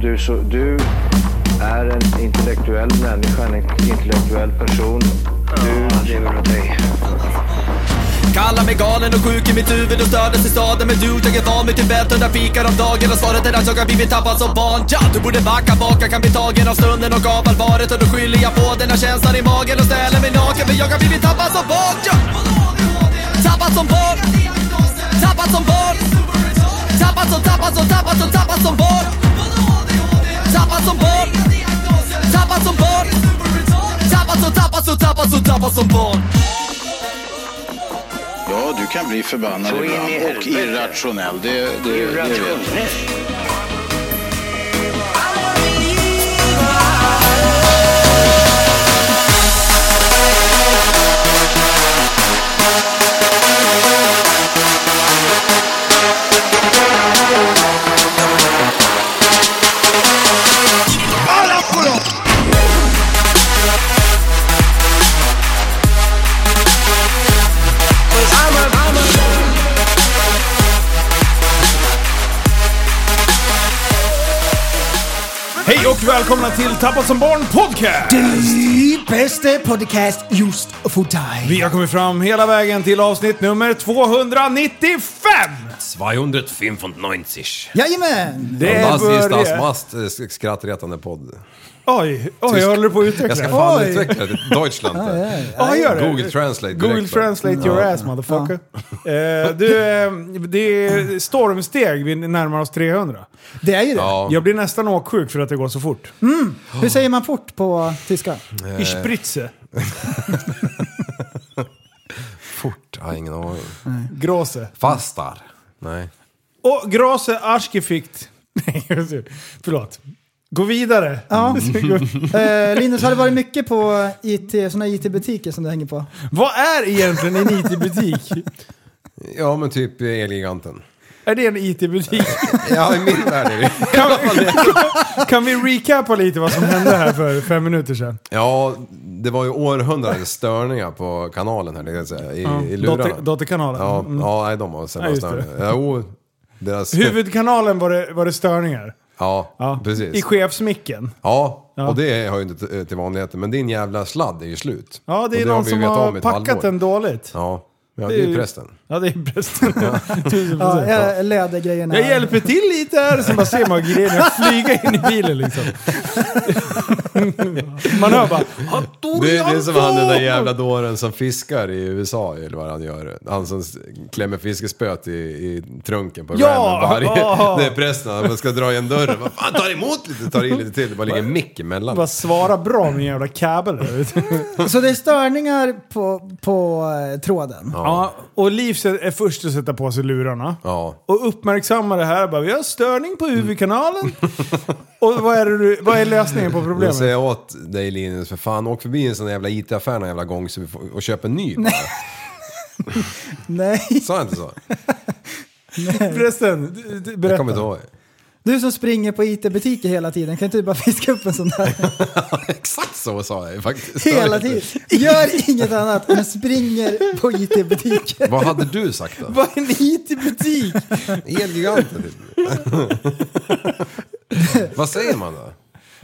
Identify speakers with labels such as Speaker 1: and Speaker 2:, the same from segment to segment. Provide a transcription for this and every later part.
Speaker 1: du, så, du är en intellektuell människa, en intellektuell person. Du lever av dig.
Speaker 2: Kallar mig galen och sjuk i mitt huvud och stördes i staden Men du, jag är van vid Tibet och där fikar om dagen Och svaret är att jag har blivit tappad som barn ja, Du borde backa bak, jag kan bli tagen av stunden och av allvaret Och då skyller jag på den här känslan i magen och ställer mig naken För jag har blivit tappad som barn ja. Tappad som barn Tappad som barn Tappad som, tappad som, tappad som, tappad som barn Tappad som barn Tappad som barn Tappad som, tappad som, tappad som, tappad som barn
Speaker 3: Ja, du kan bli förbannad
Speaker 1: Så in i
Speaker 3: ibland och
Speaker 1: helvete.
Speaker 3: irrationell. Det, det, det vet jag.
Speaker 4: Hej och välkomna till Tappad som barn podcast!
Speaker 5: Bästa podcast just för dig.
Speaker 4: Vi har kommit fram hela vägen till avsnitt nummer 295!
Speaker 6: 295.
Speaker 5: Jajamän!
Speaker 4: Det
Speaker 6: Das ist das
Speaker 4: börjar-
Speaker 6: must, eh, sk- skrattretande podd.
Speaker 4: Oj, oj, jag håller på att utveckla
Speaker 6: Jag ska
Speaker 4: det.
Speaker 6: fan
Speaker 5: Oj.
Speaker 6: utveckla det till Deutschland.
Speaker 4: Ja, gör det.
Speaker 6: Google Translate direkt,
Speaker 4: Google
Speaker 6: va?
Speaker 4: translate your ass motherfucker. Eh, du, eh, det är stormsteg, vi närmar oss 300.
Speaker 5: Det är ju det.
Speaker 6: Ja,
Speaker 4: Jag blir nästan åksjuk för att det går så fort.
Speaker 5: Hur säger man fort på tyska?
Speaker 6: Eh.
Speaker 4: Ich spritze,
Speaker 6: fort. Jag har ingen aning.
Speaker 4: grase.
Speaker 6: Fastar. Nej.
Speaker 4: Och grase arskifikt. Nej, just det. förlåt. Gå vidare.
Speaker 5: Ja. Eh, Linus, har det varit mycket på IT, såna IT-butiker som du hänger på?
Speaker 4: Vad är egentligen en IT-butik?
Speaker 6: Ja, men typ eh, Elgiganten.
Speaker 4: är det en IT-butik?
Speaker 6: Ja, i min värld är det
Speaker 4: Kan, kan vi recapa lite vad som hände här för fem minuter sedan?
Speaker 6: Ja, det var ju århundradets störningar på kanalen här, det kan jag säga. I, i lurarna.
Speaker 4: Dotter- Dotterkanalen.
Speaker 6: Ja,
Speaker 4: Mm.
Speaker 6: ja, nej, de har sällan
Speaker 4: Nej, just det.
Speaker 6: störningar. Jo, deras...
Speaker 4: Huvudkanalen var det, var det störningar.
Speaker 6: Ja,
Speaker 4: Ja.
Speaker 6: precis.
Speaker 4: I chefsmicken.
Speaker 6: Ja,
Speaker 4: Ja.
Speaker 6: och det hör ju inte till- till vanligheten. Men din jävla sladd är ju slut.
Speaker 4: Ja,
Speaker 6: Och
Speaker 4: det är
Speaker 6: har
Speaker 4: någon
Speaker 6: vi
Speaker 4: som
Speaker 6: vetat
Speaker 4: har
Speaker 6: om i ett
Speaker 4: packat
Speaker 6: halvår.
Speaker 4: den dåligt.
Speaker 6: Ja, ja det är
Speaker 4: ju-
Speaker 6: ju prästen.
Speaker 4: Ja, det är prästen. Tusen
Speaker 5: Ja,
Speaker 4: procent.
Speaker 5: eh, Lädergrejerna.
Speaker 4: Jag hjälper till lite här, så bara ser man grejerna flyga in i bilen liksom. Man hör bara...
Speaker 6: Det, det är som han den där jävla dåren som fiskar i USA eller vad han gör. Han som s- klämmer fiskespöt i, i trunken på
Speaker 4: Ja!
Speaker 6: ja! varje...
Speaker 4: Ja!
Speaker 6: Det är prästen, han ska dra igen dörren. Vad fan, tar emot lite, tar i lite till. Det bara ligger en mick emellan.
Speaker 4: Bara svara bra min jävla kabel. där ute.
Speaker 5: Så det är störningar på, på eh, tråden?
Speaker 4: Ja, och Livs är är först att sätta på sig lurarna.
Speaker 6: Ja.
Speaker 4: Och uppmärksamma det här. Bara, vi har störning på huvudkanalen. och vad är, det, du- vad är lösningen på
Speaker 6: Mm. Jag
Speaker 4: problemet?
Speaker 6: säger åt dig Linus, för fan åk förbi en sån där jävla IT-affär någon jävla gång så vi får, och köp en ny bara.
Speaker 5: Nej.
Speaker 6: Sa jag inte så?
Speaker 4: Förresten, d- d-
Speaker 6: Jag
Speaker 4: berätta.
Speaker 6: kommer inte ihåg.
Speaker 5: Du som springer på IT-butiker hela tiden, kan inte du bara fiska upp en sån där?
Speaker 6: Exakt så sa jag ju faktiskt.
Speaker 5: Hela tiden. Gör inget annat än springer på IT-butiker.
Speaker 6: Vad hade du sagt då?
Speaker 4: Vad är en IT-butik?
Speaker 6: Elgiganten typ. Vad säger man då?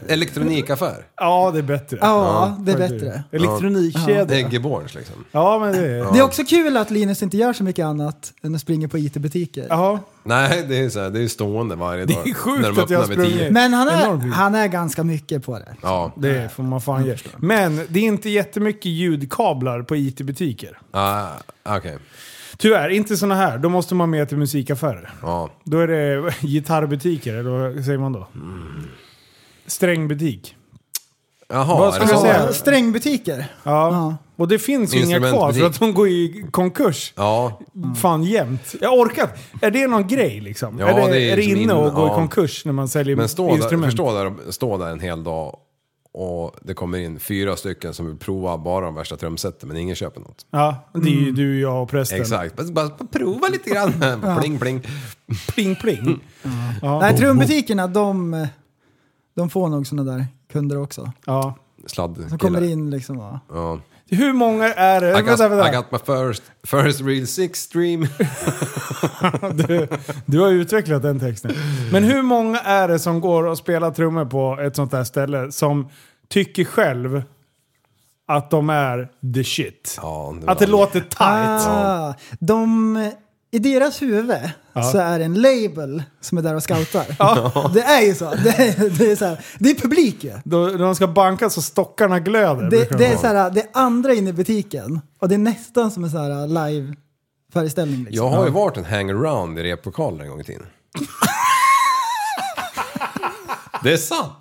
Speaker 6: Elektronikaffär?
Speaker 4: Ja, det är bättre.
Speaker 5: Ja, det är bättre.
Speaker 4: Elektronikkedja. Ja,
Speaker 6: Äggeborns liksom?
Speaker 4: men det är...
Speaker 5: Det är också kul att Linus inte gör så mycket annat än att springa på IT-butiker.
Speaker 4: Ja.
Speaker 6: Nej, det är så här, det är stående varje
Speaker 4: Det
Speaker 6: dag.
Speaker 4: är sjukt
Speaker 6: när de
Speaker 4: att jag
Speaker 6: öppnar vid tio.
Speaker 4: sprungit.
Speaker 5: Men han
Speaker 4: Enorm
Speaker 5: är,
Speaker 4: bild.
Speaker 5: han är ganska mycket på det.
Speaker 6: Ja,
Speaker 4: Det får man fan ge. Men det är inte jättemycket ljudkablar på IT-butiker.
Speaker 6: ah, okej.
Speaker 4: Tyvärr, inte såna här. Då måste man med till musikaffärer.
Speaker 6: Ja.
Speaker 4: Då är det gitarrbutiker, eller vad säger man då?
Speaker 6: Mm.
Speaker 4: Strängbutik.
Speaker 6: Jaha,
Speaker 4: Vad ska
Speaker 6: är det
Speaker 4: jag
Speaker 6: så?
Speaker 4: säga?
Speaker 5: Strängbutiker.
Speaker 4: Ja. Och det finns ju inga kvar för
Speaker 6: Instrumentbutik.
Speaker 4: att de går i konkurs.
Speaker 6: Ja,
Speaker 4: Fan jämt. Jag orkar Är det någon grej liksom?
Speaker 6: Ja,
Speaker 4: är det,
Speaker 6: det är
Speaker 4: är det
Speaker 6: liksom
Speaker 4: inne
Speaker 6: inne,
Speaker 4: att gå i
Speaker 6: ja.
Speaker 4: konkurs när man säljer
Speaker 6: men stå där,
Speaker 4: instrument?
Speaker 6: förstå där, stå där en hel dag och det kommer in fyra stycken som vill prova bara de värsta trumseten men ingen köper något.
Speaker 4: Ja, det är ju du, jag och prästen.
Speaker 6: Mm. Exakt, bara, bara prova lite grann. Pling, pling.
Speaker 4: Pling
Speaker 6: Mm.
Speaker 4: pling.
Speaker 5: Nej, trumbutikerna de, de får nog sådana där kunder också.
Speaker 4: Ja.
Speaker 6: Sladd.
Speaker 5: De kommer in liksom och...
Speaker 6: Ja.
Speaker 4: Hur många är det?
Speaker 6: I got,
Speaker 4: Vänta,
Speaker 6: I
Speaker 4: vänta.
Speaker 6: got my first, first real six stream.
Speaker 4: Du, du har utvecklat den texten. Men hur många är det som går och spelar trummor på ett sånt där ställe som tycker själv att de är the shit?
Speaker 6: Ja, det var-
Speaker 4: Att det låter tight.
Speaker 5: Ah, de, I deras huvud så är det en label som är där och scoutar. Det är ju så. Det är, det är, så här, det är publik ju.
Speaker 4: De, de ska banka så stockarna glöder. brukar
Speaker 5: Det, det, är
Speaker 4: vara.
Speaker 5: så här, det är andra inne i butiken och det är nästan som en så här live-föreställning. Liksom.
Speaker 6: Jag har ju varit en hangaround i replokaler en gång i tiden. det är sant!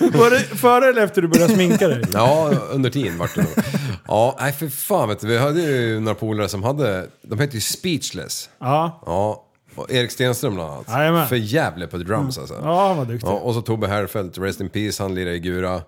Speaker 4: Var det före eller efter du började sminka dig?
Speaker 6: Ja, under tiden vart det nog. Ja, nej för fan vet du, vi hade ju några polare som hade, de hette ju Speechless.
Speaker 4: Ja,
Speaker 6: Ja, och Erik Stenström bland annat.
Speaker 4: Jajamän. Mm.
Speaker 6: För jävligt på drums alltså.
Speaker 4: ja han var duktig.
Speaker 6: Ja,
Speaker 4: Ja.
Speaker 6: och så Tobbe Herfeldt, Rest in Peace, han lirade i Gura.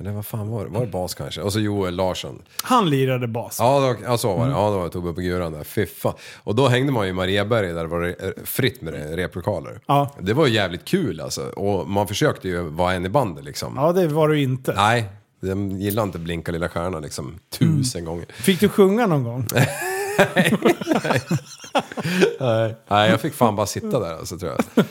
Speaker 6: Eller vad fan var det? Var det bas kanske? Och så Joel Larsson.
Speaker 4: Han lirade bas.
Speaker 6: Ja, det var, ja så
Speaker 4: Mm.
Speaker 6: var det. Ja, det var Tobbe på Guran där. Fy fan. Och då hängde man ju i Marieberg där det var re- fritt med re- replokaler.
Speaker 4: Ja.
Speaker 6: Det var ju jävligt kul alltså. Och man försökte ju vara en i bandet liksom.
Speaker 4: Ja, det var du inte.
Speaker 6: Nej, de gillar inte Blinka lilla stjärna liksom tusen
Speaker 4: Mm.
Speaker 6: gånger.
Speaker 4: Fick du sjunga någon gång?
Speaker 6: Nej, jag fick fan bara sitta där alltså tror jag.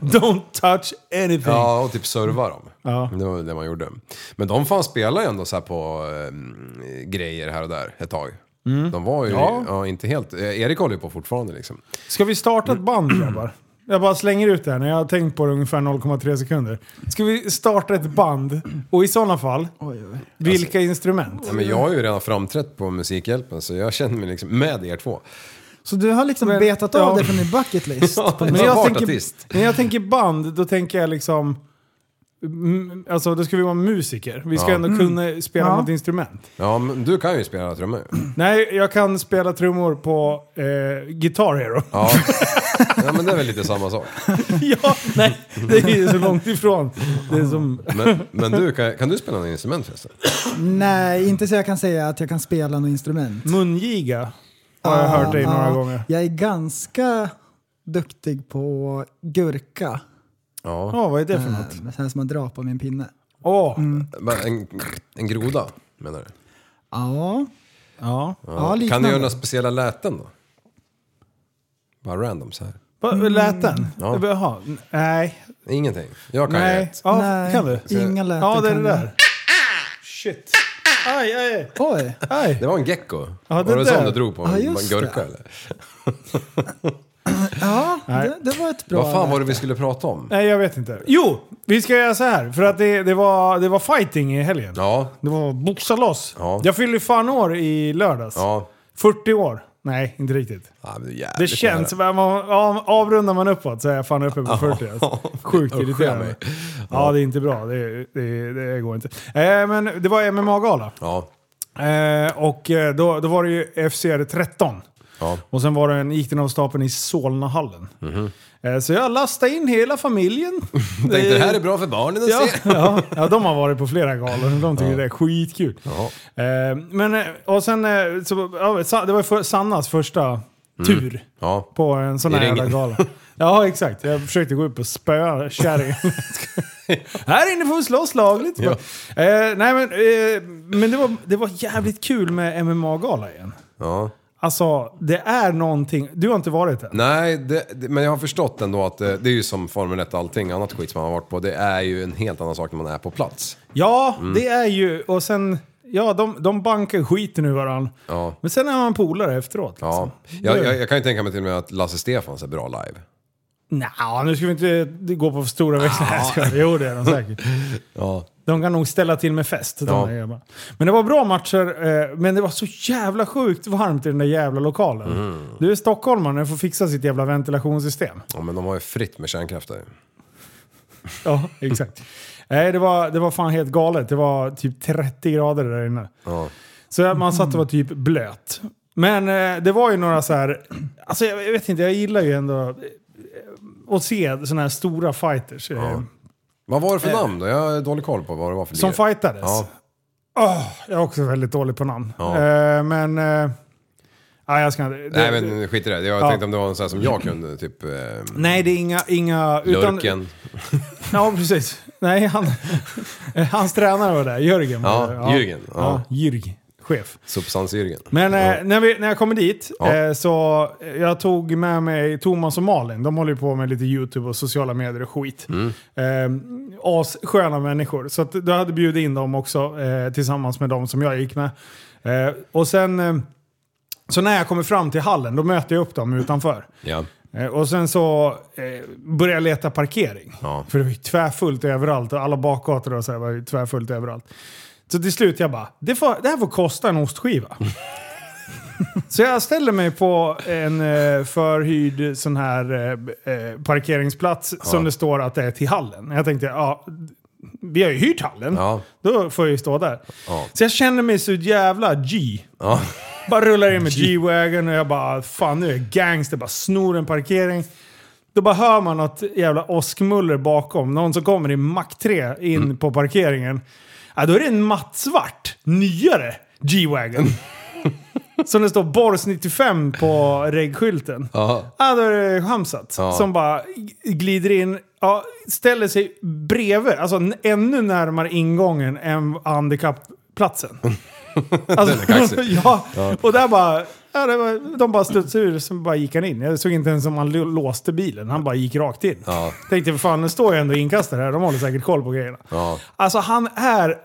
Speaker 4: Don't touch anything.
Speaker 6: Ja, och typ serva dem.
Speaker 4: Ja.
Speaker 6: Det var väl det man gjorde. Men de fan spelade ju ändå så här på eh, grejer här och där ett tag. De var ju
Speaker 4: Mm. Ja.
Speaker 6: ja. inte helt... eh, Erik håller ju på fortfarande liksom.
Speaker 4: Ska vi starta ett band grabbar? Jag bara slänger ut det här när jag har tänkt på det ungefär 0,3 sekunder. Ska vi starta ett band? Och i sådana fall, vilka instrument?
Speaker 6: Ja, men jag har ju redan framträtt på Musikhjälpen så jag känner mig liksom med er två.
Speaker 5: Så du har liksom
Speaker 4: Men-
Speaker 5: betat av
Speaker 4: ja.
Speaker 5: det från din bucket list.
Speaker 6: Ja,
Speaker 5: På-
Speaker 6: men
Speaker 4: jag
Speaker 6: jag
Speaker 4: tänker-
Speaker 6: artist.
Speaker 4: När jag tänker band, då tänker jag liksom... mm, Alltså då ska vi vara musiker. Vi ska
Speaker 6: Ja.
Speaker 4: ändå kunna spela
Speaker 5: Ja.
Speaker 4: något instrument.
Speaker 6: Ja, men du kan ju spela trummor.
Speaker 4: Nej, jag kan spela trummor på eh, Guitar Hero.
Speaker 6: Ja. ja, men det är väl lite samma sak.
Speaker 4: ja, nej, det är ju så långt ifrån. Det är som...
Speaker 6: Men, men du, kan, kan du spela något instrument förresten?
Speaker 5: Nej, inte så jag kan säga att jag kan spela något instrument.
Speaker 4: Mungiga har jag hört dig
Speaker 5: Ja,
Speaker 4: några
Speaker 5: ja.
Speaker 4: gånger.
Speaker 5: Jag är ganska duktig på gurka.
Speaker 6: Ja.
Speaker 4: Ja, vad är det för något?
Speaker 5: Eh, Så här som man drar på min pinne.
Speaker 4: Åh!
Speaker 6: Men En, en groda, menar du?
Speaker 5: Ja,
Speaker 4: Ja.
Speaker 5: ja
Speaker 6: Kan du
Speaker 5: liknande.
Speaker 6: göra några speciella läten då? Bara random så här.
Speaker 4: Va, lät den?
Speaker 6: Ja.
Speaker 4: Jaha, n- nej.
Speaker 6: Ingenting. Jag kan ju
Speaker 4: nej.
Speaker 6: ett.
Speaker 4: Ja,
Speaker 5: Nej,
Speaker 4: kan du?
Speaker 5: inga läten
Speaker 4: Ja, det är det
Speaker 5: kan
Speaker 4: där. Shit. Aj, aj, aj.
Speaker 5: Oj,
Speaker 4: aj.
Speaker 6: Det var en gecko.
Speaker 4: Ja, det
Speaker 6: var det
Speaker 4: där.
Speaker 6: sån du drog på?
Speaker 5: Ja,
Speaker 6: En
Speaker 5: just det.
Speaker 6: gurka eller?
Speaker 5: ja,
Speaker 4: Nej.
Speaker 5: det, det var ett bra...
Speaker 6: Vad fan var det vi skulle prata om?
Speaker 4: Nej, jag vet inte. Jo, vi ska göra så här. För att det, det, var, det var fighting i helgen.
Speaker 6: Ja.
Speaker 4: Det var boxa loss.
Speaker 6: Ja.
Speaker 4: Jag fyllde fan år i lördags.
Speaker 6: Ja.
Speaker 4: 40 år. Nej, inte riktigt.
Speaker 6: ja men det är jävligt
Speaker 4: Det känns...
Speaker 6: nära.
Speaker 4: Man, av- avrundar man uppåt så är jag fan uppe på 40. Alltså. Sjukt
Speaker 6: Usch, jag
Speaker 4: irriterande.
Speaker 6: mig.
Speaker 4: Ja, det är inte bra. Det, det, det går inte. Eh, men det var MMA-gala.
Speaker 6: Ja.
Speaker 4: Eh, och eh, då, då var det ju FCR 13.
Speaker 6: Ja.
Speaker 4: Och sen var det en, gick den av stapeln i Solnahallen.
Speaker 6: Mhm.
Speaker 4: Eh, så jag lastade in hela familjen.
Speaker 6: Tänkte det här är bra för barnen att
Speaker 4: Ja,
Speaker 6: se.
Speaker 4: ja, ja, de har varit på flera galor. De tycker det är skitkul.
Speaker 6: Ja.
Speaker 4: Eh, men, eh, och sen, eh, så, ja, Sa- det var för, Sannas första
Speaker 6: Mm.
Speaker 4: tur
Speaker 6: Ja.
Speaker 4: på en sån här
Speaker 6: I
Speaker 4: jävla
Speaker 6: ringen.
Speaker 4: gala. Ja, exakt. Jag försökte gå upp och spöa kärringen. här inne får vi slåss lagligt.
Speaker 6: Ja.
Speaker 4: Eh, nej, men eh, men det, var, det var jävligt kul med MMA-gala igen.
Speaker 6: Ja.
Speaker 4: Alltså, det är någonting. Du har inte varit där?
Speaker 6: Nej, det, det, men jag har förstått ändå att eh, det, det är ju som Formel 1 och allting annat skit som man har varit på. Det är ju en helt annan sak när man är på plats.
Speaker 4: Ja, Mm. det är ju... Och sen... Ja, de, de bankar skiten ur varandra.
Speaker 6: Ja.
Speaker 4: Men sen är man polare efteråt.
Speaker 6: Ja.
Speaker 4: Liksom.
Speaker 6: Jag, jag, jag kan ju tänka mig till och med att Lasse Stefans är bra live.
Speaker 4: Nja, nu ska vi inte gå på för stora växlar. Ja. Jo, det är de säkert.
Speaker 6: Ja.
Speaker 4: De kan nog ställa till med fest. de
Speaker 6: Ja.
Speaker 4: där jävla. Men det var bra matcher, eh, men det var så jävla sjukt varmt i den där jävla lokalen.
Speaker 6: Mm.
Speaker 4: Du är stockholmare får fixa sitt jävla ventilationssystem.
Speaker 6: ja, men de har ju fritt med kärnkraft där.
Speaker 4: Ja, exakt. Nej, det var, det var fan helt galet. Det var typ 30 grader där inne.
Speaker 6: Ja.
Speaker 4: Så man satt och var typ blöt. Men eh, det var ju några så här... Alltså jag, jag vet inte, jag gillar ju ändå eh, att se sådana här stora fighters. eh,
Speaker 6: Vad var det för namn då? Jag har dålig koll på vad det var för
Speaker 4: Som
Speaker 6: lir.
Speaker 4: fightades.
Speaker 6: Ja.
Speaker 4: Åh, jag är också väldigt dålig på namn.
Speaker 6: Ja.
Speaker 4: Eh, men... Eh, nej, jag ska inte... det-
Speaker 6: Nej men skit i det. Jag
Speaker 4: Ja.
Speaker 6: tänkte om det var en sån här som jag kunde, typ... Eh,
Speaker 4: Nej, det är inga... inga
Speaker 6: Lurken.
Speaker 4: Ja, precis. Nej, han, hans tränare var där. Jörgen. var
Speaker 6: Ja,
Speaker 4: där.
Speaker 6: Jürgen, ja.
Speaker 4: Ja, Jürg. chef.
Speaker 6: Substansyrgen.
Speaker 4: Men eh, när, vi, när jag kommer dit
Speaker 6: Ja.
Speaker 4: eh, så eh, jag tog med mig Thomas och Malin. De håller ju på med lite YouTube och sociala medier och skit. Mm. Eh, assköna människor. Så att, jag hade bjudit in dem också eh, tillsammans med dem som jag gick med. Eh, och sen, eh, så när jag kommer fram till hallen då möter jag upp dem utanför.
Speaker 6: Ja.
Speaker 4: Eh, Och sen så eh, började jag leta parkering.
Speaker 6: Ja.
Speaker 4: För det var ju tvärfullt överallt och alla bakgator och så här var ju tvärfullt överallt. Så till slut jag bara, det, får, det här får kosta en ostskiva. så jag ställer mig på en eh, förhyrd sån här eh, eh, parkeringsplats som det står att det är till hallen. Jag tänkte, ja, vi har ju hyrt hallen.
Speaker 6: Ja.
Speaker 4: Då får jag ju stå där. Så jag känner mig så jävla G.
Speaker 6: Ja.
Speaker 4: Bara rullar in med G-Wagon och jag bara, fan nu är jag gangster, bara snor en parkering. Då bara hör man något jävla åskmuller bakom. Någon som kommer i Mac 3 in
Speaker 6: Mm.
Speaker 4: på parkeringen. Ja, då är det en mattsvart, nyare G-Wagon. som det står Bors 95 på regskylten.
Speaker 6: Ja.
Speaker 4: Ja, då är det Hamzat
Speaker 6: Ja.
Speaker 4: som bara glider in, ja, ställer sig bredvid, alltså n- ännu närmare ingången än handikappplatsen. Alltså,
Speaker 6: kaxig.
Speaker 4: ja, och där bara, ja, det var, de bara studsade ur så bara gick han in. Jag såg inte ens om han lo- låste bilen, han bara gick rakt in.
Speaker 6: Ja.
Speaker 4: Tänkte, för fan nu står jag ändå inkastad här, de håller säkert koll på grejerna.
Speaker 6: Ja.
Speaker 4: Alltså han är...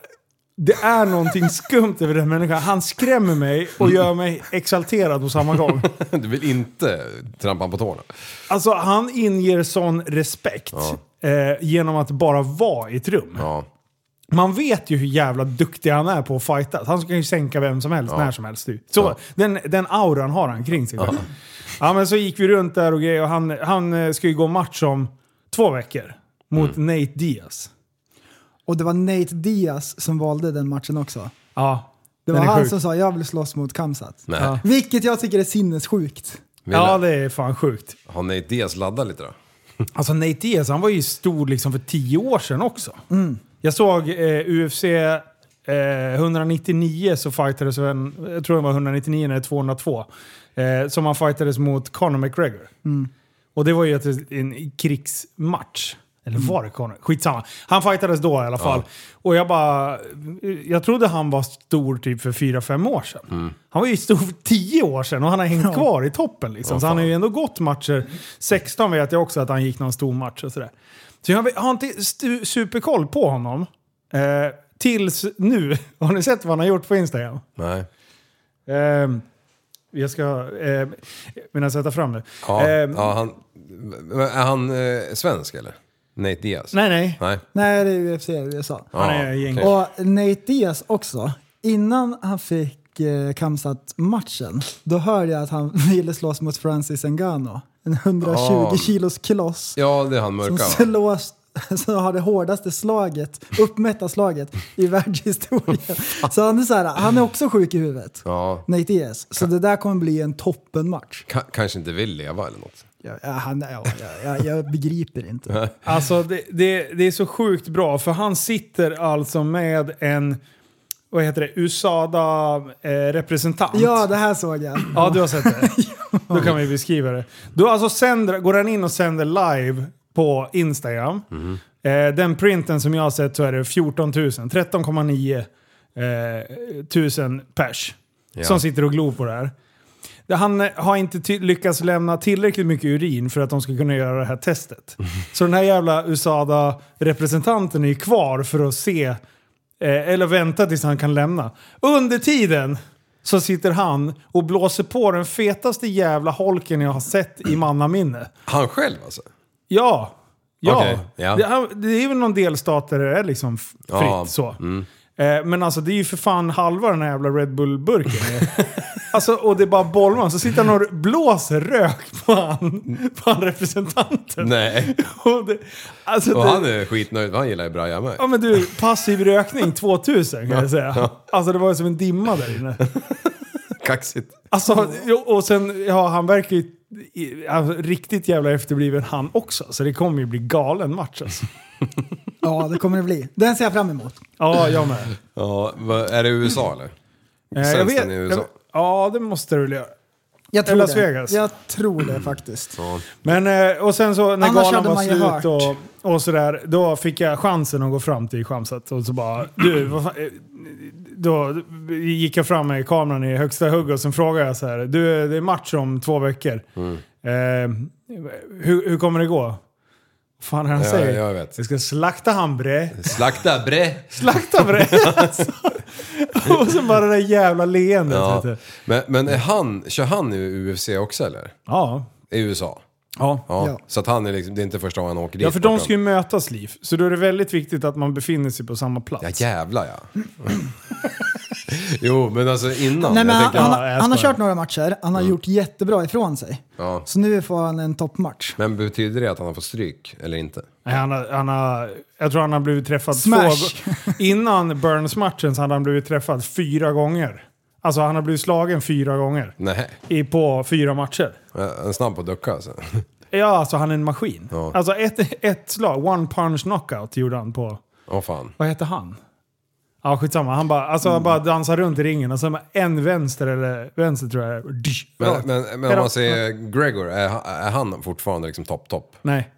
Speaker 4: Det är någonting skumt över den människan. Han skrämmer mig och gör mig exalterad på samma gång.
Speaker 6: Du vill inte trampa på tårna.
Speaker 4: Alltså han inger sån respekt eh, genom att bara vara i ett rum.
Speaker 6: Ja.
Speaker 4: Man vet ju hur jävla duktig han är på att fightas. Han kan ju sänka vem som helst när som helst. typ. Så,
Speaker 6: Ja.
Speaker 4: den, den auran har han kring sig. typ. Ja. men så gick vi runt där och grejer och han, han eh, ska ju gå match om två veckor mot
Speaker 6: Mm.
Speaker 4: Nate Diaz.
Speaker 5: Och det var Nate Diaz som valde den matchen också.
Speaker 4: Ja,
Speaker 5: Det var
Speaker 4: den är
Speaker 5: han
Speaker 4: sjuk.
Speaker 5: som sa jag vill slåss mot Kamsat.
Speaker 6: Nej.
Speaker 4: Ja.
Speaker 5: Vilket jag tycker är sinnessjukt.
Speaker 6: Vill
Speaker 4: Ja, det är fan sjukt.
Speaker 6: Har Nate Diaz laddat lite då?
Speaker 4: Alltså Nate Diaz, han var ju stor liksom för tio år sedan också.
Speaker 5: Mm.
Speaker 4: Jag såg eh, UFC eh, 199 så fightades en, jag tror det var 199 eller 202, eh, som han fightades mot Conor McGregor. Och det var ju ett, en krigsmatch. Eller var det Conor? Skitsamma. Han fightades då i alla fall. Och jag bara... Jag trodde han var stor typ för fyra fem år sedan. Han var ju stor för 10 år sedan och han har hängt kvar i toppen liksom. så han har ju ändå gått matcher. 16 vet jag också att han gick någon stor match och sådär. Så jag har inte stu- superkoll på honom. Eh, tills nu. Har ni sett vad han har gjort på Instagram?
Speaker 6: Nej.
Speaker 4: Ehm, jag ska... Eh, medan jag tar fram det.
Speaker 6: Ja,
Speaker 4: Ehm,
Speaker 6: ja han, är han eh, svensk eller? Nate Diaz?
Speaker 4: Nej, nej.
Speaker 6: Nej.
Speaker 5: Nej, det är UFC i USA.
Speaker 4: Han är
Speaker 6: Ja,
Speaker 4: gäng-
Speaker 6: okej.
Speaker 5: Och Nate Diaz också. Innan han fick eh, Kamsat-matchen, då hörde jag att han ville slåss mot Francis Ngannou. En 120
Speaker 6: Ja.
Speaker 5: kilos kloss
Speaker 6: Ja, det är han
Speaker 5: som
Speaker 6: mörka va?
Speaker 5: slås som har det hårdaste slaget, uppmätta slaget, i världshistorien. Så han är, så här, han är också sjuk i huvudet.
Speaker 6: Ja.
Speaker 5: Nate Diaz. Så det där kommer bli en toppenmatch.
Speaker 6: Ka- kanske inte vill leva eller något.
Speaker 5: Ja, ja, han, ja, ja, jag, jag begriper inte.
Speaker 4: Alltså det, det, det är så sjukt bra för han sitter alltså med en, vad heter det, eh, USADA-representant.
Speaker 5: Ja, det här såg jag.
Speaker 4: Ja, du har sett det. Då kan vi beskriva det. Då alltså sänder, går han in och sänder live på Instagram. Eh, den printen som jag har sett så är det 14 000, 13,9 eh, tusen pers
Speaker 6: Ja.
Speaker 4: som sitter och glor på det här. Det- Han eh, har inte ty- lyckats lämna tillräckligt mycket urin för att de ska kunna göra det här testet. Så den här jävla USADA-representanten är ju kvar för att se, eh, eller vänta tills han kan lämna. Under tiden så sitter han och blåser på den fetaste jävla holken jag har sett i mannaminne.
Speaker 6: Han själv alltså?
Speaker 4: Ja. Ja.
Speaker 6: Okej, ja.
Speaker 4: Det, han- det är väl någon delstat där det är liksom f- fritt
Speaker 6: Ja, mm.
Speaker 4: så. Eh, Men alltså det är ju för fan halva den här jävla Red Bull-burken. alltså, och det är bara bollman. Så sitter han och blåser rök på han, på han representanten.
Speaker 6: Nej.
Speaker 4: Och det, alltså
Speaker 6: Och
Speaker 4: det,
Speaker 6: han är skitnöjd för han gillar ju Braja med.
Speaker 4: Ja men du, passiv rökning 2000 kan jag säga. Alltså det var ju som en dimma där inne.
Speaker 6: Kaxigt.
Speaker 4: Alltså, jo, och sen, ja, han verkar ju i- alltså, riktigt jävla efterbliven han också. Så det kommer ju bli galen match alltså.
Speaker 5: Ja, det kommer det bli. Den ser jag fram emot.
Speaker 4: Ja, jag med.
Speaker 6: Ja, vad- är det USA eller?
Speaker 4: Eh,
Speaker 6: Sänds den i USA?
Speaker 4: ja, det måste du väl göra.
Speaker 5: Jag tror
Speaker 4: Las
Speaker 5: det.
Speaker 4: Vegas.
Speaker 5: Jag tror
Speaker 6: Mm.
Speaker 5: det faktiskt.
Speaker 4: Men, eh, och sen så när
Speaker 5: Annars
Speaker 4: galan
Speaker 5: hade
Speaker 4: var
Speaker 5: man ju hört.
Speaker 4: slut och, och sådär, då fick jag chansen att gå fram till Schamsat och så bara, du, vad fan, eh, då gick jag fram med kameran i högsta hugg och sen frågade jag så här, du det är match om två veckor.
Speaker 6: Mm.
Speaker 4: Eh, hur, hur kommer det gå? Vad fan är det han
Speaker 6: Ja,
Speaker 4: säger?
Speaker 6: jag vet.
Speaker 4: ska slakta han bre.
Speaker 6: Slakta bre!
Speaker 4: Slakta bre! alltså. och sen bara det där jävla leendet. vet
Speaker 6: Ja.
Speaker 4: du.
Speaker 6: Men, men är han, kör han i UFC också eller?
Speaker 4: Ja.
Speaker 6: I USA?
Speaker 4: ja.
Speaker 6: Ja.
Speaker 5: Ja.
Speaker 6: Så att han är liksom, det är inte första gången han åker dit.
Speaker 4: Ja, för de
Speaker 6: bortom.
Speaker 4: ska ju mötas, Liv. Så då är det väldigt viktigt att man befinner sig på samma plats.
Speaker 6: Ja jävlar ja. jo men alltså innan.
Speaker 5: Nej, men
Speaker 6: jag
Speaker 5: han,
Speaker 6: tänker,
Speaker 5: han,
Speaker 4: Ja,
Speaker 5: har-
Speaker 4: jag
Speaker 5: han har
Speaker 4: skojar.
Speaker 5: kört några matcher, han har gjort jättebra ifrån sig.
Speaker 6: Ja.
Speaker 5: Så nu får han en toppmatch.
Speaker 6: Men betyder det att han har fått stryk eller inte?
Speaker 4: Nej, han har, han har, jag tror han har blivit träffad
Speaker 5: Smash.
Speaker 4: två gånger. Innan Burns-matchen så hade han blivit träffad fyra gånger. Alltså han har blivit slagen fyra gånger
Speaker 6: Nej,
Speaker 4: i, på fyra matcher.
Speaker 6: han är snabb på att ducka alltså.
Speaker 4: Ja, alltså han är en maskin.
Speaker 6: Ja.
Speaker 4: Alltså ett, ett slag, one punch knockout gjorde han på,
Speaker 6: Åh fan.
Speaker 4: vad heter han? Ja, skitsamma. Han bara, alltså, han bara
Speaker 6: Mm.
Speaker 4: dansar runt i ringen och sen bara en vänster, eller vänster tror jag det är. Dysch,
Speaker 6: Men,
Speaker 4: rakt.
Speaker 6: men, men om man säger Gregor, är, han- är han fortfarande liksom topp, topp?
Speaker 4: Nej.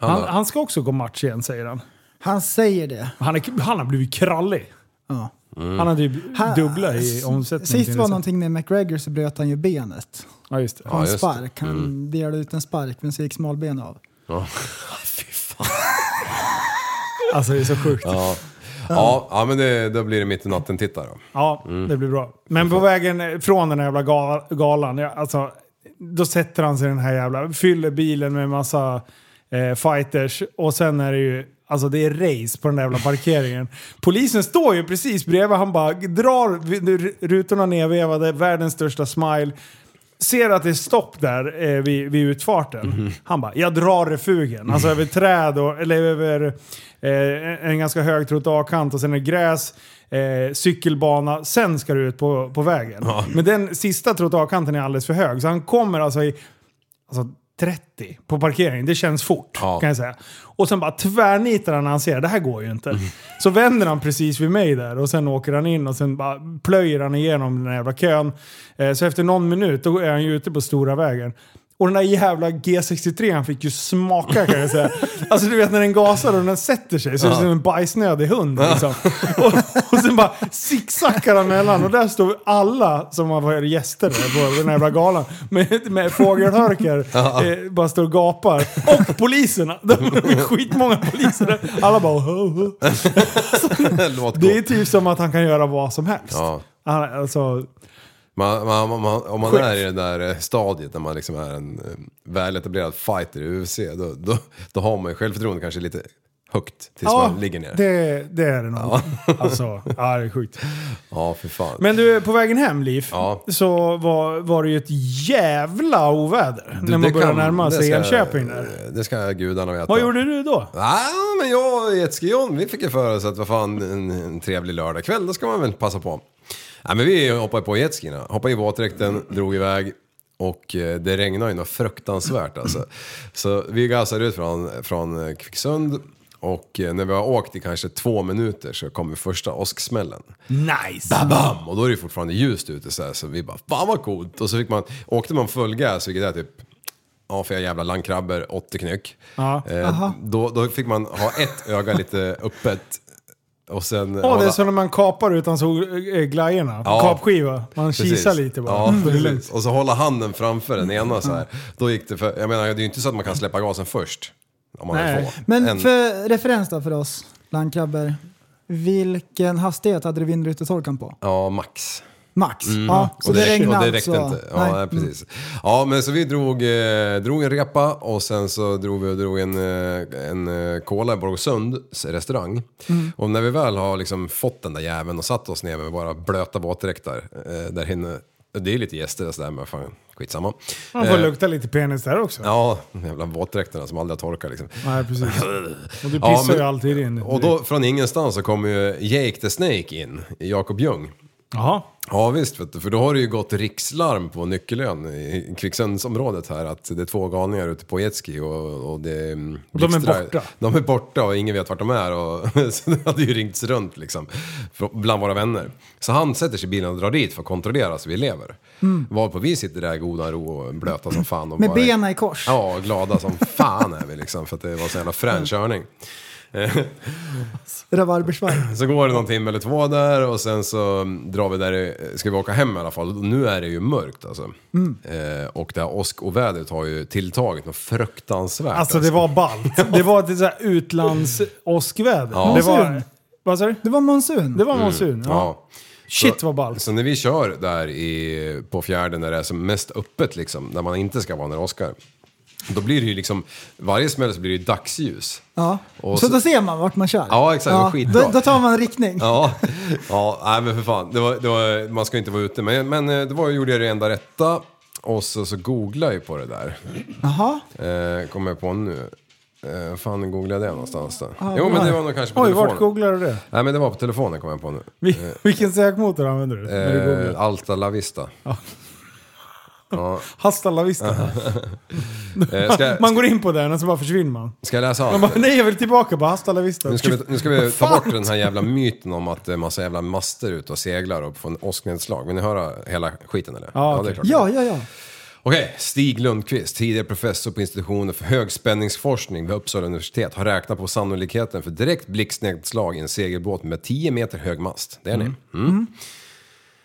Speaker 4: Han,
Speaker 6: har-
Speaker 4: han ska också gå match igen säger han.
Speaker 5: Han säger det.
Speaker 4: Han, är, han har blivit krallig.
Speaker 5: Ja.
Speaker 4: Han hade ju dubbla i omsättning.
Speaker 5: Sist
Speaker 4: till
Speaker 5: var
Speaker 4: nästa.
Speaker 5: någonting med McGregor så bröt han ju benet.
Speaker 4: Ja, just det.
Speaker 5: På en
Speaker 6: just det. Mm.
Speaker 5: spark. Han delade ut en spark men så gick smalben av.
Speaker 4: Alltså det är så sjukt. Ja,
Speaker 6: Ja, ja men det, då blir det mitt i natten titta då.
Speaker 4: det blir bra. Men på vägen från den här jävla ga- galan, ja, alltså, då sätter han sig i den här jävla, fyller bilen med massa eh, fighters och sen är det ju, alltså det är race på den där jävla parkeringen. Polisen står ju precis bredvid, han bara drar v- rutorna nedvevade, världens största smile. Ser att det är stopp där eh, vid, vid utfarten. Han bara, jag drar refugen. Alltså över träd, och, eller över eh, en ganska hög trottoarkant och sen är det gräs, eh, cykelbana, sen ska du ut på, på vägen. Men den sista trottoarkanten är alldeles för hög, så han kommer alltså i alltså 30 på parkeringen. Det känns fort
Speaker 6: Ja.
Speaker 4: kan jag säga. Och sen bara tvärnitar han när han ser det här går ju inte. Så vänder han precis vid mig där och sen åker han in och sen bara plöjer han igenom den här jävla kön. Eh, Så efter någon minut då är han ju ute på stora vägen. Och den där jävla G63 han fick ju smaka kan jag säga. Alltså du vet när den gasar och den sätter sig så är det som en bajsnödig hund. Liksom. Och, och sen bara zigzackar han mellan och där står alla som har varit gäster där på den här jävla galan med, med fågelhörkar eh, bara står och gapar. Och poliserna! Det är skitmånga poliser där. Alla bara ho, ho.
Speaker 6: Låt gå.
Speaker 4: Det är typ som att han kan göra vad som helst.
Speaker 6: Ja.
Speaker 4: Han, alltså,
Speaker 6: Man, man, man, man, om man
Speaker 4: Chef.
Speaker 6: är i det där eh, stadiet när man liksom är en eh, väletablerad fighter i UFC, då, då, då har man ju självförtroende kanske lite högt tills man ligger ner.
Speaker 4: Det, det är det nog. Alltså, ja, det är sjukt.
Speaker 6: Ja, för fan.
Speaker 4: Men du, på vägen hem Liv,
Speaker 6: Ja.
Speaker 4: så var, var det ju ett jävla oväder när man
Speaker 6: Det
Speaker 4: började
Speaker 6: kan-
Speaker 4: närma
Speaker 6: det
Speaker 4: sig
Speaker 6: ska-
Speaker 4: Enköping där.
Speaker 6: Det ska gudarna veta.
Speaker 4: Vad gjorde du då?
Speaker 6: Ja, men jag och Jetski John, vi fick ju för oss att vad fan, en, en trevlig lördagkväll, då ska man väl passa på. Ja, men vi hoppade på jetskina, hoppade i våtdräkten, drog iväg och eh, det regnade ju något fruktansvärt alltså. Så vi gasade ut från, från eh, Kvicksund och eh, när vi har åkt i kanske två minuter så kommer första åsksmällen.
Speaker 4: Nice!
Speaker 6: Bam! Och då är det fortfarande ljust ute så, här, så vi bara fan vad coolt. Och så fick man, åkte man full gas vilket är typ Ja, för jag jävla landkrabbor, 80 knyck.
Speaker 4: Ja.
Speaker 6: Eh, då, då fick man ha ett öga lite öppet. Och sen...
Speaker 4: Ja, det är
Speaker 6: hålla-
Speaker 4: som när man kapar utan så, äh, glajjorna.
Speaker 6: Ja.
Speaker 4: Kapskiva. Man
Speaker 6: Precis.
Speaker 4: kisar lite bara. Mm,
Speaker 6: Ja,
Speaker 4: Det är lugnt.
Speaker 6: precis. Och så hålla handen framför den ena så här. Då gick det för... Jag menar, det är ju inte så att man kan släppa gasen först. Om man
Speaker 4: Nej.
Speaker 6: Nej. Får.
Speaker 5: Men
Speaker 6: En-
Speaker 5: för referens då för oss landkrabbor. Vilken hastighet hade du vindrutetorkaren på?
Speaker 6: Ja, max.
Speaker 5: Max? Ja, så
Speaker 6: Mm. och
Speaker 5: det,
Speaker 6: det, räckte, och
Speaker 5: regnade
Speaker 6: det räckte
Speaker 5: alltså.
Speaker 6: inte. Ja, nej. precis. Ja, men så vi drog, eh, drog en repa och sen så drog vi och drog en, eh, en eh, cola i Borgsunds restaurang.
Speaker 4: Mm.
Speaker 6: Och när vi väl har liksom fått den där jäveln och satt oss ner med våra blöta våtdräkter eh, där inne. Det är lite gäster och sådär, men fan skitsamma.
Speaker 4: Man får lukta lite penis där också.
Speaker 6: Eh. Ja, de jävla våtdräkterna som aldrig har torkat liksom.
Speaker 4: Nej, precis. Och du pissar
Speaker 6: Ja, men-
Speaker 4: ju alltid in.
Speaker 6: Och då från ingenstans så kommer ju Jake the Snake in, Jakob Ljung.
Speaker 4: Jaha.
Speaker 6: Ja visst, vet du, för då har det ju gått rikslarm på Nyckelön i Kvicksundsområdet här att det är två galningar ute på jetski och, och det mm,
Speaker 4: de är
Speaker 6: blixtrar.
Speaker 4: borta.
Speaker 6: De är borta och ingen vet vart de är och så det hade ju ringts runt liksom för- bland våra vänner. Så han sätter sig i bilen och drar dit för att kontrollera så vi lever. Varpå vi sitter där i godan ro och blöta som fan. Och
Speaker 5: Med
Speaker 6: bara-
Speaker 5: benen i kors.
Speaker 6: Ja, glada som fan är vi liksom för att det var så jävla frän körning.
Speaker 5: Rabarbersvaj.
Speaker 6: Så går det någon timme eller två där och sen så drar vi där, ska vi åka hem i alla fall. Nu är det ju mörkt alltså.
Speaker 4: Mm.
Speaker 6: Eh, och det här åskovädret har ju tilltagit något fruktansvärt.
Speaker 4: Alltså det var ballt. Det var ett så här utlands-åskväder. Det var...
Speaker 5: Monsun.
Speaker 4: Vad sa du?
Speaker 5: Det var monsun.
Speaker 4: Det var monsun. Ja.
Speaker 6: Mm. Ja.
Speaker 4: Shit
Speaker 6: Så-
Speaker 4: vad ballt.
Speaker 6: Så när vi kör där i, på fjärden när det är som mest öppet liksom, där man inte ska vara när det åskar. Då blir det ju liksom, varje smäll så blir det ju dagsljus.
Speaker 5: Ja.
Speaker 6: Och
Speaker 5: så,
Speaker 6: så-
Speaker 5: då ser man vart man kör.
Speaker 6: Ja, exakt. Det var skitbra.
Speaker 5: då, då tar man riktning.
Speaker 6: Ja, ja nej men för fan. Det var, det var, man ska ju inte vara ute. Men, men eh, det var, gjorde jag det enda rätta. Och så, så googlade jag ju på det där.
Speaker 5: Jaha.
Speaker 6: Eh, kommer jag på nu. Eh, fan, googlade jag det någonstans då?
Speaker 5: Ah,
Speaker 6: jo, men
Speaker 5: bra.
Speaker 6: det var nog kanske på
Speaker 4: Oj,
Speaker 6: telefonen. Eh.
Speaker 4: vart googlar du det?
Speaker 6: Nej, men det var på telefonen kom jag på nu.
Speaker 4: Vi, vilken sökmotor använder du? när du googlar?
Speaker 6: Eh, Alta La Vista.
Speaker 4: Hasta la vista.
Speaker 6: Eh, ska, jag-
Speaker 4: Man går in på den och så bara försvinner man.
Speaker 6: ska jag läsa
Speaker 4: Man
Speaker 6: allt?
Speaker 4: bara, nej jag vill tillbaka. Bara hasta la vista.
Speaker 6: Nu ska, vi, nu ska vi ta bort den här jävla myten om att det är massa jävla master ute och seglar och får en åsknedslag. Vill ni höra hela skiten eller?
Speaker 4: Ja,
Speaker 6: det
Speaker 4: okej.
Speaker 6: är klart.
Speaker 5: Ja, ja, ja.
Speaker 6: Okej, Stig Lundqvist, tidigare professor på institutionen för högspänningsforskning vid Uppsala universitet, har räknat på sannolikheten för direkt blixtnedslag i en segelbåt med 10 meter hög mast. Det är ni. Mm.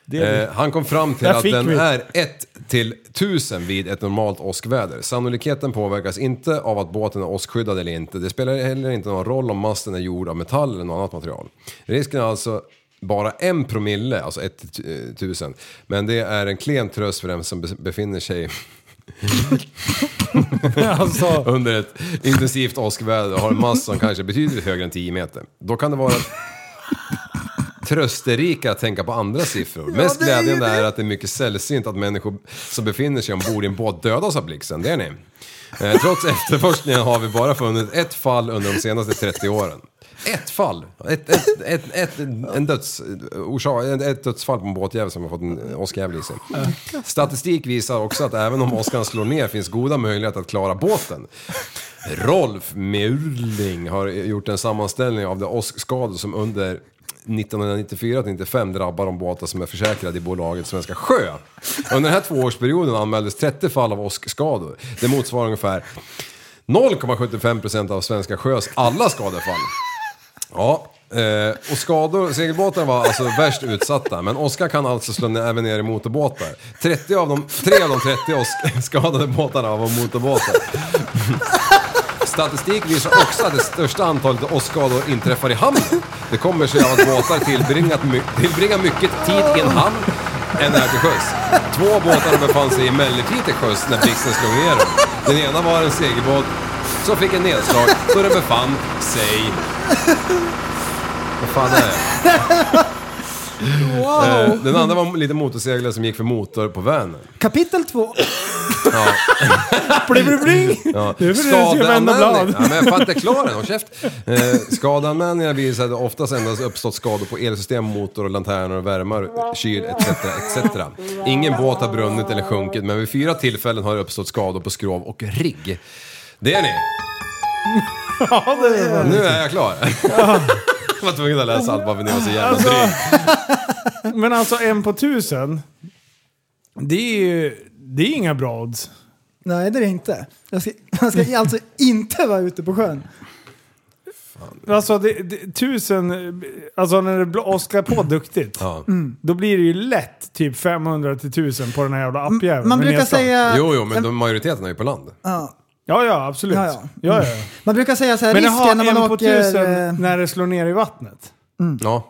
Speaker 4: Det är
Speaker 6: Eh, han kom fram till
Speaker 4: Där
Speaker 6: att
Speaker 4: fick
Speaker 6: den
Speaker 4: vi.
Speaker 6: är 1 till 1000 vid ett normalt åskväder. Sannolikheten påverkas inte av att båten är åskskyddad eller inte. Det spelar heller inte någon roll om masten är gjord av metall eller något annat material. Risken är alltså bara en promille, alltså 1 till eh, 1000. Men det är en klen tröst för den som be- befinner sig
Speaker 4: alltså,
Speaker 6: under ett intensivt åskväder och har en mast som kanske är betydligt högre än 10 meter. Då kan det vara trösterika att tänka på andra siffror. Mest
Speaker 5: det är ju
Speaker 6: glädjande
Speaker 5: det.
Speaker 6: är att det är mycket sällsynt att människor som befinner sig ombord i en båt dödas av blixten, det är ni. Eh, Trots efterforskningen har vi bara funnit ett fall under de senaste 30 åren. Ett fall! Ett, ett, ett, ett, en döds, orsak, ett- ett dödsfall på en båtjävel som har fått en åskjävel i sig. Statistik visar också att även om åskan slår ner finns goda möjligheter att klara båten. Rolf Murling har gjort en sammanställning av de åskskador som under 1994-95 drabbar de båtar som är försäkrade i bolaget Svenska Sjö. Under den här tvåårsperioden anmäldes 30 fall av åskskador. Det motsvarar ungefär 0,75% av Svenska Sjös alla skadefall. Ja, eh, och skador, segelbåtar var alltså värst utsatta, men åska kan alltså slå ner, även ner i motorbåtar. 30 av de, 3 av de 30 åsk- skadade båtarna var motorbåtar. Statistik visar också att det största antalet åskskador inträffar i hamnen. Det kommer sig av att båtar tillbringat my- tillbringar mycket tid i en hamn än är till sjöss. Två båtar befann sig emellertid till sjöss när blixten slog ner dem. Den ena var en segelbåt som fick en nedslag då den befann sig... Vad fan är det? Eh, Den andra var lite motorseglare som gick för motor på Vänern.
Speaker 5: Kapitel två.
Speaker 4: bling, bling, bling.
Speaker 6: Ja.
Speaker 4: Det är väl det du ska vända blad.
Speaker 6: Ja, men jag fan inte klar än, håll käft. Eh, skadeanmälningar visar att det oftast endast uppstått skador på elsystem, motor och lanterner och värmar, kyl etc. etc. Ingen båt har brunnit eller sjunkit men vid fyra tillfällen har det uppstått skador på skrov och rigg. Det är ni!
Speaker 4: Ja, det är
Speaker 6: Nu är jag klar. Jag var tvungen att läsa allt bara för att ni var så jävla
Speaker 4: Alltså,
Speaker 6: dryg.
Speaker 4: det. Men alltså en på tusen. Det är ju... Det är inga bra odds.
Speaker 5: Nej, det är det inte. Jag ska, man ska alltså inte vara ute på sjön.
Speaker 4: Alltså det, det, tusen... Alltså när det bl- åskar på duktigt.
Speaker 6: Mm. Ja.
Speaker 5: Mm.
Speaker 4: Då blir det ju lätt typ 500 till 1000 på den här jävla appjäveln.
Speaker 5: Mm. Man
Speaker 4: med
Speaker 5: brukar
Speaker 4: näsan.
Speaker 5: säga...
Speaker 6: Jo, jo, men de, majoriteten är ju på land.
Speaker 4: Mm.
Speaker 5: Ja,
Speaker 4: Ja, ja, absolut.
Speaker 5: Ja,
Speaker 4: Ja,
Speaker 5: ja.
Speaker 4: ja. ja, ja.
Speaker 5: man brukar säga så här,
Speaker 4: Men jaha,
Speaker 5: risken när
Speaker 4: en
Speaker 5: man
Speaker 4: på
Speaker 5: åker...
Speaker 4: tusen
Speaker 5: eh,
Speaker 4: när det slår ner i vattnet.
Speaker 6: Ja.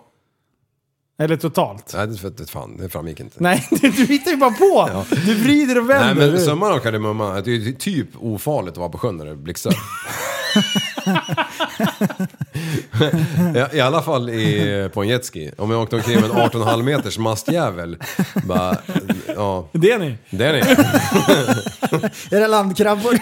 Speaker 4: Eller totalt.
Speaker 6: Nej, det, det, fan, det framgick inte.
Speaker 4: Nej, du du hittar ju bara på! Du vrider och
Speaker 6: Nej
Speaker 4: vänder.
Speaker 6: men
Speaker 4: Du-
Speaker 6: summan av kardemumman är att det är typ ofarligt att vara på sjön när det blixtrar. I, I alla fall i, på en jetski. Om jag åkte omkring med en 18,5 meters mastjävel. Bara, ja.
Speaker 4: Det är ni.
Speaker 6: Det är ni.
Speaker 5: Är det landkrabbor?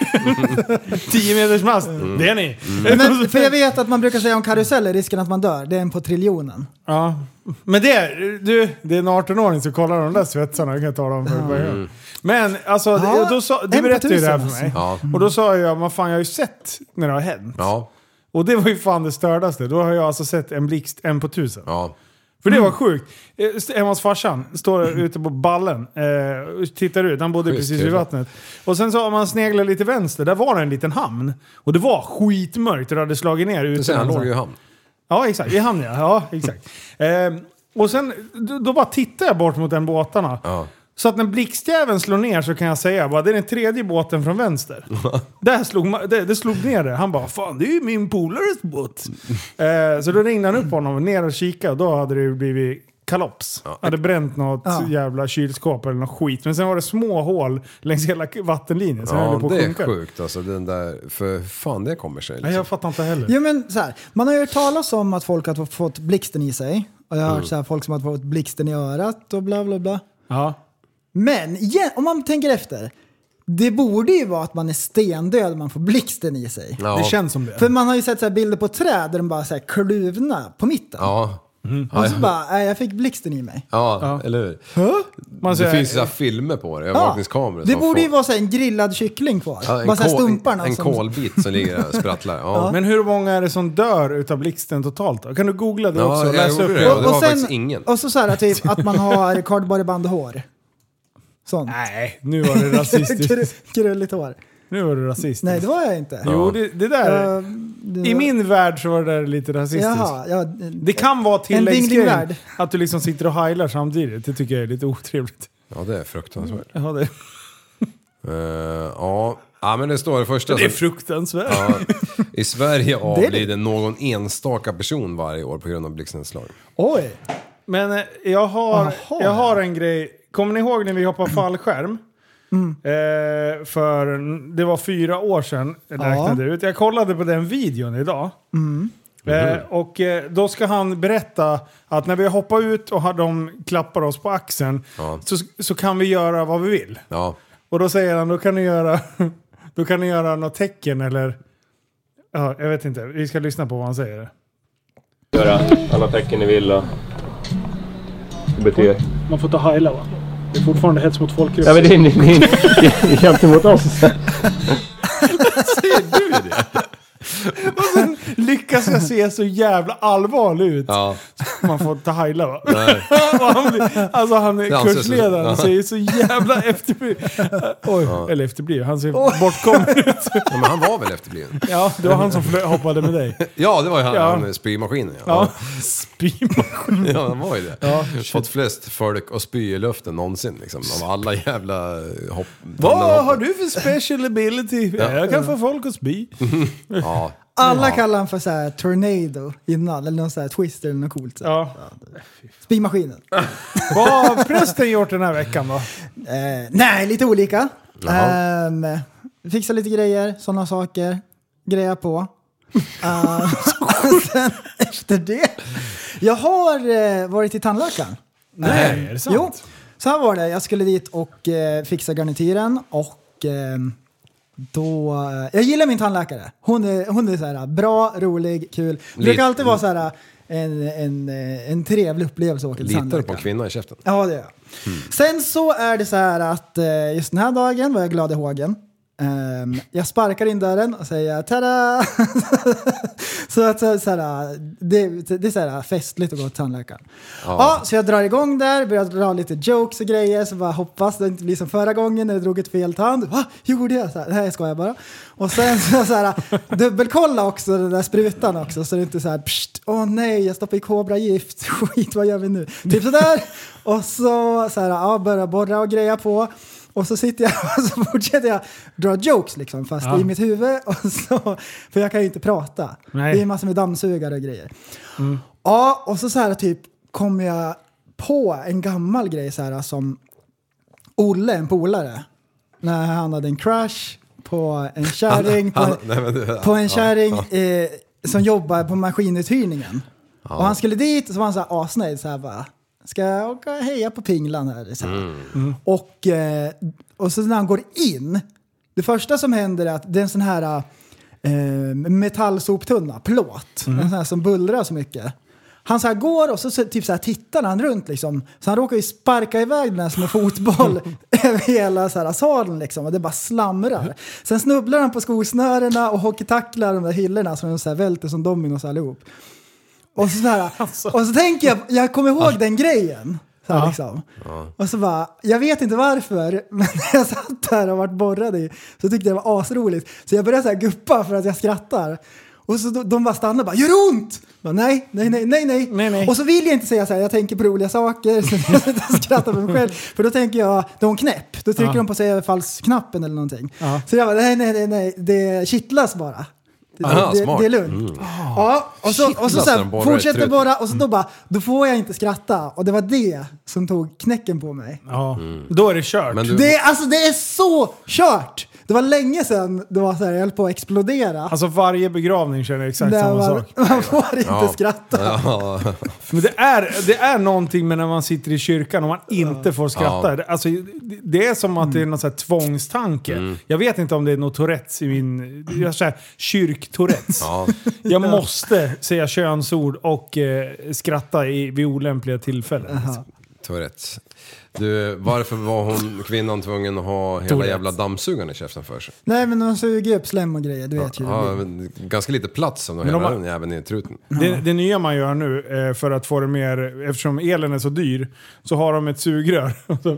Speaker 4: 10 meters mast.
Speaker 6: Mm.
Speaker 4: Det är ni.
Speaker 5: Men, för jag vet att man brukar säga om karuseller, risken att man dör, det är en på triljonen.
Speaker 4: Ja. Men det, är- du, det är en 18-åring som kollar de där svetsarna. Jag kan ta dem för vad jag
Speaker 6: Mm.
Speaker 4: gör. Men alltså,
Speaker 5: Ja,
Speaker 4: det, då sa, du
Speaker 5: en Mm. på
Speaker 4: berättade ju det här
Speaker 5: tusen
Speaker 4: för mig.
Speaker 6: alltså.
Speaker 4: Och då sa jag, men fan jag har ju sett när det har hänt.
Speaker 6: Ja,
Speaker 4: Och det var ju fan det stördaste. Då har jag alltså sett en blixt, en på tusen.
Speaker 6: ja.
Speaker 4: För
Speaker 5: Mm.
Speaker 4: det var sjukt. Eh, st- Hemma hos farsan, står ute på ballen, eh, och tittar ut. Han bodde
Speaker 6: Schysst,
Speaker 4: precis vid
Speaker 6: trevligt.
Speaker 4: vattnet. Och sen så om man sneglar lite vänster, där var det en liten hamn. Och det var skitmörkt och det hade slagit ner
Speaker 6: Du ser,
Speaker 4: utan
Speaker 6: han låg ju i hamn.
Speaker 4: Ja, exakt. I hamn ja. ja exakt. Ehm, och sen, då, då bara tittar jag bort mot den båtarna.
Speaker 6: Ja.
Speaker 4: Så att när blixtjäveln slår ner så kan jag säga bara, det är den tredje båten från vänster. Där slog, ma- det, det slog ner det. Han bara, fan det är ju min polares båt. Eh, så då ringde han upp honom och ner och kikade och då hade det ju blivit kalops. Hade bränt något
Speaker 5: Ja.
Speaker 4: jävla kylskåp eller något skit. Men sen var det små hål längs hela vattenlinjen. Så jag höll
Speaker 6: Ja,
Speaker 4: på att
Speaker 6: det är
Speaker 4: sjunka.
Speaker 6: sjukt alltså. Den där, för hur fan det kommer sig
Speaker 4: Nej,
Speaker 6: liksom.
Speaker 4: jag fattar inte heller.
Speaker 5: Jo men så här, man har ju hört talas om att folk har fått blixten i sig. Och jag har
Speaker 6: Mm.
Speaker 5: hört så här, folk som har fått blixten i örat och bla bla bla.
Speaker 4: Ja.
Speaker 5: Men igen, om man tänker efter. Det borde ju vara att man är stendöd om man får blixten i sig.
Speaker 6: Ja.
Speaker 4: Det känns som det.
Speaker 5: För man har ju sett så här bilder på träd där de bara så här kluvna på mitten.
Speaker 6: Ja. Ja,
Speaker 5: Och så bara, nej jag fick blixten i mig.
Speaker 6: ja, eller hur?
Speaker 4: Man
Speaker 6: Det
Speaker 4: säger-
Speaker 6: finns ju så här filmer på det, övervakningskameror.
Speaker 5: det
Speaker 6: som
Speaker 5: borde ju
Speaker 6: får-
Speaker 5: vara så här en grillad kyckling kvar.
Speaker 6: Ja, en
Speaker 5: bara så här
Speaker 6: kol-
Speaker 5: stumparna.
Speaker 6: En
Speaker 5: som-
Speaker 6: kolbit som ligger där och sprattlar. Ja.
Speaker 4: Men hur många är det som dör utav blixten totalt då? Kan du googla det
Speaker 6: Ja,
Speaker 4: också?
Speaker 6: jag
Speaker 4: Läs
Speaker 6: gjorde
Speaker 4: upp
Speaker 6: det.
Speaker 4: det.
Speaker 6: Ja, var faktiskt ingen.
Speaker 5: Och så, så här, typ, att man har kardborreband och hår. Sånt.
Speaker 4: Nej, nu var det rasistiskt.
Speaker 5: Kru- Krulligt hår.
Speaker 4: nu var det rasistiskt.
Speaker 5: Nej, det var jag inte.
Speaker 4: Jo, det, det där.
Speaker 5: Eh, det
Speaker 4: I
Speaker 5: var-
Speaker 4: min värld så var det där lite rasistiskt.
Speaker 5: Jaha, ja,
Speaker 4: Det kan vara
Speaker 5: ding-ding-värld.
Speaker 4: tilläggsgrejen. Att du liksom sitter och heilar samtidigt. Det tycker jag är lite otrevligt.
Speaker 6: ja, det är fruktansvärt.
Speaker 4: Ja, det,
Speaker 6: Eh, ja. ja, men det står det första.
Speaker 4: det är
Speaker 6: som-
Speaker 4: fruktansvärt.
Speaker 6: ja, I Sverige avlider någon enstaka person varje år på grund av blixtnedslag.
Speaker 5: Oj!
Speaker 4: Men eh, jag har,
Speaker 5: Jaha.
Speaker 4: jag har en grej. Kommer ni ihåg när vi hoppade fallskärm? Eh, för n- det var fyra år sedan räknade jag ut. Jag kollade på den videon idag. Eh, och eh, då ska han berätta att när vi hoppar ut och har de klappar oss på axeln
Speaker 6: Ja.
Speaker 4: så, så kan vi göra vad vi vill.
Speaker 6: Ja.
Speaker 4: Och då säger han, då kan ni göra, då kan ni göra något tecken eller... Ja, jag vet inte, vi ska lyssna på vad han säger.
Speaker 7: göra alla tecken ni vill och bete er.
Speaker 8: Man får inte heila va? Det är fortfarande hets mot folkgrupp.
Speaker 7: Ja men det är ni, ni, ni gentemot oss.
Speaker 4: Lyckas jag se så jävla allvarlig ut?
Speaker 6: Ja.
Speaker 4: Man får inte heila va?
Speaker 6: Nej.
Speaker 4: Och han blir, alltså han är
Speaker 6: Det anses
Speaker 4: kursledaren
Speaker 6: så.
Speaker 4: och säger så jävla efterbliven. Oj, eller efterbliven. Han ser bortkommen ut.
Speaker 6: Ja, men han var väl efterbliven?
Speaker 4: Ja, det var han som flö- hoppade med dig.
Speaker 6: Ja, det var ju han,
Speaker 4: Ja.
Speaker 6: han spymaskinen. Ja.
Speaker 4: Ja.
Speaker 6: Ja.
Speaker 4: Spymaskin.
Speaker 6: ja, han var ju det. Fått flest folk att spy i luften någonsin liksom. Av alla jävla eh, hopp...
Speaker 4: Vad har du för special ability? Ja. Jag kan få folk att spy.
Speaker 6: Ja.
Speaker 5: Alla kallar han för så här tornado innan, eller någon så här twister eller något coolt. Så. här.
Speaker 4: Ja.
Speaker 5: Spymaskinen.
Speaker 4: Vad har prästen gjort den här veckan då?
Speaker 5: Eh, nej, lite olika.
Speaker 6: Jaha.
Speaker 5: Ehm, fixa lite grejer, sådana saker. Greja på. Ehm, och sen efter det. Jag har eh, varit i tandläkaren. Eh,
Speaker 4: Nej, är det sant?
Speaker 5: Jo, så här var det. Jag skulle dit och eh, fixa garnityren och ehm, då... Eh, jag gillar min tandläkare. Hon är, hon är så här bra, rolig, kul. Det brukar alltid vara så här en, en, eh, en trevlig upplevelse att åka till
Speaker 6: Litar du på
Speaker 5: tandläkaren.
Speaker 6: en kvinna i käften?
Speaker 5: Ja, det gör jag. Sen så är det så här att eh, just den här dagen var jag glad i hågen. Ehm, jag sparkar in dörren och säger tada! så att så, så här, det, det är så här festligt att gå till tandläkaren. Ja. så jag drar igång där, börjar dra lite jokes och grejer, så bara hoppas det inte blir som förra gången när jag drog ett fel tand. Va? Gjorde jag? Så här, Nej, jag skojar bara. Och sen så, så här, dubbelkolla också den där sprutan också, så det inte så här pst, åh nej, jag stoppar i kobragift, skit, vad gör vi nu? Typ sådär. Och så, så här, ja, börjar borra och greja på. Och så sitter jag och så fortsätter jag dra jokes liksom, fast i mitt huvud. Och så, för jag kan ju inte prata.
Speaker 4: Nej.
Speaker 5: Det är massor med dammsugare och grejer. Ja, och så, så här typ kommer jag på en gammal grej så här som Olle, en polare, när han hade en crush på en kärring, på,
Speaker 6: Han, nej, men, du-
Speaker 5: på en
Speaker 6: ja,
Speaker 5: kärring
Speaker 6: ja.
Speaker 5: eh, som jobbar på maskinuthyrningen. Och han skulle dit och så var han så här asnöjd. Så här bara, ska jag åka och heja på pinglan här? Så här.
Speaker 6: Mm.
Speaker 5: Och, eh, och så när han går in, det första som händer är att det är en sån här eh, metallsoptunna, plåt. En sån här som bullrar så mycket. Han så här går och så, så, typ så här tittar han runt liksom. Så han råkar ju sparka iväg den här som en fotboll över hela så här salen liksom. Och det bara slamrar. Sen snubblar han på skosnörena och hockeytacklar de där hyllorna så de så här välter som dominos allihop. Och så, så här,
Speaker 4: Alltså.
Speaker 5: och så tänker jag, jag kommer ihåg den grejen. Så här, liksom. Och så bara, jag vet inte varför, men när jag satt där och vart borrad i så tyckte jag det var asroligt. Så jag började så här guppa för att jag skrattar. Och så de, de bara stannar och bara, gör det ont? Jag Bara, nej, nej, nej, nej, nej,
Speaker 4: Nej, nej.
Speaker 5: Och så vill jag inte säga så här, jag tänker på roliga saker, så jag sitter och skrattar för mig själv. För då tänker jag, de är hon knäpp, då trycker
Speaker 4: Ja.
Speaker 5: de på sig överfallsknappen eller någonting.
Speaker 4: Ja.
Speaker 5: Så jag bara, nej, nej, nej, nej, det kittlas bara. Det,
Speaker 6: Aha,
Speaker 5: det,
Speaker 6: smart. Mm.
Speaker 5: det är lugnt. Ja, och så, och så,
Speaker 6: Kittlas
Speaker 5: så
Speaker 6: när de
Speaker 5: här,
Speaker 6: borrar i
Speaker 5: fortsätter
Speaker 6: truten.
Speaker 5: borra och så då bara, då får jag inte skratta. Och det var det som tog knäcken på mig.
Speaker 4: Ja. Då är det kört.
Speaker 6: Mm. Men du,
Speaker 5: Det, är- alltså, det är så kört! Det var länge sedan det var så här, jag höll på att explodera.
Speaker 4: Alltså varje begravning känner jag exakt
Speaker 5: Där
Speaker 4: samma
Speaker 5: man,
Speaker 4: sak.
Speaker 5: man får inte
Speaker 6: Ja.
Speaker 5: skratta.
Speaker 6: ja,
Speaker 4: Men det är, det är någonting med när man sitter i kyrkan och man inte får skratta. Det- Alltså, det- det är som att det är någon så här tvångstanke. Jag vet inte om det är något Tourettes i min... Jag har så här, kyrk-Tourettes.
Speaker 6: ja.
Speaker 4: Jag måste säga könsord och eh, skratta i, vid olämpliga tillfällen.
Speaker 6: Tourettes. Du, varför var hon, kvinnan tvungen att ha hela
Speaker 4: Tourettes.
Speaker 6: jävla dammsugaren i käften för sig?
Speaker 5: Nej men de suger upp slem och grejer, du vet ju.
Speaker 6: Ja, men ganska lite plats som de
Speaker 4: Men de
Speaker 6: hela
Speaker 4: har-
Speaker 6: den jäveln i truten.
Speaker 4: Det, det nya man gör nu, eh, för att få det mer, eftersom elen är så dyr, så har de ett sugrör. Och så-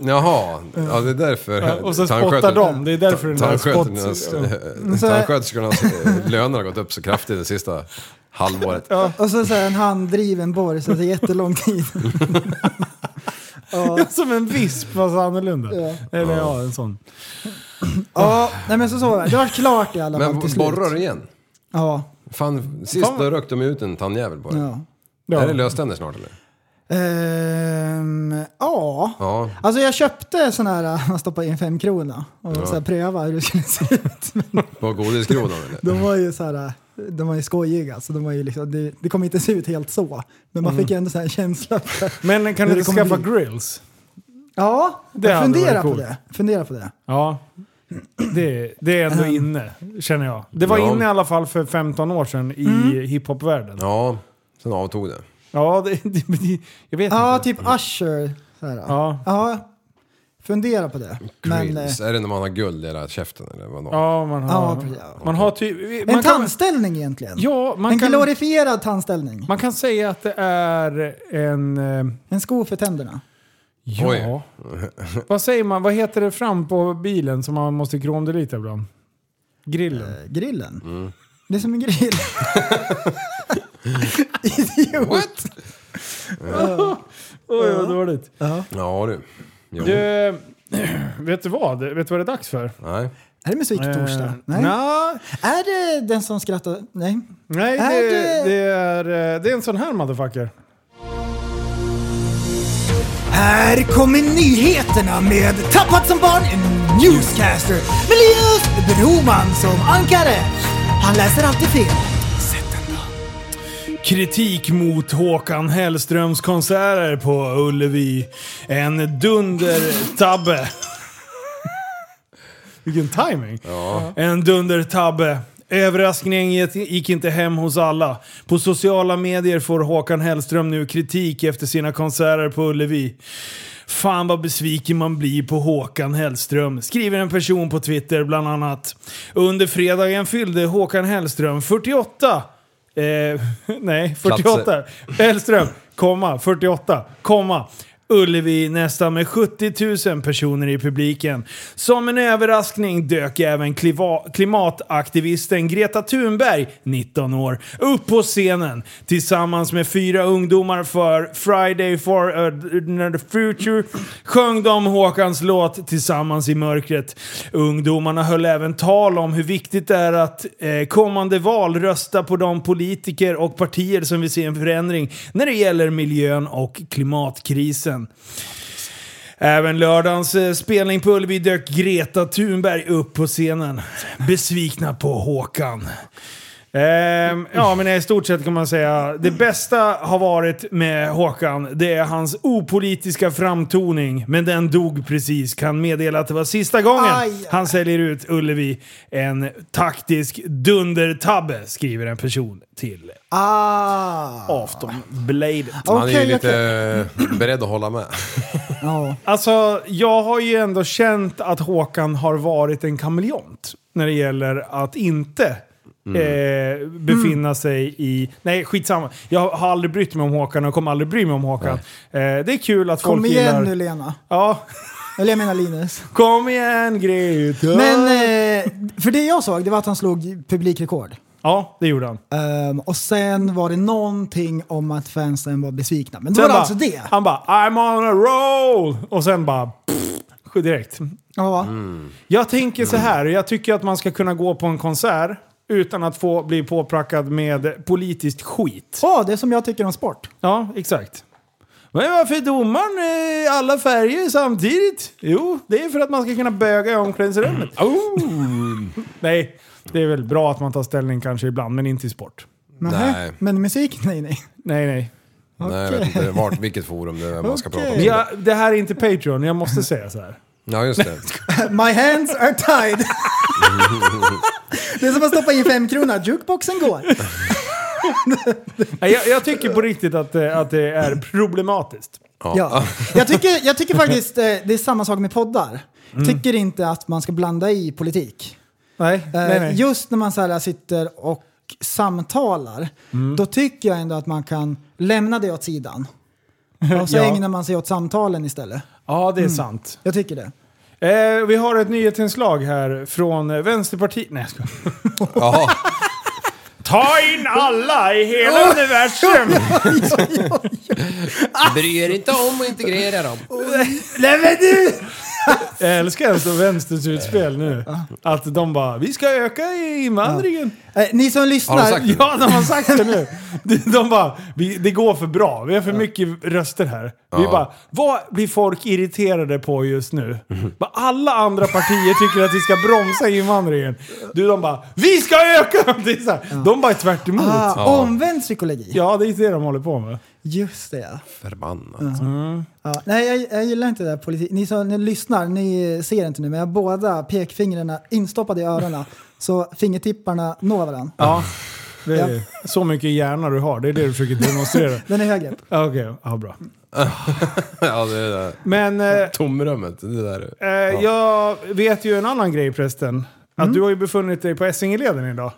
Speaker 6: Jaha, ja det är därför.
Speaker 4: Ja, och så
Speaker 6: tandsköter-
Speaker 4: spottar de. Det är därför den där
Speaker 6: tandsköternas-
Speaker 4: spott-
Speaker 6: eh, Tandsköterskornas eh, löner har gått upp så kraftigt det sista halvåret.
Speaker 5: Och så, så här, en handdriven borr, så det är jättelång tid. Ja.
Speaker 4: Som en visp fast annorlunda. Eller ja, en sån.
Speaker 5: Ja, nej men så så var det. Det var klart i alla
Speaker 6: Men
Speaker 5: fall till slut.
Speaker 6: borrar igen?
Speaker 5: Ja,
Speaker 6: Fan, sist
Speaker 4: Fan.
Speaker 6: då rökte de ut en tandjävel på det.
Speaker 5: ja.
Speaker 4: Ja.
Speaker 6: Är det löständer snart eller?
Speaker 5: Ehm, ja.
Speaker 6: Ja.
Speaker 5: Alltså jag köpte sån här, man stoppar in fem krona och så här pröva hur det skulle se ut. Men
Speaker 6: På godisgrodan eller?
Speaker 5: de var ju så här, de var ju skojiga så de var ju liksom, det, det kom inte se ut helt så. Men man
Speaker 4: Mm.
Speaker 5: fick ju ändå så här en känsla. för-
Speaker 4: Men kan
Speaker 5: Hur
Speaker 4: du
Speaker 5: det
Speaker 4: inte
Speaker 5: kommer
Speaker 4: skaffa
Speaker 5: bli.
Speaker 4: grills?
Speaker 5: Ja,
Speaker 4: Det hade
Speaker 5: fundera
Speaker 4: varit
Speaker 5: på
Speaker 4: coolt.
Speaker 5: det. Fundera på det.
Speaker 4: Ja, det, det är ändå
Speaker 5: Ehm.
Speaker 4: inne, känner jag. Mm. Det var
Speaker 6: Ja.
Speaker 4: inne i alla fall för 15 år sedan i hiphopvärlden. Ja,
Speaker 6: Ja, sen avtog det.
Speaker 4: det, det, det, jag vet
Speaker 5: Ja,
Speaker 4: inte.
Speaker 5: typ Usher. Så här.
Speaker 4: Ja.
Speaker 5: ja, fundera på det. Men, eh,
Speaker 6: Grills. Är det när man har guld i hela käften eller vadå?
Speaker 4: Ja, man
Speaker 5: ja,
Speaker 4: har...
Speaker 5: precis.
Speaker 4: man har typ...
Speaker 5: en
Speaker 4: Man kan,
Speaker 5: tandställning egentligen.
Speaker 4: ja, man
Speaker 5: en
Speaker 4: kan,
Speaker 5: glorifierad tandställning.
Speaker 4: man kan säga att det är en... eh,
Speaker 5: En sko för tänderna.
Speaker 4: Ja.
Speaker 6: Oj.
Speaker 4: vad säger man? Vad heter det fram på bilen som man måste kromdelita ibland? Grillen. Mm.
Speaker 5: Eh, Grillen? Det är som en grill. Idiot!
Speaker 6: What?
Speaker 4: Oj, vad dåligt.
Speaker 6: Ja du. Jo.
Speaker 4: Du, vet du vad? Vet du vad det är dags för?
Speaker 6: Nej.
Speaker 5: Är det musiktorsdag?
Speaker 4: Eh,
Speaker 5: nej.
Speaker 4: nja,
Speaker 5: Är det den som skrattar? Nej.
Speaker 4: nej,
Speaker 5: Är
Speaker 4: det,
Speaker 5: det-
Speaker 4: det, är, eh, det är en sån här motherfucker.
Speaker 5: Här kommer nyheterna med Tappat som barn, en newscaster. Med Linus Broman som ankare. Han läser alltid fel.
Speaker 4: Kritik mot Håkan Hellströms konserter på Ullevi. En dundertabbe. Vilken timing. En dundertabbe. Överraskningen gick inte hem hos alla. På sociala medier får Håkan Hellström nu kritik efter sina konserter på Ullevi. Fan vad besviken man blir på Håkan Hellström, skriver en person på Twitter bland annat. Under fredagen fyllde Håkan Hellström 48... Eh, nej, 48.
Speaker 6: Platser.
Speaker 4: Hellström, komma, 48, komma. Ullevi nästan med 70 000 personer i publiken. Som en överraskning dök även kliva- klimataktivisten Greta Thunberg, 19 år, upp på scenen tillsammans med fyra ungdomar för Friday for a the Future sjöng de Håkans låt tillsammans i mörkret. Ungdomarna höll även tal om hur viktigt det är att eh, kommande val rösta på de politiker och partier som vill se en förändring när det gäller miljön och klimatkrisen. Även lördagens eh, spelning på Ullevi dök Greta Thunberg upp på scenen. Besvikna på Håkan. Ehm, ja, men i stort sett kan man säga det bästa har varit med Håkan, det är hans opolitiska framtoning. Men den dog precis. Kan meddela att det var sista gången
Speaker 5: Aj.
Speaker 4: han säljer ut Ullevi. En taktisk dundertabbe, skriver en person till
Speaker 5: Ah!
Speaker 4: Aftonbladet.
Speaker 6: Man är ju
Speaker 5: Okej,
Speaker 6: lite beredd att hålla med.
Speaker 5: Ja.
Speaker 4: Alltså, jag har ju ändå känt att Håkan har varit en kameleont när det gäller att inte
Speaker 5: Mm.
Speaker 4: eh, befinna sig i... Nej, skitsamma. Jag har aldrig brytt mig om Håkan och kommer aldrig bry mig om Håkan. Eh, det är kul att
Speaker 5: Kom
Speaker 4: folk
Speaker 5: igen
Speaker 4: gillar...
Speaker 5: nu Lena.
Speaker 4: Ja,
Speaker 5: Eller jag menar Linus.
Speaker 4: kom igen Greta!
Speaker 5: Men, eh, för det jag såg det var att han slog publikrekord.
Speaker 4: Ja, det gjorde han.
Speaker 5: Ehm, och sen var det någonting om att fansen var besvikna. Men då
Speaker 4: Sen
Speaker 5: var det
Speaker 4: bara- Ah.
Speaker 5: alltså det.
Speaker 4: Han bara I'm on a roll! Och sen bara... Pff, direkt.
Speaker 5: Ja.
Speaker 4: Mm. Jag tänker så här, jag tycker att man ska kunna gå på en konsert utan att få bli påprackad med politiskt skit.
Speaker 5: Åh, det är som jag tycker om sport.
Speaker 4: Ja, exakt. Men varför är domaren eh, alla färger samtidigt? Jo, det är för att man ska kunna böga i omklädningsrummet. Oh. Nej, det är väl bra att man tar ställning kanske ibland, men inte i sport.
Speaker 5: Men,
Speaker 6: Nej.
Speaker 5: men musik? Nej, nej.
Speaker 4: Nej, nej.
Speaker 6: Nej, jag vet inte vart, vilket forum det är man ska prata om.
Speaker 5: Okej.
Speaker 4: Ja, det här är inte Patreon, jag måste säga så här.
Speaker 6: Ja, just det.
Speaker 5: My hands are tied. det är som att stoppa in fem kronor. Jukeboxen går.
Speaker 4: Nej, Jag, jag tycker på riktigt att, det- att det är problematiskt.
Speaker 5: Ja. Jag, tycker, jag tycker faktiskt eh, det är samma sak med poddar.
Speaker 4: Mm.
Speaker 5: Tycker inte att man ska blanda i politik.
Speaker 4: Nej,
Speaker 5: Eh,
Speaker 4: nej, nej.
Speaker 5: Just när man så här sitter och samtalar,
Speaker 4: Mm.
Speaker 5: då tycker jag ändå att man kan lämna det åt sidan. Och så
Speaker 4: Ja.
Speaker 5: ägnar man sig åt samtalen istället.
Speaker 4: Ja, det är sant.
Speaker 5: Jag tycker det.
Speaker 4: Eh, vi har ett nyhetsinslag här från eh, Vänsterpartiet. Nej, jag skojar.
Speaker 6: Ja,
Speaker 4: Ta in alla i hela universum!
Speaker 6: bry er inte om att integrera dem.
Speaker 5: Nej men du!
Speaker 4: Jag älskar alltså vänsterns utspel nu. Att de bara, vi ska öka i invandringen.
Speaker 5: Eh, ni som
Speaker 6: Har de
Speaker 5: lyssnar,
Speaker 6: sagt det?
Speaker 4: Ja, de har sagt det nu. De- De bara, vi, det går för bra. Vi har för mycket röster här. Vi
Speaker 6: Ja.
Speaker 4: bara, vad blir folk irriterade på just nu?
Speaker 6: Mhm.
Speaker 4: Bara, alla andra partier tycker att vi ska bromsa invandringen. Du, de bara, vi ska öka! Det är så här. De bara är tvärt emot.
Speaker 5: ah,
Speaker 6: Ja.
Speaker 5: omvänd psykologi.
Speaker 4: Ja, det är det de håller på med.
Speaker 5: Just det.
Speaker 6: Förbannat.
Speaker 4: Uh-huh.
Speaker 5: Ja, nej, jag, jag gillar inte det där politik. Ni som ni lyssnar, ni ser inte nu, men jag har båda pekfingrarna instoppade i öronen. så fingertipparna når varandra.
Speaker 4: Ja. Det är så mycket hjärna du har, det är det du försöker demonstrera.
Speaker 5: Den är högre upp.
Speaker 4: Ja, Okej, ja, bra.
Speaker 6: Ja, det är det där.
Speaker 4: Men eh,
Speaker 6: Tomrummet, det där.
Speaker 4: eh, jag vet ju en annan grej prästen. Att du har ju befunnit dig på Essingeleden idag.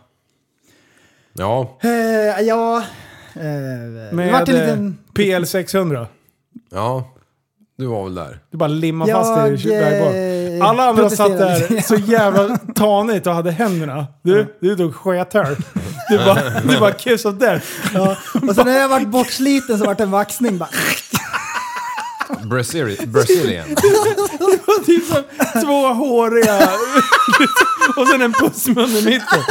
Speaker 6: Ja,
Speaker 5: Eh, ja, eh, det
Speaker 4: Med
Speaker 5: vart en liten...
Speaker 4: eh, PL600.
Speaker 6: ja. Du var väl där?
Speaker 4: Du bara limmar
Speaker 5: Jag,
Speaker 4: fast dig i
Speaker 5: eh,
Speaker 4: vägbanan. Alla andra satt
Speaker 5: protesterar
Speaker 4: där
Speaker 5: lite.
Speaker 4: så jävla tanigt och hade händerna. Du, du tog skethörn. Du bara, du bara kiss of death.
Speaker 5: Ja. Och sen när jag varit bortsliten så vart det en vaxning bara.
Speaker 6: Brazili- Brazilian.
Speaker 4: Det var typ som två håriga... och sen en pussmun i mitten.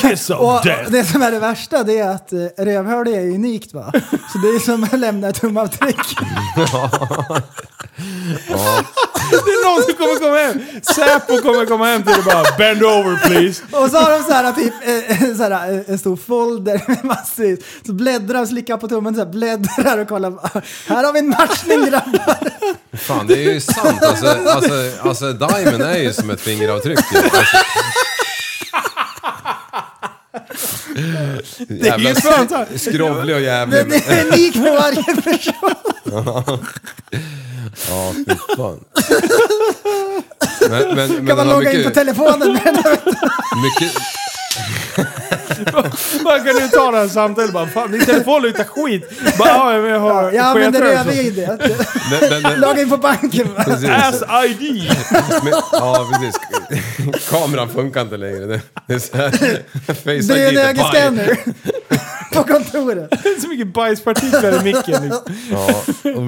Speaker 4: Kiss
Speaker 5: Och
Speaker 4: of death.
Speaker 5: det som är det värsta det är att eh, rövhålet är ju unikt va. Så det är som att lämna ett tumavtryck.
Speaker 4: Det är någon som kommer komma hem. Säpo kommer komma hem till dig och bara bend over please.
Speaker 5: Och så har de så här typ eh, så här, eh, en stor folder med massvis. Så bläddrar och slickar på tummen så här, bläddrar och kollar. Här har vi en matchning grabbar.
Speaker 6: Fan, det är ju sant. Alltså, alltså, alltså Diamond är ju som ett fingeravtryck. ju. Alltså.
Speaker 4: Det är ju fan så här.
Speaker 6: skrovlig och jävlig.
Speaker 5: Den
Speaker 6: men-
Speaker 5: är unik för varje person.
Speaker 6: Ja, fy fan. Men, men, men
Speaker 5: Kan man
Speaker 6: den har
Speaker 5: logga in på
Speaker 6: mycket,
Speaker 5: telefonen med den?
Speaker 6: mycket,
Speaker 4: Man kan ju ta det här samtalet bara fan din telefon luktar skit. Bara ja, men jag har
Speaker 5: Jag använder
Speaker 4: sketrör
Speaker 5: röv-id.
Speaker 6: den, den, den,
Speaker 5: Logga in på Alltså. banken va.
Speaker 6: precis.
Speaker 4: som- Ass-ID.
Speaker 6: Men, ja, precis. Kameran funkar inte längre. Det, det är så här. Face ID
Speaker 5: Brunögescanner. På kontoret.
Speaker 4: Det är så mycket bajspartiklar i micken. liksom.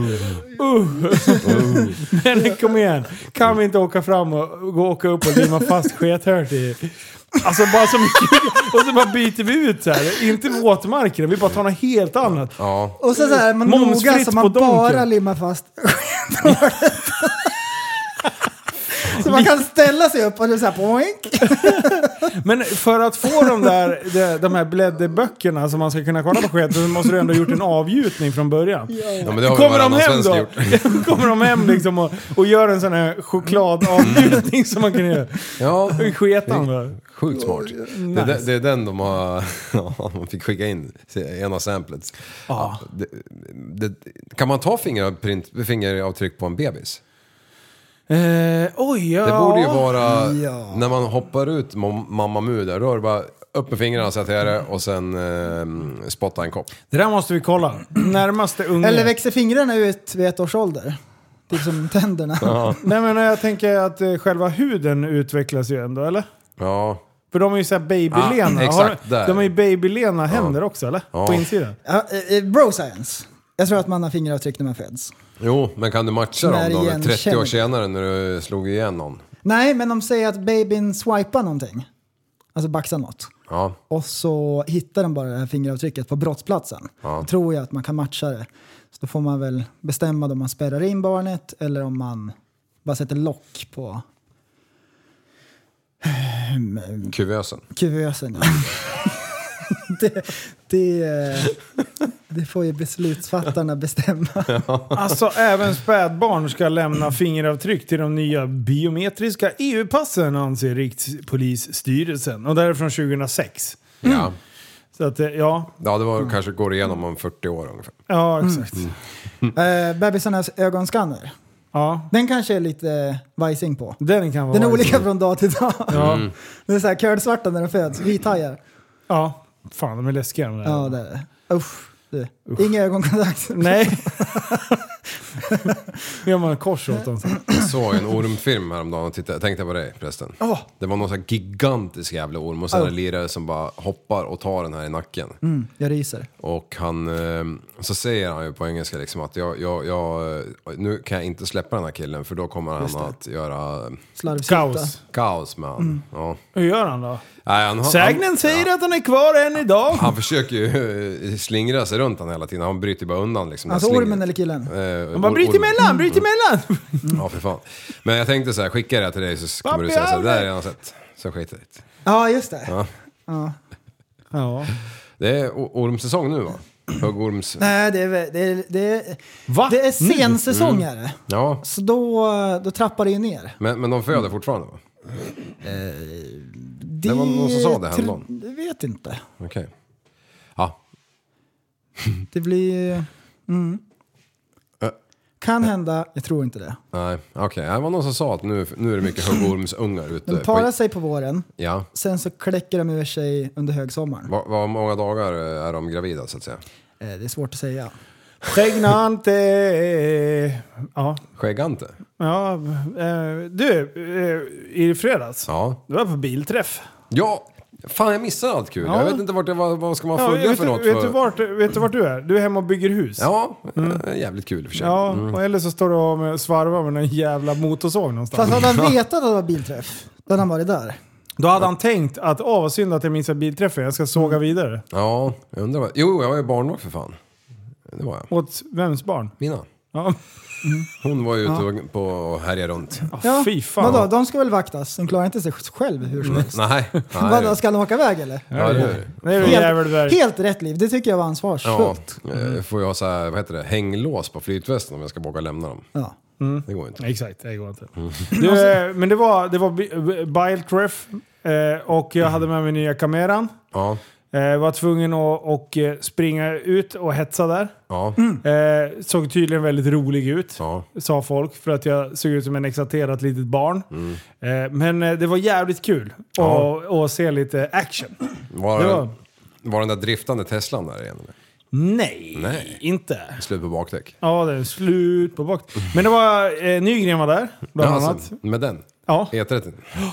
Speaker 4: Uh.
Speaker 6: Ja,
Speaker 4: Men kom igen. Kan vi inte åka fram och gå och åka upp och limma fast skethört i... Alltså bara så mycket. Och så bara byter vi ut så här. Inte våtmarker, vi bara tar något helt annat.
Speaker 6: Ja.
Speaker 5: Och så, så här, man
Speaker 4: Momsfritt
Speaker 5: noga så man
Speaker 4: på Donken.
Speaker 5: bara limmar fast skenhålet. Så man kan ställa sig upp och det är så här poink.
Speaker 4: Men för att få de där de, de här blädderböckerna som man ska kunna kolla på sketen så måste du ändå ha gjort en avgjutning från början.
Speaker 6: ja, men det har väl
Speaker 4: Kommer de
Speaker 6: varannan
Speaker 4: hem
Speaker 6: svensk
Speaker 4: då?
Speaker 6: gjort.
Speaker 4: Kommer de hem liksom och, och gör en sån här chokladavgjutning som man kan göra?
Speaker 6: Ja,
Speaker 4: I sketan bara.
Speaker 6: sjukt smart. Det, är de- det är den de har... Ja, man fick skicka in en av samplet. Ja. Det, det, kan man ta fingeravtryck, fingeravtryck på en bebis?
Speaker 4: Eh, oj, ja.
Speaker 6: Det borde ju vara
Speaker 5: Ja.
Speaker 6: när man hoppar ut mam- Mamma Mu där, då är det bara upp med fingrarna, sätta det och sen eh, spotta en kopp.
Speaker 4: Det där måste vi kolla. Närmaste unge.
Speaker 5: Eller växer fingrarna ut vid ett års ålder? Typ som tänderna.
Speaker 4: Nej men jag tänker att eh, själva huden utvecklas ju ändå, eller?
Speaker 6: Ja,
Speaker 4: För de är ju såhär babylena.
Speaker 6: Ah, exakt,
Speaker 4: har,
Speaker 6: där.
Speaker 4: de har ju babylena händer också, eller? På insidan.
Speaker 5: Ja, eh, eh, bro science. Jag tror att man har fingeravtryck när man föds.
Speaker 6: jo, men kan du matcha
Speaker 5: När
Speaker 6: dem då
Speaker 5: igen
Speaker 6: 30 år
Speaker 5: känner-
Speaker 6: senare när du slog igen någon?
Speaker 5: Nej, men de säger att babyn swipar någonting. Alltså baxar något.
Speaker 6: Ja,
Speaker 5: Och så hittar de bara det här fingeravtrycket på brottsplatsen. Då tror jag att man kan matcha det. Så då får man väl bestämma om man spärrar in barnet eller om man bara sätter lock på eh,
Speaker 6: kuvösen.
Speaker 5: kuvösen. det, det, det får ju beslutsfattarna bestämma.
Speaker 4: Alltså även spädbarn ska lämna fingeravtryck till de nya biometriska EU-passen anser Rikspolisstyrelsen. Och det här är från 2006.
Speaker 5: Mm.
Speaker 6: Ja.
Speaker 4: Så att eh, ja,
Speaker 6: ja, det var, kanske går igenom om 40 år ungefär.
Speaker 4: ja exakt.
Speaker 5: Mm. Eh, bebisarnas ögonskanner.
Speaker 4: Ja,
Speaker 5: Den kanske är lite vajsing på.
Speaker 4: den kan vara...
Speaker 5: Den är olika från dag till dag. Mm.
Speaker 4: Ja,
Speaker 5: Det är så här kölsvarta när de föds, vithajar.
Speaker 4: ja. Fan, de är läskiga de där.
Speaker 5: Ja, det är det. Usch. Du. Inga ögonkontakt.
Speaker 4: Nej. Gör man ett kors åt dem. så.
Speaker 6: Jag såg en ormfilm häromdagen och tittade, tänkte på dig förresten.
Speaker 5: Åh.
Speaker 6: Det var någon sån här gigantisk jävla orm och sen
Speaker 5: Oh.
Speaker 6: en lirare som bara hoppar och tar den här i nacken.
Speaker 5: Mm, jag ryser.
Speaker 6: Och han, eh, så säger han ju på engelska liksom att jag, jag, jag, eh, nu kan jag inte släppa den här killen för då kommer han att göra eh,
Speaker 5: Slarvsylta.
Speaker 4: Kaos.
Speaker 6: kaos med han. Ja.
Speaker 4: Hur gör han då?
Speaker 6: Nej, han, han,
Speaker 4: Sägnen säger att han är kvar än idag.
Speaker 6: han försöker ju eh, slingra sig runt han hela tiden, han bryter bara undan liksom.
Speaker 5: Alltså
Speaker 6: Den slingrar-
Speaker 5: ormen eller killen?
Speaker 6: Eh,
Speaker 4: Han bara
Speaker 6: or-
Speaker 4: bryt
Speaker 6: ormen."
Speaker 4: emellan, bryt emellan!
Speaker 6: Ja, för fan. Men jag tänkte så här, skicka det här till dig så kommer
Speaker 4: Pappi,
Speaker 6: du säga så här, det där har
Speaker 4: Albert!"
Speaker 6: jag redan sett. Så skit i det.
Speaker 5: Ja, just det.
Speaker 6: Ja.
Speaker 4: Ja.
Speaker 6: Det är o- ormsäsong nu va? Huggorms...
Speaker 5: Nej, det är, väl- det är, det är,
Speaker 4: Va?
Speaker 5: det är sensäsong är det.
Speaker 6: Ja,
Speaker 5: Så då, då trappar det ju ner.
Speaker 6: men, men de föder fortfarande va?
Speaker 5: Det,
Speaker 6: var någon som sa det
Speaker 5: tr-
Speaker 6: häromdagen.
Speaker 5: Jag vet inte.
Speaker 6: Okej. Ja,
Speaker 5: Det blir... Mm. Kan hända, jag tror inte det.
Speaker 6: nej, okej. Det var någon som sa att nu, nu är det mycket huggormsungar ute.
Speaker 5: De parar sig på våren,
Speaker 6: Ja.
Speaker 5: sen så kläcker de ur sig under högsommaren.
Speaker 6: Vad va, många dagar eh, är de gravida så att säga?
Speaker 5: Eh, Det är svårt att säga.
Speaker 4: Pregnante... Ja,
Speaker 6: Skäggante?
Speaker 4: ja. eh, Du, eh, i fredags.
Speaker 6: Ja.
Speaker 4: Du var på bilträff.
Speaker 6: Ja! Fan jag missar allt kul.
Speaker 4: Ja.
Speaker 6: Jag vet inte vart jag, vad, vad ska man
Speaker 4: Ja,
Speaker 6: följa
Speaker 4: vet,
Speaker 6: för
Speaker 4: du,
Speaker 6: något?
Speaker 4: vet,
Speaker 6: för...
Speaker 4: du vart, vet du vart du är? Du är hemma och bygger hus.
Speaker 6: Ja, eh, jävligt kul i och för sig.
Speaker 4: Ja, och eller så står du och med- svarvar med en jävla motorsåg någonstans.
Speaker 5: Fast hade han vetat att det var bilträff, då hade han varit där.
Speaker 4: Då hade han tänkt att åh vad synd att jag missade bilträffen, jag ska såga vidare.
Speaker 6: Ja, jag undrar vad... Jo, jag var ju barnvakt för fan. Det var jag.
Speaker 4: Åt vems barn?
Speaker 6: Mina.
Speaker 4: Ja,
Speaker 6: Hon var ju ute och- på och härjade runt.
Speaker 4: ja. fy fan.
Speaker 5: Vadå, de ska väl vaktas? De klarar inte sig själv hur som helst.
Speaker 6: Mm. Nej. nej.
Speaker 5: Vadå, ska de åka iväg eller?
Speaker 6: Ja, det är-
Speaker 4: Det är väl jävel där.
Speaker 5: Helt, helt rätt liv, det tycker jag var
Speaker 6: Ja,
Speaker 5: ansvarsfullt.
Speaker 6: eh, får jag ha så här, vad heter det, hänglås på flytvästen om jag ska våga lämna dem.
Speaker 5: Ja.
Speaker 4: Mm.
Speaker 6: Det går inte.
Speaker 4: Exakt, det går inte.
Speaker 6: Mm.
Speaker 4: Du, eh, men det var, det var bi- bi- bilträff eh, och jag hade med mig nya kameran.
Speaker 6: Ja,
Speaker 4: Eh, var tvungen att och, eh, springa ut och hetsa där.
Speaker 6: ja,
Speaker 4: Eh, såg tydligen väldigt rolig ut.
Speaker 6: ja.
Speaker 4: sa folk, för att jag såg ut som en exalterat litet barn. Eh, men eh, det var jävligt kul
Speaker 6: Mm. Ja.
Speaker 4: att att se lite action.
Speaker 6: Var,
Speaker 4: Det var-
Speaker 6: Den, var den där driftande Teslan där igen? eller?
Speaker 4: Nej,
Speaker 6: Nej.
Speaker 4: inte.
Speaker 6: Slut på bakdäck.
Speaker 4: Ja, det är slut på bak. Men det var eh, Nygren var där, bland
Speaker 6: Ja,
Speaker 4: annat.
Speaker 6: alltså, med den? E
Speaker 4: Ja,
Speaker 6: E30?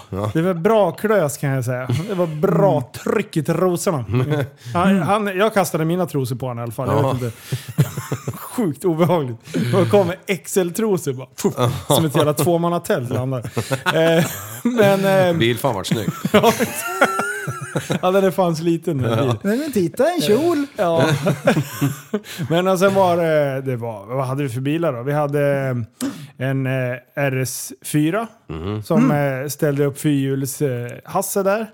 Speaker 6: Ja.
Speaker 4: det var bra klös kan jag säga. Det var bra tryck i trosorna. Han, han, jag kastade mina trosor på honom i alla fall. Jag
Speaker 6: Ja.
Speaker 4: vet inte. Sjukt obehagligt. Och kom med XL-trosor bara. Puff, som ett jävla tvåmannatält landade. Eh, men... eh,
Speaker 6: Bilfan vart snygg.
Speaker 4: Ja, exakt. ja, den är fan sliten den bilen.
Speaker 5: Nej men titta, en kjol! Eh,
Speaker 4: Ja. Men och sen var det, det var, vad hade vi för bilar då? Vi hade eh, en eh, RS4 som eh, ställde upp fyrhjuls-Hasse där.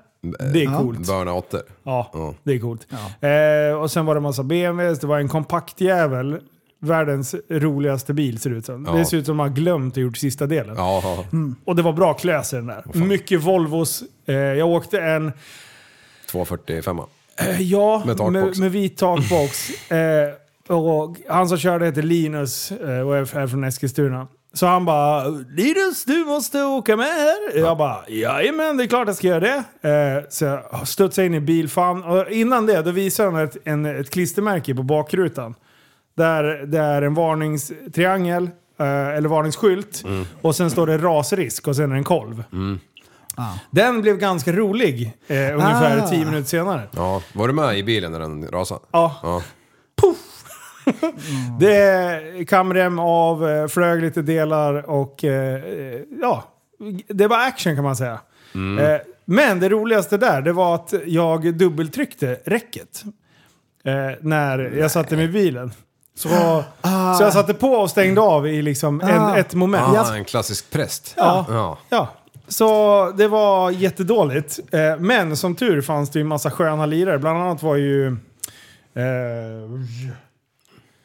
Speaker 4: Det är coolt.
Speaker 6: Burnouter.
Speaker 4: Ja, det är coolt. Eh, och sen var det en massa BMWs, det var en kompaktjävel. Världens roligaste bil ser det ut som.
Speaker 6: Ja.
Speaker 4: Det ser ut som man har glömt och gjort sista delen.
Speaker 6: Ja,
Speaker 4: Och det var bra klös i den där. Mycket Volvos. Eh, jag åkte en
Speaker 6: 245.
Speaker 4: Eh, Ja,
Speaker 6: Med
Speaker 4: med,
Speaker 6: takbox.
Speaker 4: med, vit takbox. eh, och han som körde heter Linus eh, och är är från Eskilstuna. Så han bara “Linus, du måste åka med här”. Jag bara “Jajamän, det är klart jag ska göra det”. Eh, så jag studsade in i bilfan. Och innan det, då visade han ett, en, ett klistermärke på bakrutan. Där det är en varningstriangel, eh, eller varningsskylt. Och sen står det rasrisk och sen är det en kolv. Den blev ganska rolig, eh, ungefär
Speaker 5: Ah.
Speaker 4: tio minuter senare.
Speaker 6: Ja, var du med i bilen när den rasade?
Speaker 4: Ja.
Speaker 6: Ja.
Speaker 4: Det är kamrem av, eh, flög lite delar och eh, eh, ja, det var action kan man säga. Eh, Men det roligaste där, det var att jag dubbeltryckte räcket. Eh, när jag satte mig i bilen. Så, så jag satte på och stängde av i liksom
Speaker 5: Ah.
Speaker 4: en, ett moment.
Speaker 6: Ah,
Speaker 4: Jag-
Speaker 6: en klassisk präst.
Speaker 4: Ja.
Speaker 6: ja.
Speaker 4: Ja, så det var jättedåligt. Eh, Men som tur fanns det ju en massa sköna lirare. Bland annat var ju eh,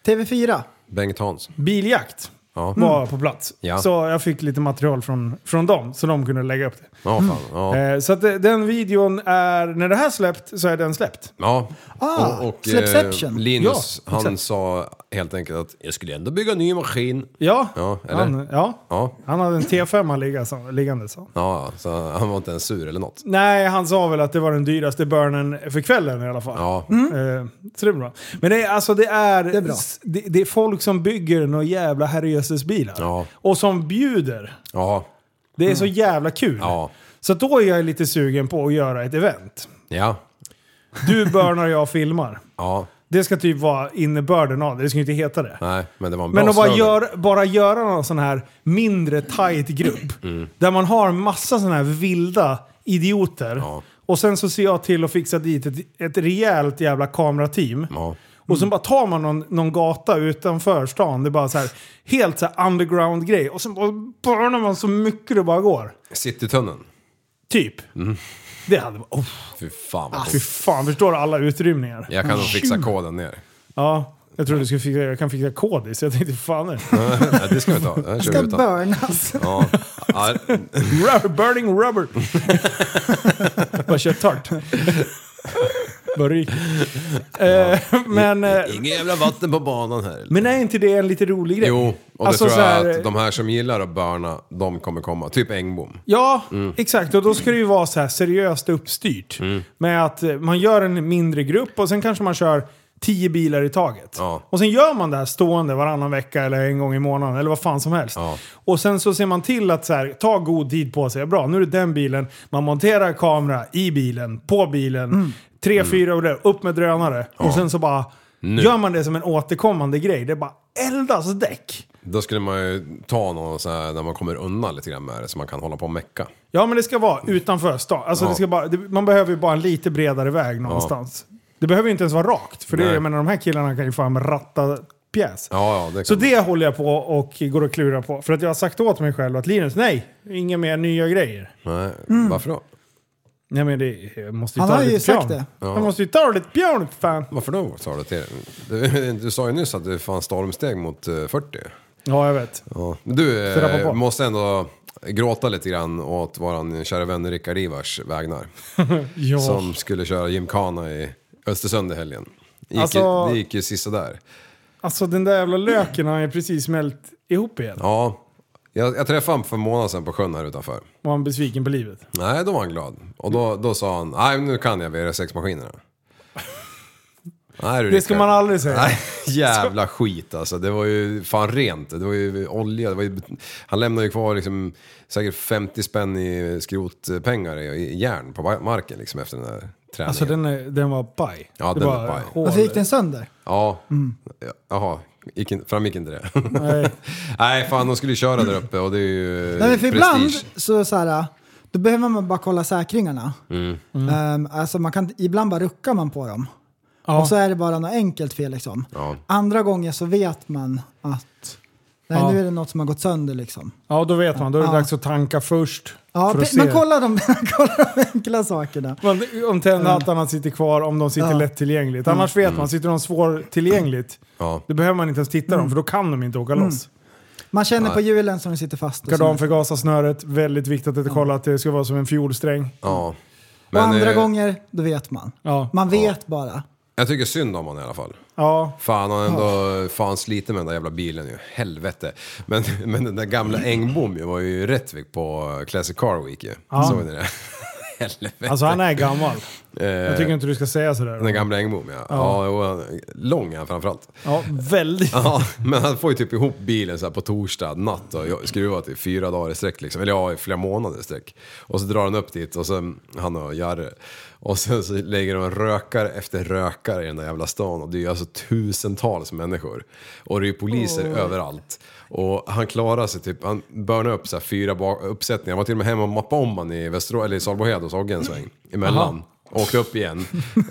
Speaker 5: TV4.
Speaker 6: Bengt Hans.
Speaker 4: Biljakt.
Speaker 6: Ja.
Speaker 4: var på plats.
Speaker 6: Ja.
Speaker 4: Så jag fick lite material från, från dem, så de kunde lägga upp det.
Speaker 6: Ja, fan. Ja.
Speaker 4: Eh, så att eh, den videon är, när det här släppt så är den släppt.
Speaker 6: Ja.
Speaker 5: Ah,
Speaker 6: och och eh,
Speaker 5: Släppception.
Speaker 6: Linus,
Speaker 4: Ja,
Speaker 6: han
Speaker 4: exakt.
Speaker 6: sa helt enkelt att jag skulle ändå bygga en ny maskin.
Speaker 4: Ja,
Speaker 6: Ja, eller?
Speaker 4: han, ja.
Speaker 6: Ja.
Speaker 4: han hade en T5 ligga, så, liggande. Så.
Speaker 6: Ja, så han var inte ens sur eller något.
Speaker 4: Nej, han sa väl att det var den dyraste burnen för kvällen i alla fall.
Speaker 6: Ja,
Speaker 4: Eh, så det är bra. Men det är, alltså, det, är, det,
Speaker 5: är bra.
Speaker 4: det, det är folk som bygger några jävla herrejösses bilar.
Speaker 6: Ja.
Speaker 4: Och som bjuder.
Speaker 6: ja,
Speaker 4: Det är så jävla kul.
Speaker 6: ja,
Speaker 4: Så att då är jag lite sugen på att göra ett event.
Speaker 6: ja,
Speaker 4: Du burnar och jag filmar.
Speaker 6: ja.
Speaker 4: Det ska typ vara innebörden av det. Det ska ju inte heta det.
Speaker 6: Nej, men det var en bra
Speaker 4: Men att bara,
Speaker 6: slogan.
Speaker 4: gör, bara göra någon sån här mindre tight grupp.
Speaker 6: Mm.
Speaker 4: Där man har massa såna här vilda idioter.
Speaker 6: Ja.
Speaker 4: Och sen så ser jag till att fixa dit ett, ett rejält jävla kamerateam.
Speaker 6: Ja. Mm.
Speaker 4: Och sen bara tar man någon, någon gata utanför stan. Det är bara så här helt så här underground-grej. Och sen bara burnar man så mycket det bara går.
Speaker 6: Citytunneln.
Speaker 4: Typ.
Speaker 6: Mm.
Speaker 4: Det hade varit... Oh,
Speaker 6: Fy fan vad
Speaker 4: fy
Speaker 6: coolt.
Speaker 4: fan, förstår du alla utrymningar?
Speaker 6: Jag kan nog fixa koden ner.
Speaker 4: Ja, jag trodde du skulle fixa, jag kan fixa kodis. Jag tänkte fan är det?
Speaker 6: Nej, det ska vi ta. Det kör
Speaker 5: Ska
Speaker 6: vi utan.
Speaker 5: burnas.
Speaker 6: Ja. Ja,
Speaker 4: Rubber, burning rubber. Bara kör tart. Bara ryker. Eh, men, eh,
Speaker 6: Inget jävla vatten på banan här.
Speaker 4: men är inte det en lite rolig grej?
Speaker 6: Jo, och det
Speaker 4: Alltså
Speaker 6: tror
Speaker 4: så
Speaker 6: jag
Speaker 4: här-
Speaker 6: att de här som gillar att börna, de kommer komma. Typ Engbom.
Speaker 4: Ja, exakt. Och då ska det ju vara så här seriöst uppstyrt. Med att eh, man gör en mindre grupp och sen kanske man kör tio bilar i taget.
Speaker 6: Ja.
Speaker 4: Och sen gör man det här stående varannan vecka eller en gång i månaden eller vad fan som helst.
Speaker 6: Ja.
Speaker 4: Och sen så ser man till att så här, ta god tid på sig. Bra, nu är det den bilen. Man monterar kamera i bilen, på bilen. Tre,
Speaker 6: Mm.
Speaker 4: fyra och där, upp med drönare. Och sen så bara gör man det som en återkommande grej. Det är bara eldas däck.
Speaker 6: Då skulle man ju ta någon så här, där man kommer undan lite grann med det, så man kan hålla på och mecka.
Speaker 4: Ja, men det ska vara utanför stan. Alltså,
Speaker 6: Ja.
Speaker 4: det ska bara, det, man behöver ju bara en lite bredare väg någonstans. Det behöver ju inte ens vara rakt, för det,
Speaker 6: Nej.
Speaker 4: jag menar, de här killarna kan ju fan ratta pjäs.
Speaker 6: Ja, ja, det kan
Speaker 4: Så det håller jag på och går och klurar på. För att jag har sagt åt mig själv att Linus, nej, inga mer nya grejer.
Speaker 6: Nej,
Speaker 4: Mm.
Speaker 6: varför då?
Speaker 4: Nej men det jag måste ju
Speaker 5: Han
Speaker 4: ta
Speaker 5: har
Speaker 4: det
Speaker 5: ju
Speaker 4: lite
Speaker 5: sagt
Speaker 4: piano.
Speaker 5: det.
Speaker 4: Jag måste ju ta det lite piano, fan.
Speaker 6: Varför då sa du till du, du sa ju nyss att du fann stormsteg mot eh, 40.
Speaker 4: Ja, jag vet.
Speaker 6: Ja. Men Du
Speaker 4: Så rappa på.
Speaker 6: eh, måste ändå gråta lite grann åt våran kära vän Rickard Ivars vägnar.
Speaker 4: Ja.
Speaker 6: Som skulle köra gymkana i Östersund i helgen. Gick
Speaker 4: Alltså-
Speaker 6: ju, det gick ju sisådär.
Speaker 4: Alltså den där jävla löken har ju precis smält ihop igen.
Speaker 6: Ja, jag, jag träffade honom för en månad sedan på sjön här utanför.
Speaker 4: Var han besviken på livet?
Speaker 6: Nej, då var han glad. Och då, då sa han, nej nu kan jag VR6-maskinerna. Nej, du,
Speaker 4: Det ska
Speaker 6: Rickard.
Speaker 4: man aldrig säga.
Speaker 6: Nej, jävla skit alltså. Det var ju fan rent. Det var ju olja. Det var ju, han lämnade ju kvar liksom, säkert 50 spänn i skrotpengar i, i järn på marken liksom, efter den där träningen.
Speaker 4: Alltså den, är, den var paj.
Speaker 6: Ja,
Speaker 4: Det
Speaker 6: den
Speaker 4: bara
Speaker 6: var paj.
Speaker 4: hål.
Speaker 5: Varför gick den sönder?
Speaker 6: Ja,
Speaker 5: Mm.
Speaker 6: Ja, jaha. Gick in, framgick inte det?
Speaker 4: Nej.
Speaker 6: Nej, fan de skulle ju köra där uppe och det är ju
Speaker 5: Nej, men för
Speaker 6: prestige.
Speaker 5: ibland så, så här, Då behöver man bara kolla säkringarna.
Speaker 6: Mm.
Speaker 4: Mm.
Speaker 5: Ehm, alltså man kan, ibland bara ruckar man på dem.
Speaker 4: Ja.
Speaker 5: Och så är det bara något enkelt fel liksom.
Speaker 6: Ja.
Speaker 5: Andra gånger så vet man att nej,
Speaker 4: Ja.
Speaker 5: nu är det något som har gått sönder liksom.
Speaker 4: Ja, då vet man. Då är det
Speaker 5: Ja.
Speaker 4: dags att tanka först.
Speaker 5: Ja,
Speaker 4: för att
Speaker 5: pe-
Speaker 4: se.
Speaker 5: men kolla de, kolla de enkla sakerna.
Speaker 4: Man- Om tändhattarna sitter kvar, om de sitter
Speaker 5: Ja.
Speaker 4: lättillgängligt. Annars vet man, sitter de svårtillgängligt,
Speaker 6: Mm. Ja.
Speaker 4: då behöver man inte ens titta
Speaker 5: Mm.
Speaker 4: dem för då kan de inte åka loss.
Speaker 5: Man känner på hjulen som de sitter fast. och sånt.
Speaker 4: Kardanförgasa snöret, väldigt viktigt
Speaker 5: Mm.
Speaker 4: att kolla att det ska vara som en fjolsträng.
Speaker 6: ja.
Speaker 5: Och andra
Speaker 6: eh,
Speaker 5: gånger, då vet man.
Speaker 4: Ja.
Speaker 5: Man vet bara.
Speaker 6: Jag tycker synd om honom i alla fall.
Speaker 4: Ja,
Speaker 6: Fan, han har ändå fan sliter med den där jävla bilen ju. Helvete. Men, men den där gamla Engbom ju var ju i Rättvik på Classic Car Week ju. Såg ni det? Helvete.
Speaker 4: alltså han är gammal.
Speaker 6: Eh,
Speaker 4: Jag tycker inte du ska säga sådär.
Speaker 6: Den där gamla Engbom ja. Ja, jo, han- lång är han framförallt.
Speaker 4: Ja, väldigt.
Speaker 6: Ja, men han får ju typ ihop bilen så här på torsdag natt och jag- skruvat i fyra dagar i sträck liksom. Eller ja, i flera månader i sträck. Och så drar han upp dit och sen, han och Jarre. Och sen så lägger de rökare efter rökare i den där jävla stan. Och det är ju alltså tusentals människor. Och det är ju poliser överallt. Och han klarar sig typ, han börnar upp så här fyra ba- uppsättningar. Han var till och med hemma och mappade om han i Västerås, eller i Salbohed hos Ogge en sväng. Emellan. Åkte upp igen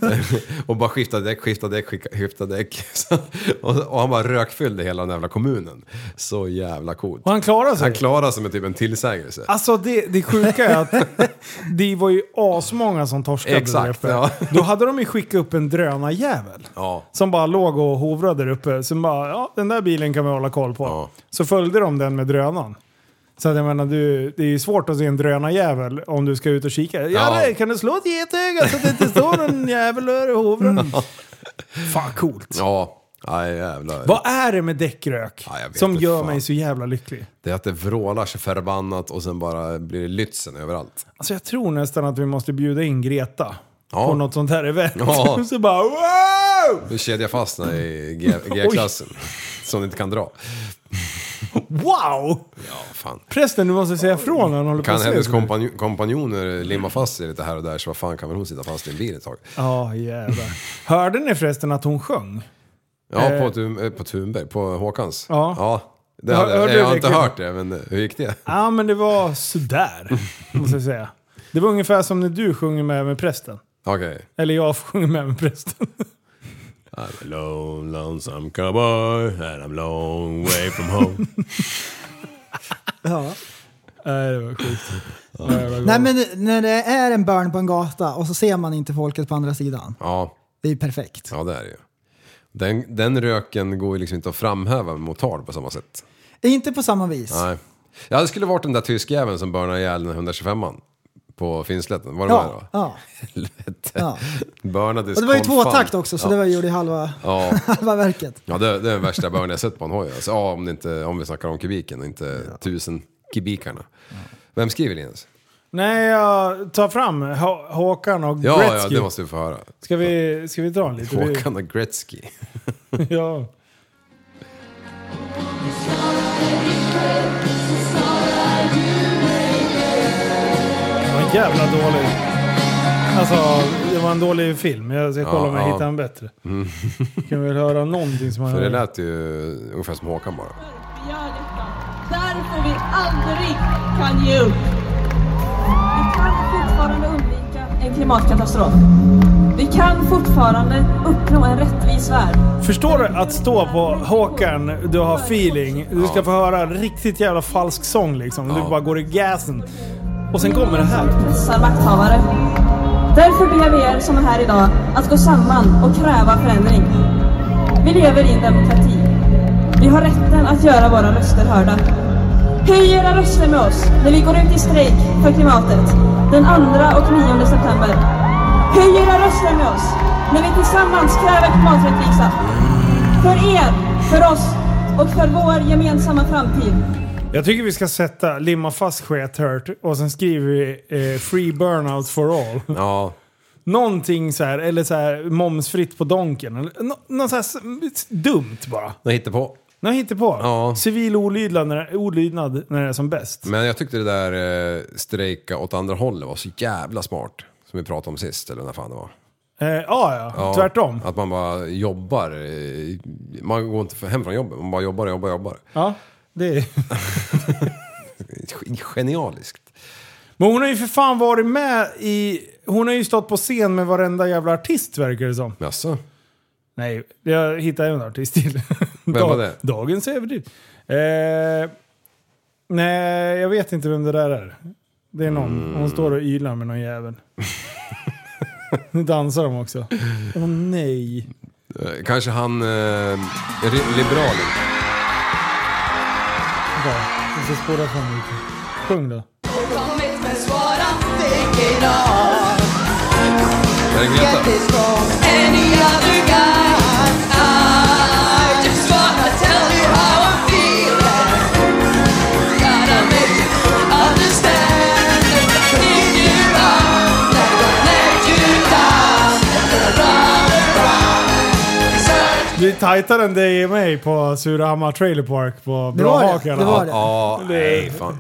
Speaker 6: och bara skiftade däck, skiftade däck, skicka- skiftade däck. Så- och, och han bara rökfyllde hela den jävla kommunen. Så jävla coolt.
Speaker 4: Och han klarar sig.
Speaker 6: Han klarade sig med typ en tillsägelse.
Speaker 4: Alltså det, det sjuka är att det var ju asmånga som torskade
Speaker 6: Exakt,
Speaker 4: där uppe.
Speaker 6: ja.
Speaker 4: Då hade de ju skickat upp en drönarjävel.
Speaker 6: Ja.
Speaker 4: Som bara låg och hovrade där uppe. Som bara, ja den där bilen kan vi hålla koll på.
Speaker 6: Ja.
Speaker 4: Så följde de den med drönaren. Så att jag menar, du, det är ju svårt att se en drönarjävel om du ska ut och kika. Ja,
Speaker 6: Ja.
Speaker 4: Nej, kan du slå ett getöga så att det inte står en jävel där och
Speaker 6: Mm.
Speaker 4: hovrar? Fan coolt.
Speaker 6: Ja, aj jävlar.
Speaker 4: Vad är det med däckrök
Speaker 6: Ja, jag vet
Speaker 4: som
Speaker 6: inte
Speaker 4: gör
Speaker 6: fan.
Speaker 4: mig så jävla lycklig?
Speaker 6: Det är att det vrålar sig förbannat och sen bara blir det lytsen överallt.
Speaker 4: Alltså jag tror nästan att vi måste bjuda in Greta
Speaker 6: Ja.
Speaker 4: på något sånt här event.
Speaker 6: Ja.
Speaker 4: så bara wow!
Speaker 6: Nu kedjar jag fast den i G- G-klassen. som du inte kan dra.
Speaker 4: Wow!
Speaker 6: Ja, fan.
Speaker 4: Prästen, du måste säga ifrån när han håller
Speaker 6: Kan
Speaker 4: på
Speaker 6: hennes
Speaker 4: att se ut.
Speaker 6: kompanjo- kompanjoner limma fast sig lite här och där så vad fan kan väl hon sitta fast i en bil ett tag?
Speaker 4: Ja, jävlar. Hörde ni förresten att hon sjöng?
Speaker 6: Ja,
Speaker 4: Eh.
Speaker 6: på, Thun, eh, på Thunberg, på Håkans.
Speaker 4: Ja.
Speaker 6: det
Speaker 4: Hör-
Speaker 6: hade,
Speaker 4: hörde
Speaker 6: jag
Speaker 4: du
Speaker 6: har
Speaker 4: det,
Speaker 6: inte
Speaker 4: Kim?
Speaker 6: hört det, men eh, hur gick det?
Speaker 4: Ja, men det var sådär, måste jag säga. Det var ungefär som när du sjunger med med prästen.
Speaker 6: Okej.
Speaker 4: Eller jag sjunger med med prästen.
Speaker 6: I'm a lone, lonesome cowboy and I'm long way from home.
Speaker 5: Ja.
Speaker 4: Nej, det var sjukt. Nej, det var
Speaker 5: Nej,
Speaker 4: galet.
Speaker 5: men när det är en burn på en gata och så ser man inte folket på andra sidan.
Speaker 6: ja,
Speaker 5: Det är ju perfekt.
Speaker 6: ja, det är det ju. Den, den röken går ju liksom inte att framhäva mot tal på samma sätt.
Speaker 5: Inte på samma vis.
Speaker 6: Nej. Ja, det skulle varit den där tyskjäveln som burnade ihjäl den 125an på Finnslätten. Var det med
Speaker 5: Ja,
Speaker 6: då?
Speaker 5: ja.
Speaker 6: Helvete.
Speaker 5: Ja.
Speaker 6: Burnades
Speaker 5: Och det var ju
Speaker 6: kon fan.
Speaker 5: tvåtakt också, så
Speaker 6: ja.
Speaker 5: det var gjorde i halva,
Speaker 6: Ja.
Speaker 5: halva verket.
Speaker 6: Ja, det, det är den värsta början jag sett på en hoj. Alltså, ja, om, det inte, om vi snackar om kubiken och inte tusen kubikarna. Vem skriver Linus?
Speaker 4: Nej, jag tar fram H- Håkan och
Speaker 6: Ja, ja,
Speaker 4: Gretzky.
Speaker 6: det måste vi få höra.
Speaker 4: ska, vi, ska vi dra en liten?
Speaker 6: Håkan och Gretzky.
Speaker 4: Ja. Det var en jävla dålig. Alltså, det var en dålig film. Jag ska kolla om jag
Speaker 6: ja. Mm.
Speaker 4: hittar en bättre. kan vi väl höra någonting som man
Speaker 6: För det
Speaker 4: hör?
Speaker 6: lät ju ungefär som Håkan bara.
Speaker 9: gör detta. Därför vi aldrig kan ge upp. Vi kan fortfarande undvika en klimatkatastrof. Vi kan fortfarande uppnå en rättvis värld.
Speaker 4: Förstår du att stå på Håkan, du har feeling. Du ska få höra riktigt jävla falsk sång liksom. Du bara går i gasen. Och sen kommer det här.
Speaker 9: Pressar makthavare. Därför ber vi er som är här idag att gå samman och kräva förändring. Vi lever i en demokrati. Vi har rätten att göra våra röster hörda. Höj era röster med oss när vi går ut i strejk för klimatet den 2 och 9 september. Höj era röster med oss när vi tillsammans kräver klimaträttvisa. För er, för oss och för vår gemensamma framtid.
Speaker 4: Jag tycker vi ska sätta limma fast skethört och sen skriver vi eh, free burnout for all.
Speaker 6: Ja,
Speaker 4: Någonting så här, eller så här momsfritt på donken. Eller nå- Något så här s- dumt bara.
Speaker 6: jag hittar på.
Speaker 4: Nå hittar på.
Speaker 6: Ja.
Speaker 4: Civil olydnad när, olydnad när det är som bäst.
Speaker 6: Men jag tyckte det där eh, strejka åt andra hållet var så jävla smart. Som vi pratade om sist, eller när fan det var.
Speaker 4: Eh, ja, ja,
Speaker 6: Ja,
Speaker 4: Tvärtom.
Speaker 6: Att man bara jobbar. eh, Man går inte hem från jobbet, man bara jobbar, jobbar, jobbar.
Speaker 4: Ja. Det är,
Speaker 6: Genialiskt.
Speaker 4: Men hon har ju för fan varit med i... Hon har ju stått på scen med varenda jävla artist verkar det som.
Speaker 6: Jaså?
Speaker 4: Nej, jag hittade en artist till.
Speaker 6: Vem var det?
Speaker 4: Dagens överdrift. Eh, nej, jag vet inte vem det där är. Det är någon.
Speaker 6: Mm.
Speaker 4: Hon står och ylar med någon jävel. nu dansar de också. Åh nej.
Speaker 6: Eh, Kanske han... Eh, ri- liberalen.
Speaker 4: Där. Vi ska spåra fram lite. Sjung då.
Speaker 10: Kommit med svåra steg idag
Speaker 6: Är det Greta?
Speaker 10: Grattis från any other guy I just wanna tell you how I'm feeling Gotta make you understand Need you up, never let you down Around and round, search
Speaker 4: Det är tajtare än dig och mig på Surahammar Trailer Park på
Speaker 5: Det var
Speaker 4: Bra
Speaker 5: det.
Speaker 4: Hak i
Speaker 5: Det
Speaker 4: alla
Speaker 5: var
Speaker 4: fall.
Speaker 5: det.
Speaker 6: Ja, nej fan.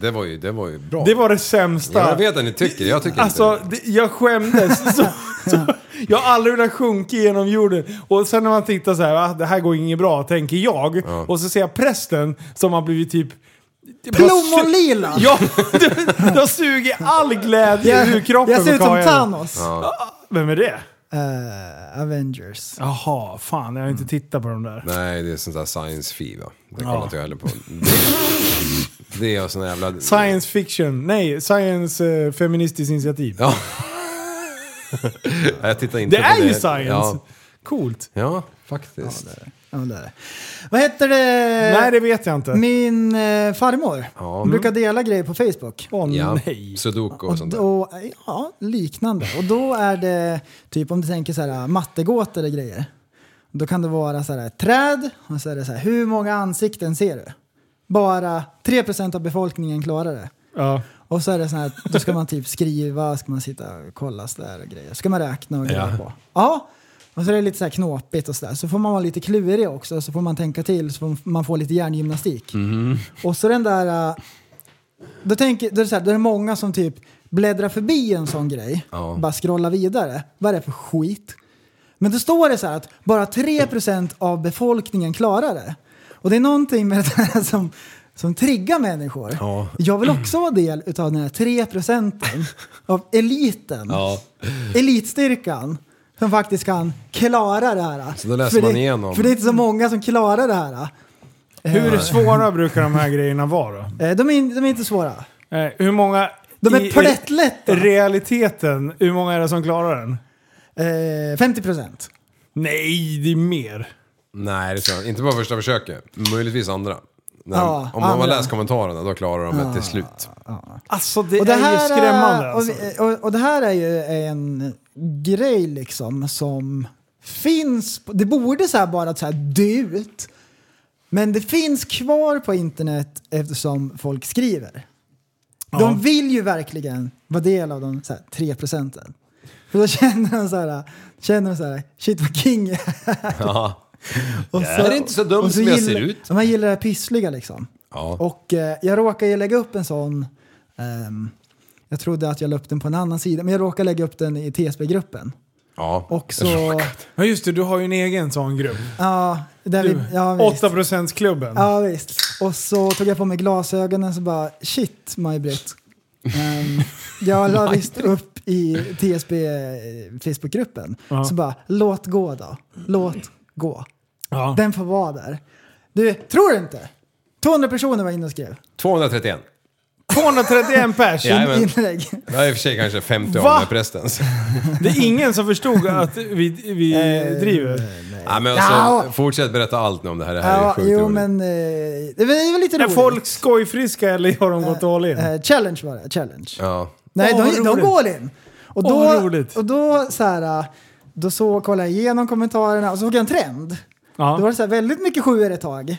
Speaker 6: Det var ju, det var ju bra.
Speaker 4: Det var det sämsta.
Speaker 6: Ja, jag vet att ni tycker, jag tycker
Speaker 4: Alltså,
Speaker 6: inte
Speaker 4: det- jag skämdes. så, så, jag har aldrig velat sjunka genom jorden. Och sen när man tittar så här, "Ah, det här går inget bra, tänker jag. Och så ser jag prästen som har blivit typ...
Speaker 5: Plommonlila!
Speaker 4: Ja, du- jag suger all glädje ur
Speaker 5: Jag,
Speaker 4: kroppen.
Speaker 5: jag ser ut som
Speaker 4: Mikael.
Speaker 5: Thanos.
Speaker 4: Vem är det?
Speaker 5: Eh, Avengers.
Speaker 4: Jaha, fan jag har inte tittat på de där.
Speaker 6: Nej, det är sånt där science fi va. Det kollar
Speaker 4: Ja.
Speaker 6: inte jag heller på. Det är sån jävla...
Speaker 4: Science fiction, nej, science eh, feministiskt initiativ.
Speaker 6: Ja. jag tittar inte
Speaker 4: Det
Speaker 6: på
Speaker 4: är ju
Speaker 6: det.
Speaker 4: science!
Speaker 6: Ja,
Speaker 4: Coolt.
Speaker 6: ja faktiskt. Ja,
Speaker 5: Ja, det är det. Vad heter det?
Speaker 4: nej, det vet jag inte.
Speaker 5: Min eh, farmor
Speaker 6: Ja.
Speaker 5: Hon brukar dela grejer på Facebook.
Speaker 4: Åh nej.
Speaker 6: ja. Sudoku och
Speaker 5: Och
Speaker 6: sånt där.
Speaker 5: då, ja, liknande. Och då är det typ om du tänker så här mattegåtor och grejer. Då kan det vara så här ett träd och så är det så här hur många ansikten ser du? Bara 3% av befolkningen klarar det.
Speaker 4: Ja.
Speaker 5: Och så är det så här, då ska man typ skriva, ska man sitta och kolla så där och grejer. Ska man räkna och grejer på. Ja. Och så är det lite så här knåpigt och sådär. Så får man vara lite klurig också. Så får man tänka till så får man får lite hjärngymnastik. Och så den där... äh, Då, tänker, då, är det så här, då är det många som typ bläddrar förbi en sån grej.
Speaker 6: Ja.
Speaker 5: Bara scrollar vidare. Vad är det för skit? Men då står det så här att bara 3% av befolkningen klarar det. Och det är någonting med det här som, som triggar människor.
Speaker 6: Ja.
Speaker 5: Jag vill också vara del utav den här 3% av eliten,
Speaker 6: Ja.
Speaker 5: elitstyrkan, som faktiskt kan klara det här.
Speaker 6: Så då läser
Speaker 5: för
Speaker 6: man
Speaker 5: det,
Speaker 6: igenom.
Speaker 5: För det är inte så många som klarar det här.
Speaker 4: Hur svåra brukar de här grejerna vara då?
Speaker 5: Eh, De är, in- de är inte svåra.
Speaker 4: Eh, hur många...
Speaker 5: De
Speaker 4: i-
Speaker 5: är
Speaker 4: i
Speaker 5: plättlätta.
Speaker 4: Realiteten, hur många är det som klarar den?
Speaker 5: Eh, 50%.
Speaker 4: Nej, det är mer.
Speaker 6: Nej, det tror jag inte. Inte på första försöket. Möjligtvis andra. När,
Speaker 5: Ja,
Speaker 6: om man har
Speaker 5: andra.
Speaker 6: läst kommentarerna, då klarar de det till slut.
Speaker 4: Alltså det,
Speaker 5: Och det,
Speaker 4: är
Speaker 5: här,
Speaker 4: ju skrämmande.
Speaker 5: eh,
Speaker 4: Alltså.
Speaker 5: och, vi- och, och det här är ju en grej liksom som finns. på- Det borde så här bara så här dö ut. Men det finns kvar på internet eftersom folk skriver. De vill ju verkligen vara del av de så här, 3 procenten. För då känner de så här, känner de så här shit vad king jag är.
Speaker 6: Ja.
Speaker 5: Och
Speaker 6: Jag är inte så dum
Speaker 5: och
Speaker 6: som jag
Speaker 5: gillar-
Speaker 6: ser ut.
Speaker 5: Man gillar det här pyssliga liksom.
Speaker 6: Ja.
Speaker 5: Och eh, jag råkade ju lägga upp en sån, ehm, jag trodde att jag la upp den på en annan sida, men jag råkade lägga upp den i TSB-gruppen.
Speaker 6: ja.
Speaker 5: Och så,
Speaker 4: Ja just det, du har ju en egen sån grupp.
Speaker 5: ja, där vi, ja visst.
Speaker 4: 8%-klubben.
Speaker 5: Ja visst. Och så tog jag på mig glasögonen så bara shit Maj-Britt. Ehm, jag la visst upp i TSB eh, Facebookgruppen.
Speaker 4: Ja.
Speaker 5: Så bara låt gå då. Låt gå.
Speaker 4: Ja.
Speaker 5: Den får vara där. Du, tror du inte? 200 personer var inne och skrev
Speaker 6: 231.
Speaker 4: 231 pers!
Speaker 6: Jajamän.
Speaker 5: inlägg.
Speaker 6: Det är i och för sig kanske 50
Speaker 4: Va?
Speaker 6: av med prästens.
Speaker 4: Det är ingen som förstod att vi, vi
Speaker 5: Eh,
Speaker 4: driver.
Speaker 6: Ja, men alltså,
Speaker 5: Ja.
Speaker 6: fortsätt berätta allt nu om det här. Det här är
Speaker 5: Ja,
Speaker 6: sjukt
Speaker 5: jo
Speaker 6: roligt.
Speaker 5: men eh, det var- det var lite
Speaker 4: Är
Speaker 5: roligt.
Speaker 4: folk skojfriska eller har de gått all in?
Speaker 5: Eh, challenge var det, challenge.
Speaker 6: Ja.
Speaker 5: Nej,
Speaker 4: Åh, vad
Speaker 5: de, de
Speaker 4: roligt.
Speaker 5: går all in. Och
Speaker 4: Åh,
Speaker 5: då,
Speaker 4: vad roligt.
Speaker 5: och då så här, eh, då så kollade jag igenom kommentarerna och så såg jag en trend.
Speaker 4: Ja.
Speaker 5: Då var det så här, väldigt mycket sjuor ett tag.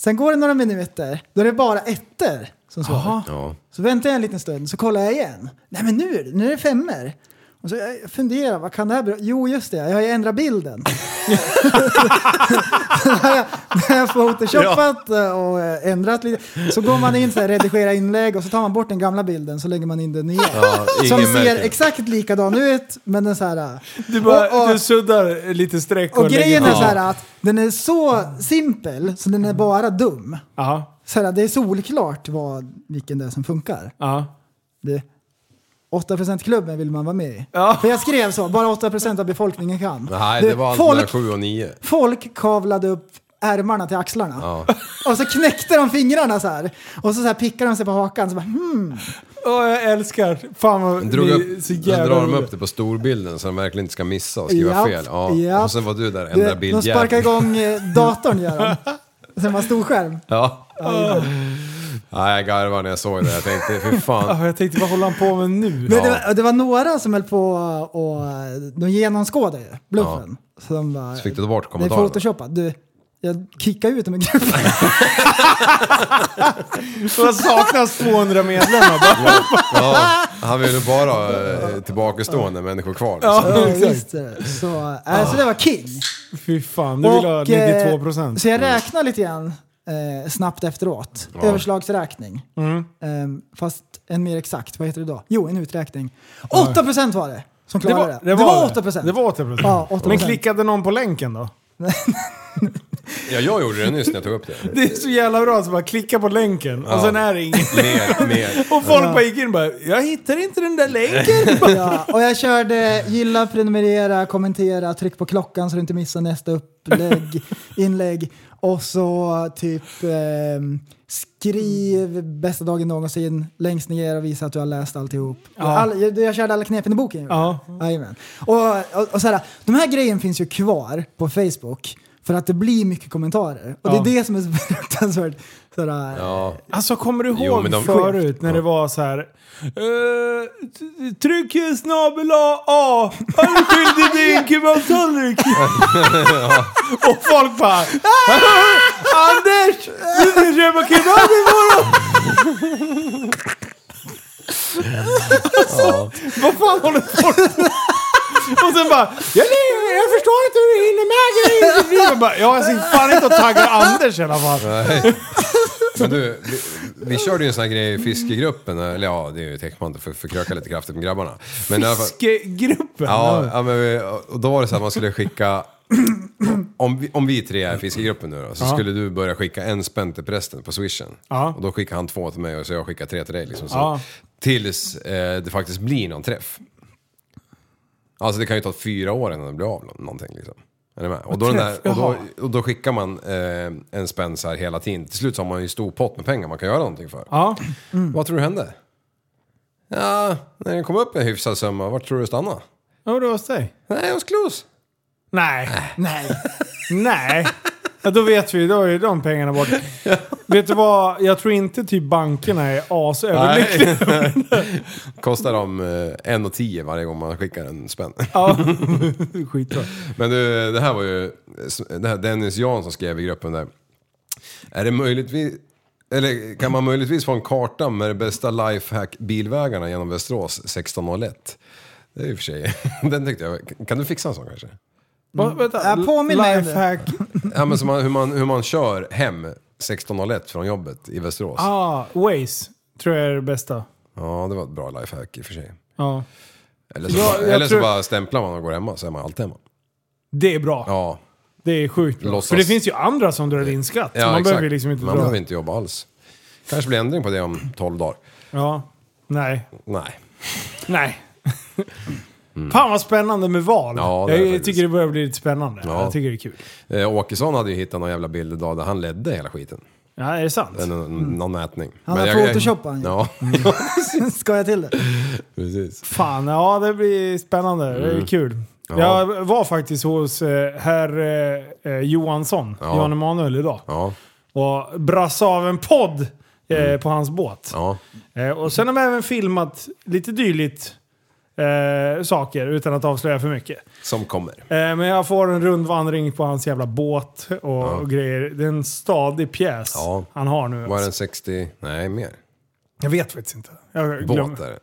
Speaker 5: Sen går det några minuter, då är det bara ettor som svarar.
Speaker 6: ja.
Speaker 5: Så väntar jag en liten stund, så kollar jag igen. Nej men nu, är det- nu är det femmor. Och så jag funderar, vad kan det här bero Jo just det, jag har ju ändrat bilden. Så har jag, när jag photoshopat och eh, ändrat lite. Så går man in så här, redigera inlägg och så tar man bort den gamla bilden så lägger man in den nya.
Speaker 6: ingen
Speaker 5: som ser
Speaker 6: märker.
Speaker 5: exakt likadan ut men den så här... eh,
Speaker 4: Du, bara,
Speaker 5: och, och,
Speaker 4: du suddar lite streck och,
Speaker 5: och grejen
Speaker 4: lägger på.
Speaker 5: är så här att den är så simpel så den är bara dum.
Speaker 4: Ja.
Speaker 5: Så här, det är solklart vad, vilken det är som funkar.
Speaker 4: Ja.
Speaker 5: Du, 8%-klubben vill man vara med i. För jag skrev så, bara 8% av befolkningen kan.
Speaker 6: Nej,
Speaker 5: Du,
Speaker 6: det var allt mellan
Speaker 5: folk,
Speaker 6: 7 och 9.
Speaker 5: folk kavlade upp ärmarna till axlarna.
Speaker 6: Ja.
Speaker 5: Och så knäckte de fingrarna så här. Och så, så här pickade de sig på hakan. Så bara, hmm.
Speaker 4: Åh, jag älskar. Fan vad
Speaker 6: Drog
Speaker 4: ni
Speaker 6: upp,
Speaker 4: är så
Speaker 6: så
Speaker 4: jävla
Speaker 6: drar de
Speaker 4: roliga.
Speaker 6: upp det på storbilden så de verkligen inte ska missa och skriva
Speaker 5: Japp,
Speaker 6: fel. Ja.
Speaker 5: japp.
Speaker 6: Och sen var du där,
Speaker 5: Du,
Speaker 6: ändra
Speaker 5: de sparkar
Speaker 6: bildjäveln.
Speaker 5: igång eh, datorn gör de. Sen var stor skärm.
Speaker 6: Ja. Nej, jag garvade när jag såg det. Jag tänkte, fy fan.
Speaker 4: Ja, Ah, jag tänkte, vad håller han på med nu?
Speaker 5: Men det,
Speaker 6: Ja.
Speaker 5: var, det var några som höll på och de genomskådade ju bluffen. Så de bara,
Speaker 6: Så fick du ta bort
Speaker 5: det är
Speaker 6: kommentarerna.
Speaker 5: photoshopat. Du, jag kickade ut dem i gruppen.
Speaker 4: Det saknas 200 medlemmar.
Speaker 6: Ja, han ville bara ha eh, tillbakastående människor kvar. Liksom.
Speaker 5: Ja, visst är det. så, äh, så det var king.
Speaker 4: Fy fan, du vill ha
Speaker 5: Och,
Speaker 4: 92
Speaker 5: eh,
Speaker 4: procent.
Speaker 5: Så jag räknade lite grann eh, snabbt efteråt. Överslagsräkning.
Speaker 4: Mm.
Speaker 5: Ehm, fast en mer exakt, vad heter det då? Jo, en uträkning. 8 procent var det som klarade det. Det var, 8 procent.
Speaker 4: Det var 8 procent.
Speaker 5: Ja, 8%.
Speaker 4: Men klickade någon på länken då?
Speaker 6: Ja, jag gjorde det nyss när jag tog upp det.
Speaker 4: Det är så jävla bra så bara klicka på länken och
Speaker 6: Ja.
Speaker 4: sen är det inget.
Speaker 6: Mer, mer.
Speaker 4: Och folk bara gick in och bara “Jag hittar inte den där länken”.
Speaker 5: Ja, och jag körde gilla, prenumerera, kommentera, tryck på klockan så du inte missar nästa upplägg, inlägg. Och så typ ehm, skriv bästa dagen någonsin längst ner och visa att du har läst alltihop. All, jag, jag körde alla knepen i boken.
Speaker 4: Ja.
Speaker 5: Jajamän. Och, och, och så här, de här grejen finns ju kvar på Facebook för att det blir mycket kommentarer. Och det är det som är så fruktansvärt. Så här, eh,
Speaker 6: Ja.
Speaker 4: Alltså kommer du ihåg
Speaker 6: Jo, men de-
Speaker 4: förut när det var så här. "Eh, t- tryck snabel A, A, anskyldig din kebabtallrik. Och folk bara "Ah, Anders! Du ska köpa kebab imorgon!
Speaker 6: Ja.
Speaker 4: Vad fan håller folk på Och sen bara jag, lever, jag förstår inte hur du hinner med grejer. Jag bara, Ja, jag ser fan inte att tagga Anders i alla fall.
Speaker 6: Nej. Men du, vi, vi körde ju en sån här grej i fiskegruppen, eller ja, det är ju täckman för förkröka lite kraftigt med grabbarna. Men i alla fall-
Speaker 4: Fiskegruppen.
Speaker 6: Ja, ja men vi, och då var det så att man skulle skicka... Om vi, om vi tre är i fiskegruppen nu då, så skulle du börja skicka en spänn till prästen på swishen.
Speaker 4: Ja.
Speaker 6: Och då skickar han två till mig och så jag skickar tre till dig. Liksom, så.
Speaker 4: Ja.
Speaker 6: Tills eh, det faktiskt blir någon träff. Alltså det kan ju ta fyra år innan det blir av nå- någonting liksom. Är ni med? Och då, den där, och
Speaker 4: Jaha.
Speaker 6: då, och då skickar man eh, en spänn så här hela tiden. Till slut så har man ju stor pott med pengar man kan göra någonting för.
Speaker 4: Ja.
Speaker 6: Vad tror du hände? Ja, när den kom upp en hyfsad summa, vart tror du det stannade?
Speaker 4: Ja, det var hos dig.
Speaker 6: Nej, hos Klos.
Speaker 4: Nej. Nej. Nej. Ja, då vet vi, då är ju de pengarna borta. Vet du vad, jag tror inte typ bankerna är asöverlyckliga.
Speaker 6: Kostar dem eh, 1,10 varje gång man skickar en spänn.
Speaker 4: Ja. Skitbra.
Speaker 6: Men du, det här var ju det här Dennis Jansson skrev i gruppen där. Är det möjligtvis... Eller kan man möjligtvis få en karta med de bästa lifehack-bilvägarna genom Västerås 1601? Det är ju för sig... Den tyckte jag... Kan du fixa en sån kanske?
Speaker 4: Va, vänta,
Speaker 5: Ja, påminn mig om det.
Speaker 4: lifehack.
Speaker 6: Ja, men som man, hur, man, hur man kör hem 1601 från jobbet i Västerås.
Speaker 4: Ah, Waze tror jag är det bästa.
Speaker 6: Ja, det var ett bra lifehack i och för sig.
Speaker 4: Ja.
Speaker 6: Eller så,
Speaker 4: Ja,
Speaker 6: bara,
Speaker 4: jag
Speaker 6: eller
Speaker 4: tror-
Speaker 6: så bara stämplar man och går hemma så är man alltid hemma.
Speaker 4: Det är bra.
Speaker 6: Ja,
Speaker 4: Det är sjukt bra.
Speaker 6: Låtsas.
Speaker 4: För det finns ju andra som drar in skatt.
Speaker 6: ja
Speaker 4: man
Speaker 6: exakt.
Speaker 4: behöver ju liksom inte
Speaker 6: man
Speaker 4: dra.
Speaker 6: behöver inte jobba alls. Kanske blir ändring på det om 12 dagar.
Speaker 4: Ja. Nej.
Speaker 6: Nej.
Speaker 4: Nej. Fan vad spännande med val.
Speaker 6: Mm. Ja, det är
Speaker 4: jag
Speaker 6: faktiskt.
Speaker 4: tycker det börjar bli lite spännande.
Speaker 6: Ja.
Speaker 4: Jag tycker det är kul.
Speaker 6: Eh, Åkesson hade ju hittat någon jävla bild idag där han ledde hela skiten.
Speaker 4: Ja, är det sant?
Speaker 6: En,
Speaker 4: Mm.
Speaker 6: en, någon mätning.
Speaker 5: Han
Speaker 6: Men
Speaker 5: har
Speaker 6: jag-
Speaker 5: photoshopat han ju.
Speaker 6: Ja,
Speaker 5: Ska jag till det?
Speaker 6: Mm. precis.
Speaker 4: Fan, ja det blir spännande. Det är kul.
Speaker 6: Mm. Ja.
Speaker 4: Jag var faktiskt hos eh, herr eh, eh, Johansson,
Speaker 6: Ja.
Speaker 4: Johan Emanuel, idag.
Speaker 6: Ja,
Speaker 4: Och brassade av en podd eh, på hans båt.
Speaker 6: Mm. ja.
Speaker 4: Eh, och sen har man även filmat lite dylikt eh, saker utan att avslöja för mycket.
Speaker 6: Som kommer.
Speaker 4: Eh, men jag får en rundvandring på hans jävla båt och, och grejer. Det är en stadig pjäs
Speaker 6: Ja.
Speaker 4: han har nu.
Speaker 6: Var
Speaker 4: alltså.
Speaker 6: den 60? Nej, mer.
Speaker 4: Jag vet faktiskt inte. Jag glöm-
Speaker 6: Båt där.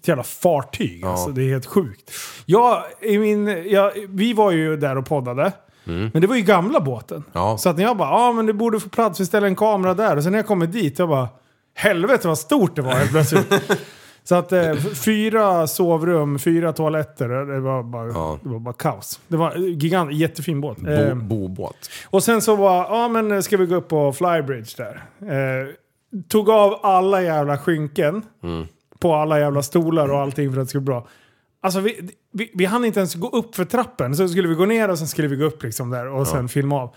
Speaker 4: ett jävla fartyg. Alltså, det är helt sjukt. Jag, i min, jag, vi var ju där och poddade. Men det var ju gamla båten.
Speaker 6: Mm. Ja.
Speaker 4: Så att när jag bara, ja ah, men det borde få plats, vi ställer en kamera där. Och sen när jag kommer dit, jag bara, helvete vad stort det var helt plötsligt. Så att eh, f- fyra sovrum, fyra toaletter, det var bara,
Speaker 6: Ja.
Speaker 4: det var bara kaos. Det var en gigant, jättefin båt. Eh,
Speaker 6: Bo, bobåt.
Speaker 4: och sen så var ja men ska vi gå upp på Flybridge där. Eh, tog av alla jävla skynken. på alla jävla stolar och allting för att det skulle bli bra. Alltså vi, vi, vi hann inte ens gå upp för trappen. Så skulle vi gå ner och sen skulle vi gå upp liksom där och sen filma av.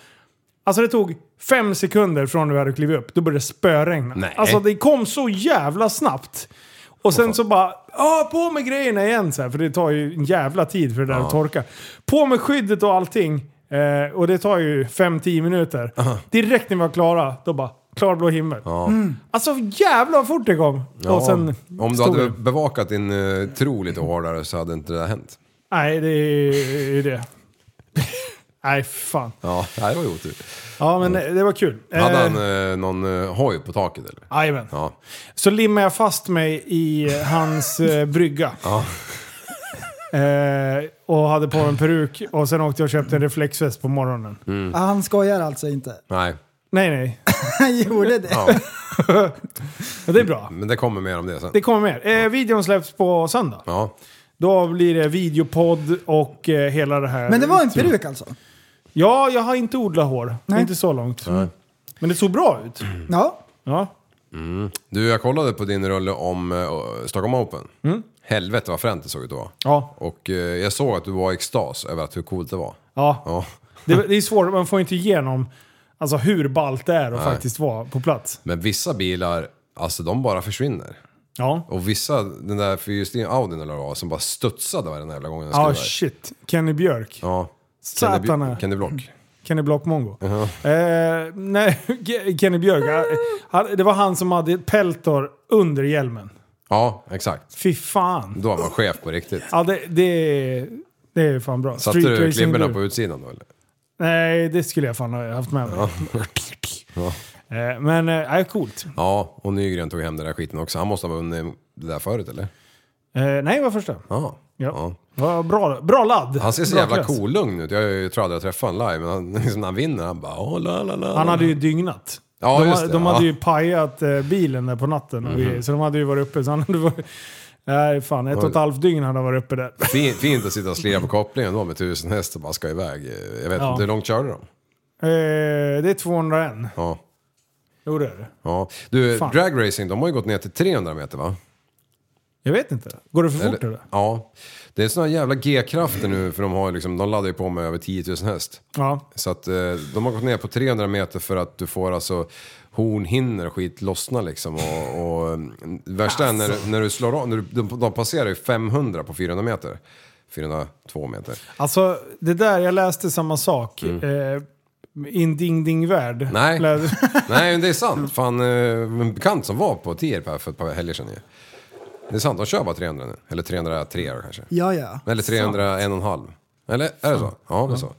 Speaker 4: Alltså det tog fem sekunder från när vi hade klivit upp. Då började det spöregna.
Speaker 6: Nej.
Speaker 4: Alltså det kom så jävla snabbt. Och sen så bara, ja på med grejerna igen så här, För det tar ju en jävla tid för det där att torka. På med skyddet och allting. Eh, och det tar ju 5-10 minuter. Direkt när vi var klara, då bara, klarblå himmel.
Speaker 6: Ja.
Speaker 4: Alltså jävla vad fort det kom.
Speaker 6: Ja,
Speaker 4: och sen
Speaker 6: om du
Speaker 4: stod
Speaker 6: hade
Speaker 4: vi.
Speaker 6: bevakat din eh, tro lite hårdare så hade inte det där hänt.
Speaker 4: Nej, det är ju det. Nej, fan.
Speaker 6: Ja, det här var ju otur.
Speaker 4: Ja, men det det var kul.
Speaker 6: Hade
Speaker 4: Eh,
Speaker 6: han eh, någon eh, hoj på taket eller?
Speaker 4: Jajamän.
Speaker 6: Ja.
Speaker 4: Så limmade jag fast mig i hans eh, brygga.
Speaker 6: Ja.
Speaker 4: Eh, och hade på mig en peruk och sen åkte jag och köpte en reflexväst på morgonen.
Speaker 5: Ah, Han skojar alltså inte.
Speaker 6: Nej.
Speaker 4: Nej, nej.
Speaker 5: Han gjorde det.
Speaker 6: Ja.
Speaker 4: Men Det är bra.
Speaker 6: Men det kommer mer om det sen.
Speaker 4: Det kommer mer. Eh, videon släpps på söndag.
Speaker 6: Ja.
Speaker 4: Då blir det videopodd och eh, hela det här.
Speaker 5: Men det var en peruk alltså?
Speaker 6: Mm.
Speaker 4: Ja, jag har inte odlat hår.
Speaker 5: Nej.
Speaker 4: Inte så långt. Men det såg bra ut.
Speaker 5: Ja.
Speaker 4: Ja.
Speaker 6: Du, jag kollade på din rulle om eh, Stockholm Open. Helvete vad fränt det såg ut då.
Speaker 4: Mm. Ja.
Speaker 6: Och eh, jag såg att du var i extas över att hur coolt det var.
Speaker 4: ja.
Speaker 6: Ja.
Speaker 4: Det, det är svårt, man får inte igenom alltså, hur ballt det är att faktiskt vara på plats.
Speaker 6: Men vissa bilar, alltså de bara försvinner.
Speaker 4: Ja.
Speaker 6: Och vissa, den där fyrhjulsdrivna Audin eller vad det var, som bara studsade varje jävla gång den skulle
Speaker 4: Ja,
Speaker 6: iväg.
Speaker 4: shit. Kenny Björk. eh.
Speaker 6: Ja.
Speaker 4: Satana.
Speaker 6: Kenny Block.
Speaker 4: Kenny Block Mongo. Eh, nej, Ke- Kenny Björk. han- Han, det var han som hade peltor under hjälmen.
Speaker 6: Ja, exakt.
Speaker 4: Fy fan.
Speaker 6: Då var man chef på riktigt.
Speaker 4: Ja, det, det, det är fan bra.
Speaker 6: Satte du
Speaker 4: racing
Speaker 6: klibborna
Speaker 4: enduro.
Speaker 6: på utsidan då eller?
Speaker 4: Nej, det skulle jag fan ha haft med mig. Eh, Men, eh, nej, coolt.
Speaker 6: Ja, och Nygren tog hem den där skiten också. Han måste ha vunnit det där förut eller?
Speaker 4: Eh, nej, vad första.
Speaker 6: Ja.
Speaker 4: Ja. Vad Bra, bra ladd.
Speaker 6: Han ser så
Speaker 4: bra
Speaker 6: jävla
Speaker 4: klass.
Speaker 6: kolugn ut. Jag, jag tror aldrig jag träffade honom live, men han, liksom, när han vinner, han bara oh, la, la, la.
Speaker 4: Han hade ju dygnat.
Speaker 6: Ja,
Speaker 4: de,
Speaker 6: just
Speaker 4: ha- de
Speaker 6: det, ja. Mhm.
Speaker 4: hade ju pajat eh, bilen där på natten. Och grejer, så de hade ju varit uppe. Så han hade varit, nej, fan. Ett och ett halvt dygn hade han varit uppe där.
Speaker 6: Fint, fint att sitta och slira på kopplingen då med tusen häst och bara ska iväg. Jag vet
Speaker 4: Ja.
Speaker 6: inte, hur långt körde de?
Speaker 4: Eh, det är 201.
Speaker 6: Ja.
Speaker 4: Jo, det är det.
Speaker 6: ja. Du,
Speaker 4: Fan.
Speaker 6: dragracing, de har ju gått ner till 300 meter va?
Speaker 4: Jag vet inte. Går det för fort eller?
Speaker 6: Ja. Det är såna jävla G-krafter nu, för de, har ju liksom, de laddar ju på med över 10 000 häst.
Speaker 4: Ja.
Speaker 6: Så att eh, de har gått ner på 300 meter för att du får alltså hornhinnor och skit lossna liksom. Och, och mm, värsta är när, när du slår av, när du, de, de passerar ju 500 på 400 meter. 402 meter.
Speaker 4: Alltså, det där, jag läste samma sak. Eh, in Ding Ding Värld.
Speaker 6: Mm. Nej.
Speaker 4: Lä-
Speaker 6: Nej men det är sant. Fan, eh, en bekant som var på Tierp här för ett par helger sedan ju. Det är sant, de kör bara 300 nu. Eller 303 kanske.
Speaker 5: Ja, ja.
Speaker 6: Eller 300, en och en halv. Eller är det så? Ja, det är så.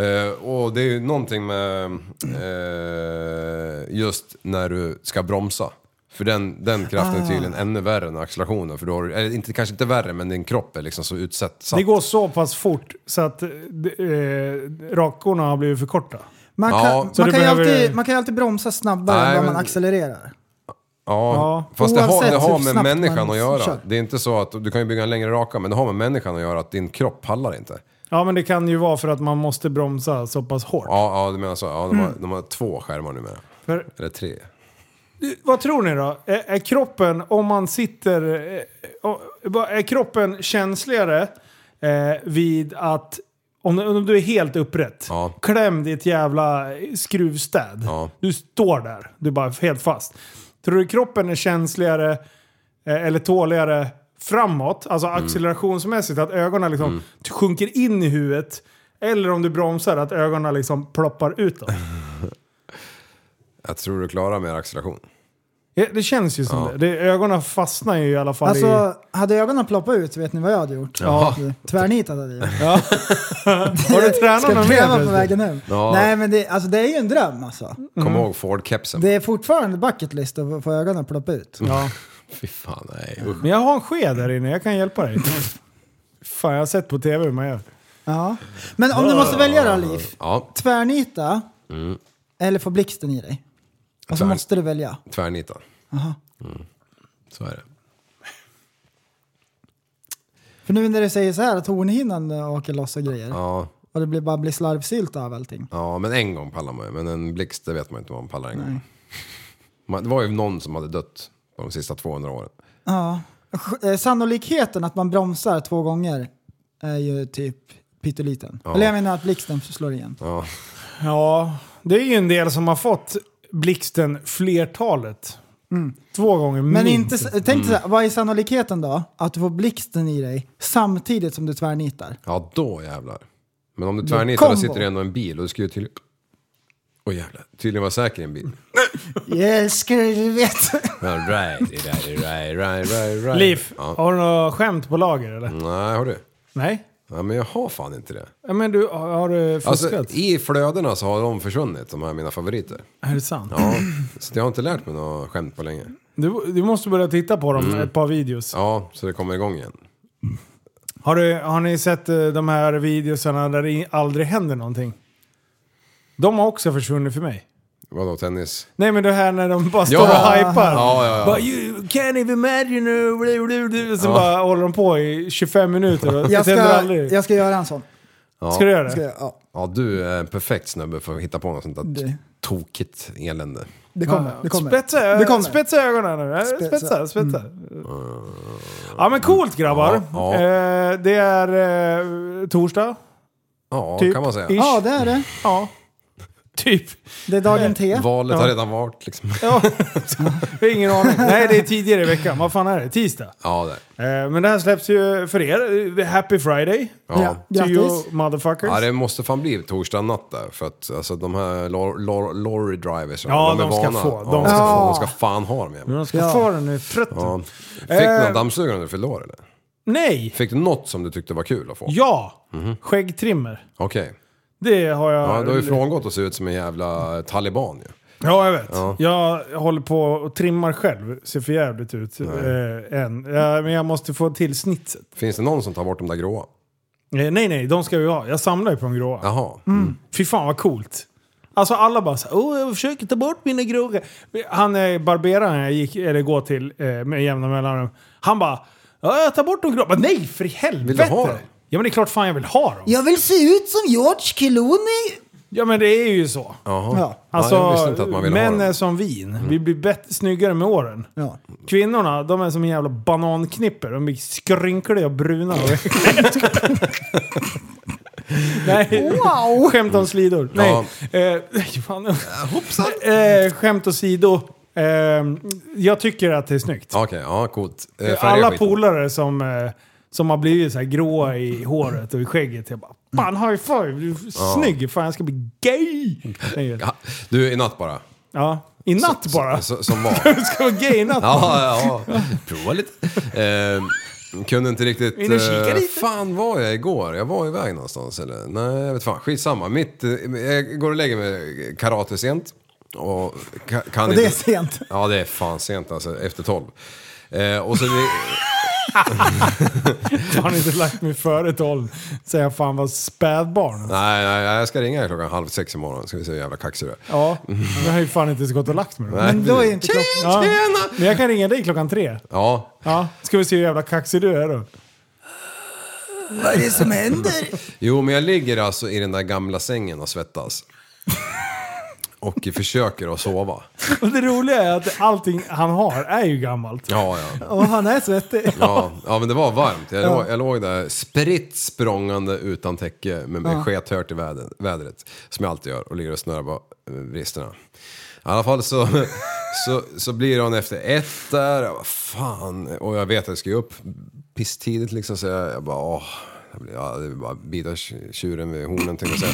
Speaker 6: Eh, och det är ju någonting med eh, just när du ska bromsa. För den, den kraften är tydligen ännu värre än accelerationen. För då har du, eller inte, kanske inte värre, men din kropp är liksom så utsatt.
Speaker 4: Det går så pass fort så att eh, rakorna har blivit för korta.
Speaker 5: Man kan,
Speaker 6: Ja, så
Speaker 5: man
Speaker 4: du
Speaker 5: kan, ju,
Speaker 4: behöver-
Speaker 5: alltid, man kan ju alltid bromsa snabbare
Speaker 6: Nej,
Speaker 5: än vad
Speaker 6: men-
Speaker 5: man accelererar.
Speaker 6: Ja,
Speaker 4: Ja.
Speaker 6: fast det har,
Speaker 5: Oavsett
Speaker 6: det har
Speaker 5: hur
Speaker 6: med
Speaker 5: snabbt
Speaker 6: människan
Speaker 5: man
Speaker 6: att göra.
Speaker 5: kör.
Speaker 6: Det är inte så att, du kan ju bygga en längre raka, men det har med människan att göra att din kropp pallar inte.
Speaker 4: Ja, men det kan ju vara för att man måste bromsa så pass hårt.
Speaker 6: Ja, ja du menar så. Ja, de, har, de har två skärmar numera.
Speaker 4: För,
Speaker 6: Eller tre.
Speaker 4: vad tror ni då? Är, är kroppen, om man sitter... eh, eh, Är kroppen känsligare eh, vid att... Om, om du är helt upprätt,
Speaker 6: Ja.
Speaker 4: klämd i ett jävla skruvstäd.
Speaker 6: Ja.
Speaker 4: Du står där, du är bara helt fast. Tror du kroppen är känsligare eh, eller tåligare framåt, alltså
Speaker 6: Mm.
Speaker 4: accelerationsmässigt, att ögonen liksom sjunker in i huvudet? Eller om du bromsar, att ögonen liksom ploppar utåt?
Speaker 6: Jag tror du klarar mer acceleration.
Speaker 4: Ja, det känns ju som det. det. Ögonen fastnar ju i alla fall i...
Speaker 5: Alltså, hade ögonen ploppat ut så vet ni vad jag hade gjort.
Speaker 6: Ja.
Speaker 5: Tvärnitat hade jag gjort.
Speaker 4: Har du tränat
Speaker 5: Ska
Speaker 4: någon mer
Speaker 5: pröva på
Speaker 4: förresten?
Speaker 5: vägen hem.
Speaker 6: Ja.
Speaker 5: Nej men det, alltså, det är ju en dröm alltså.
Speaker 6: Kom ihåg Ford-kepsen.
Speaker 5: Det är fortfarande bucket list att få ögonen ploppa ut.
Speaker 6: Mm.
Speaker 4: Ja.
Speaker 6: Fy fan, nej. usch.
Speaker 4: Men jag har en sked här inne, jag kan hjälpa dig. Fan, jag har sett på tv hur man gör.
Speaker 5: Ja. Men om du måste välja då Liv,
Speaker 6: Ja, Mm.
Speaker 5: tvärnita eller få blixten i dig? Och så
Speaker 6: Tvär-
Speaker 5: måste du välja.
Speaker 6: tvärnita. Mm. Så är det.
Speaker 5: För nu när du säger så här att hornhinnan eh, åker loss och grejer
Speaker 6: Ja,
Speaker 5: och det blir, bara blir slarvsylt av allting.
Speaker 6: ja, men en gång pallar man ju. Men en blixt, det vet man inte om man pallar en gång. Man, det var ju någon som hade dött på de sista 200 åren.
Speaker 5: Ja. eh, sannolikheten att man bromsar två gånger är ju typ pytteliten.
Speaker 4: Ja.
Speaker 5: Eller jag menar att blixten slår igen.
Speaker 6: Ja.
Speaker 4: ja, det är ju en del som har fått blixten flertalet.
Speaker 5: Mm.
Speaker 4: Två gånger
Speaker 5: Men inte,
Speaker 4: minst.
Speaker 5: s- tänk dig så
Speaker 6: Mm.
Speaker 5: här, vad är sannolikheten då? Att du får blixten i dig samtidigt som du tvärnitar.
Speaker 6: Ja, då jävlar. Men om du
Speaker 5: Då
Speaker 6: tvärnitar då
Speaker 5: combo.
Speaker 6: sitter det ändå en bil och du ska ju till... Åh jävlar, tydligen vara säker i en bil.
Speaker 5: Jag älskar dig, du vet.
Speaker 6: All right, all right, all right, all right, all right.
Speaker 4: Liv,
Speaker 6: Ja.
Speaker 4: har du något skämt på lager eller?
Speaker 6: Nej, har du?
Speaker 4: Nej.
Speaker 6: Ja, men jag har fan inte det.
Speaker 4: Ja, men du, har, har du fuskat?
Speaker 6: Alltså, i flödena så har de försvunnit, de här mina favoriter.
Speaker 4: är det sant?
Speaker 6: Ja, så jag har inte lärt mig något skämt på länge.
Speaker 4: Du, du måste börja titta på dem,
Speaker 6: Mm.
Speaker 4: ett par videos.
Speaker 6: Ja, så det kommer igång igen.
Speaker 4: Har, du, har ni sett eh, de här videosarna där det i- aldrig händer någonting? De har också försvunnit för mig.
Speaker 6: Vadå, tennis?
Speaker 4: Nej men det här när de bara står
Speaker 6: Ja.
Speaker 4: och hypar.
Speaker 6: Ja, ja, ja.
Speaker 4: Bara, you can't even imagine... uh, blu, blu, blu." Sen
Speaker 6: Ja.
Speaker 4: bara håller de på i 25 minuter och
Speaker 5: Jag
Speaker 4: det händer
Speaker 5: ska,
Speaker 4: aldrig.
Speaker 5: jag ska göra en sån.
Speaker 6: Ja.
Speaker 4: Ska du göra det?
Speaker 5: Ska jag, ja,
Speaker 6: Ja, du är en perfekt snubbe för att hitta på något sånt där
Speaker 5: Det-
Speaker 6: tokigt elände.
Speaker 5: det kommer. Det kommer.
Speaker 4: Spetsa,
Speaker 5: Det kommer.
Speaker 4: spetsa ögonen nu. Spetsa, spetsa. Ja men coolt grabbar.
Speaker 6: Ja, ja.
Speaker 4: Eh, det är eh, torsdag.
Speaker 6: Ja,
Speaker 4: Typ.
Speaker 6: kan man säga.
Speaker 4: Ish.
Speaker 5: Ja, det är det.
Speaker 4: Ja. Typ.
Speaker 5: Det är dagen T.
Speaker 6: Valet
Speaker 4: Ja.
Speaker 6: har redan varit liksom.
Speaker 4: Ja. Jag har ingen aning. Nej det är tidigare i veckan. Vad fan är det? Tisdag.
Speaker 6: Ja, det.
Speaker 4: Eh, men det här släpps ju för er. Happy Friday.
Speaker 6: Ja.
Speaker 5: Ja.
Speaker 6: Ja.
Speaker 4: To you
Speaker 5: Grattis.
Speaker 4: motherfuckers.
Speaker 6: det måste fan bli torsdag natt där. För att alltså, de här lor- lor- lorry drivers,
Speaker 4: Ja,
Speaker 6: de är
Speaker 4: de ska
Speaker 6: vana.
Speaker 4: få, de
Speaker 6: ja, de,
Speaker 4: ska
Speaker 6: ska
Speaker 5: få.
Speaker 6: få. de ska fan ha dem jävlar.
Speaker 4: De ska
Speaker 5: Ja.
Speaker 4: få den nu trött.
Speaker 6: Ja. Fick
Speaker 4: Eh.
Speaker 6: du någon dammsugare när du fyllde år eller?
Speaker 4: Nej!
Speaker 6: Fick du något som du tyckte var kul att få?
Speaker 4: Ja! Skäggtrimmer.
Speaker 6: Okej.
Speaker 4: Det har jag...
Speaker 6: Mhm. Ja, du har ju frångått att se ut som en jävla eh, taliban ju.
Speaker 4: Ja, jag vet.
Speaker 6: Ja.
Speaker 4: Jag håller på och trimmar själv. Ser för jävligt ut. Eh, än. Ja, men jag måste få till snitset.
Speaker 6: Finns det någon som tar bort de där gråa?
Speaker 4: Eh, nej, nej, de ska vi ha. Jag samlar ju på de gråa. Mm.
Speaker 6: Jaha.
Speaker 4: Fy fan vad coolt. Alltså alla bara såhär, åh jag försöker ta bort mina gråa. Han eh, barberaren jag gick, eller går till eh, med jämna mellanrum. Han bara, ja jag tar bort de gråa. Jag bara, Nej för i helvete!
Speaker 6: Vill du ha dem?
Speaker 4: Ja men det är klart fan jag vill ha dem.
Speaker 5: Jag vill se ut som George Clooney.
Speaker 4: Ja men det är ju så.
Speaker 6: Jaha.
Speaker 5: Ja.
Speaker 4: Alltså,
Speaker 6: jag visste inte att man ville ha Mm.
Speaker 4: män
Speaker 6: dem.
Speaker 4: är som vin. Vi blir bett, snyggare med åren.
Speaker 5: Ja.
Speaker 4: Kvinnorna, de är som en jävla bananknipper. De blir skrynkliga och bruna. Och Nej,
Speaker 5: Wow!
Speaker 4: skämt om slidor. Nej.
Speaker 6: Ja.
Speaker 4: Eh, fan. Eh, skämt åsido. Eh, jag tycker att det är snyggt.
Speaker 6: Okej, ja coolt. Eh, färga
Speaker 4: Alla
Speaker 6: skiten.
Speaker 4: polare som, eh, som har blivit så här gråa i håret och i skägget. Jag bara, fan high five, du är snygg. Fan jag ska bli gay. tänker jag.
Speaker 6: Mm. Ja, Du, i natt bara.
Speaker 4: Ja, i natt
Speaker 6: Så-
Speaker 4: bara.
Speaker 6: Så, som var.
Speaker 4: Du ska vara gay i natt.
Speaker 6: Ja, ja, ja. Prova lite. Eh, kunde inte riktigt... eh,
Speaker 4: Vill du kika lite?
Speaker 6: fan var jag igår? Jag var iväg någonstans eller? Nej, jag vet fan. Skitsamma. Mitt, eh, jag går och lägger mig eh, karate sent. Och, ka, kan
Speaker 5: Och det är
Speaker 6: inte-
Speaker 5: sent.
Speaker 6: Ja, det är fan sent alltså. Efter tolv. Eh, och så... vi-
Speaker 4: Jag har inte lagt mig före tolv. Så jag fan var spädbarn.
Speaker 6: nej, nej, nej, jag ska ringa klockan halv sex imorgon. Ska vi se hur jävla kaxig du är.
Speaker 4: Ja, jag har ju fan inte ens gått och lagt mig. då.
Speaker 6: Nej.
Speaker 5: Men då är ju inte klockan...
Speaker 4: Ja. Men jag kan ringa dig klockan tre.
Speaker 6: Ja,
Speaker 4: Ja. Ska vi se hur jävla kaxig du är då.
Speaker 5: Vad är det som händer?
Speaker 6: Jo, men jag ligger alltså i den där gamla sängen och svettas. Och försöker att sova.
Speaker 4: Och det roliga är att allting han har är ju gammalt.
Speaker 6: Ja, ja.
Speaker 5: Och han är svettig.
Speaker 6: Ja, ja men det var varmt. Jag, låg, jag låg där spritt språngande utan täcke med mig skethört i väder, vädret. Som jag alltid gör och ligger och snurrar på eh, vristerna. I alla fall så, så, så blir hon efter ett där. Jag bara, fan. Och jag vet att jag ska ju upp pisstidigt liksom. Så jag, jag bara åh. Jag blir, ja, det är bara bita tj- tjuren vid hornen tänkte jag säga.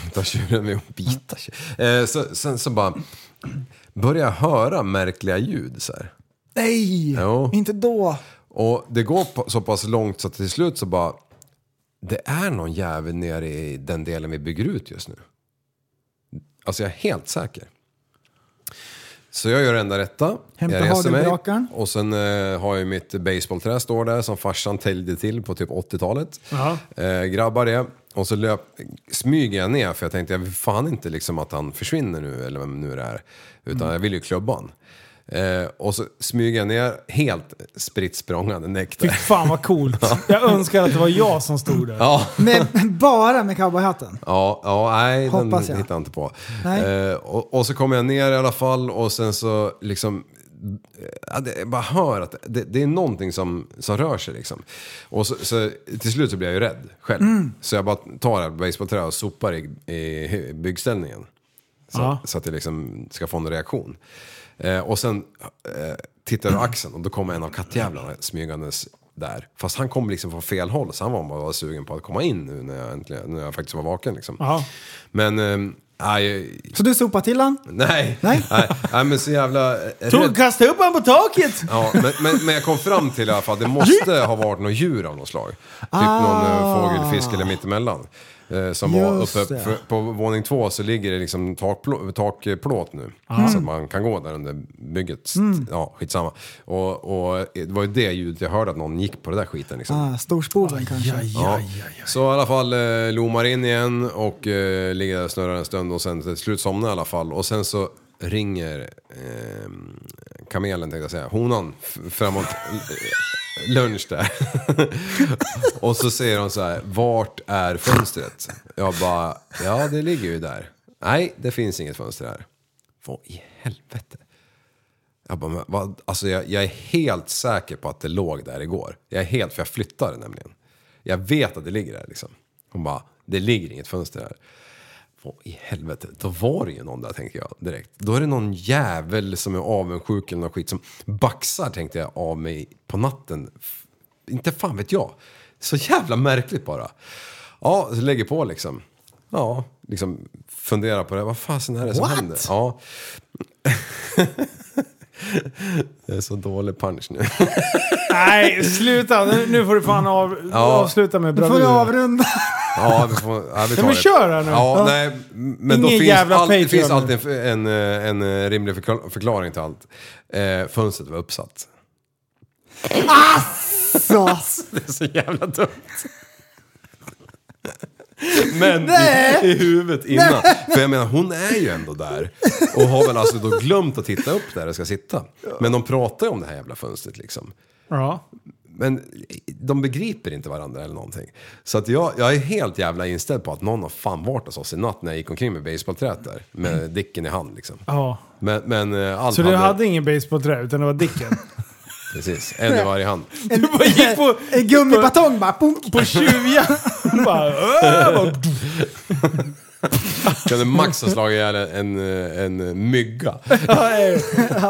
Speaker 6: Ta tjuren vid bita tjuren. Eh, så, sen så bara börjar jag höra märkliga ljud så här.
Speaker 5: Nej!
Speaker 6: Jo.
Speaker 5: Inte då.
Speaker 6: Och det går på- så pass långt så att till slut så bara... Det är någon jävel nere i den delen vi bygger ut just nu. Alltså jag är helt säker. Så jag gör det enda rätta.
Speaker 5: Hämta
Speaker 6: jag reser mig.
Speaker 5: hagelbrakaren.
Speaker 6: Och sen eh, har jag mitt baseballträ står där som farsan täljde till på typ 80-talet.
Speaker 4: Ja.
Speaker 6: Eh, grabbar det. Och så löp, smyger jag ner för jag tänkte jag vill fan inte liksom att han försvinner nu eller vem nu det är. Utan jag vill ju klubba han. Eh, och så smyger jag ner helt spritt språngande näkt.
Speaker 4: Fy fan vad coolt. Jag önskar att det var jag som stod där.
Speaker 6: Ja,
Speaker 5: Men bara med cowboyhatten.
Speaker 6: ja, ja, nej den
Speaker 5: Hoppas jag.
Speaker 6: hittar jag inte på.
Speaker 5: Nej.
Speaker 6: Eh, och, och så kommer jag ner i alla fall och sen så liksom ja, det, jag bara hör att det, det är någonting som, som rör sig liksom. Och så, så, till slut så blir jag ju rädd själv.
Speaker 5: Mm.
Speaker 6: Så jag bara tar det här basebollträ och sopar i, i byggställningen. Så,
Speaker 4: Ja.
Speaker 6: så att jag liksom ska få en reaktion. Eh, och sen eh, tittar jag över axeln och då kommer en av kattjävlarna smygandes där. Fast han kom liksom från fel håll så han var bara sugen på att komma in nu när jag, äntligen, när jag faktiskt var vaken. Liksom.
Speaker 4: Ja.
Speaker 6: Men, eh, nej,
Speaker 5: Så du sopar till han?
Speaker 6: nej,
Speaker 5: Nej.
Speaker 6: nej, nej, men så jävla eh, rädd.
Speaker 5: Tog, kastade upp han på taket!
Speaker 6: Ja, men, men, men jag kom fram till i alla fall att det måste ha varit något djur av något slag. Typ någon eh, fågel, fisk eller mittemellan. Eh, som var
Speaker 5: Ah. Just
Speaker 6: uppe
Speaker 5: det.
Speaker 6: för, på våning två så ligger det liksom takplå, takplåt nu.
Speaker 5: Ah. Mm.
Speaker 6: Så att man kan gå där under bygget. Ja, skitsamma. Och, och det var ju det ljudet jag hörde att någon gick på det där skiten liksom.
Speaker 5: Ah, Storspoven kanske.
Speaker 6: Ja. Så i alla fall eh, lomar in igen och eh, ligger där och snurrar en stund och sen till slut somnar jag i alla fall. Och sen så ringer eh, kamelen tänkte jag säga, honan f- framåt eh, lunch där. och så säger hon så här, vart är fönstret? Jag bara, ja det ligger ju där. Nej, det finns inget fönster här. Vad i helvete? Jag, bara, men vad, alltså jag, jag är helt säker på att det låg där igår. Jag är helt, för jag flyttade nämligen. Jag vet att det ligger där liksom. Hon bara, det ligger inget fönster här. Vad i helvete, då var det ju någon där tänker jag direkt. Då är det någon jävel som är avundsjuk eller någon skit som baxar tänkte jag av mig på natten. F- Inte fan vet jag. Så jävla märkligt bara. Ja, så lägger på liksom. Ja, liksom funderar på det. Vad fasen är det som
Speaker 5: What?
Speaker 6: händer? Ja. Det är så dålig punch nu.
Speaker 4: Nej, sluta. Nu- Nu får du fan av, avsluta med
Speaker 5: Nu får
Speaker 4: bravur.
Speaker 5: du avrunda.
Speaker 6: Ja, vi får, ja, vi tar
Speaker 4: Ja, men
Speaker 6: det.
Speaker 4: kör här nu.
Speaker 6: Ja,
Speaker 4: Ja.
Speaker 6: nej, men
Speaker 4: Ingen
Speaker 6: då finns,
Speaker 4: jävla
Speaker 6: all, det
Speaker 4: Patreon
Speaker 6: finns
Speaker 4: nu.
Speaker 6: alltid en, en, en eh, rimlig förkla- förklaring till allt. Eh, fönstret var uppsatt.
Speaker 5: Så.
Speaker 6: Det är så jävla dumt. Men
Speaker 5: Nej.
Speaker 6: i, i huvudet innan. För jag menar, hon är ju ändå där. Och har väl alltså då glömt att titta upp där det ska sitta. Men de pratar ju om det här jävla fönstret liksom.
Speaker 4: Ja.
Speaker 6: Men de begriper inte varandra eller någonting. Så att jag, jag är helt jävla inställd på att någon har fan varit hos oss i natt när jag gick omkring med basebollträet där. Med dicken i hand liksom.
Speaker 4: ja.
Speaker 6: Men, men eh, allt
Speaker 4: Mm. Så du hade ingen basebollträ utan det var dicken?
Speaker 6: Precis, en i varje hand.
Speaker 5: En,
Speaker 4: bara gick på-
Speaker 5: en Eh, gummibatong bara. Punk.
Speaker 4: På tjuvjakt? bara... "Åh!" bara,
Speaker 6: Kunde max ha slagit ihjäl en, en, en mygga.
Speaker 4: Nej,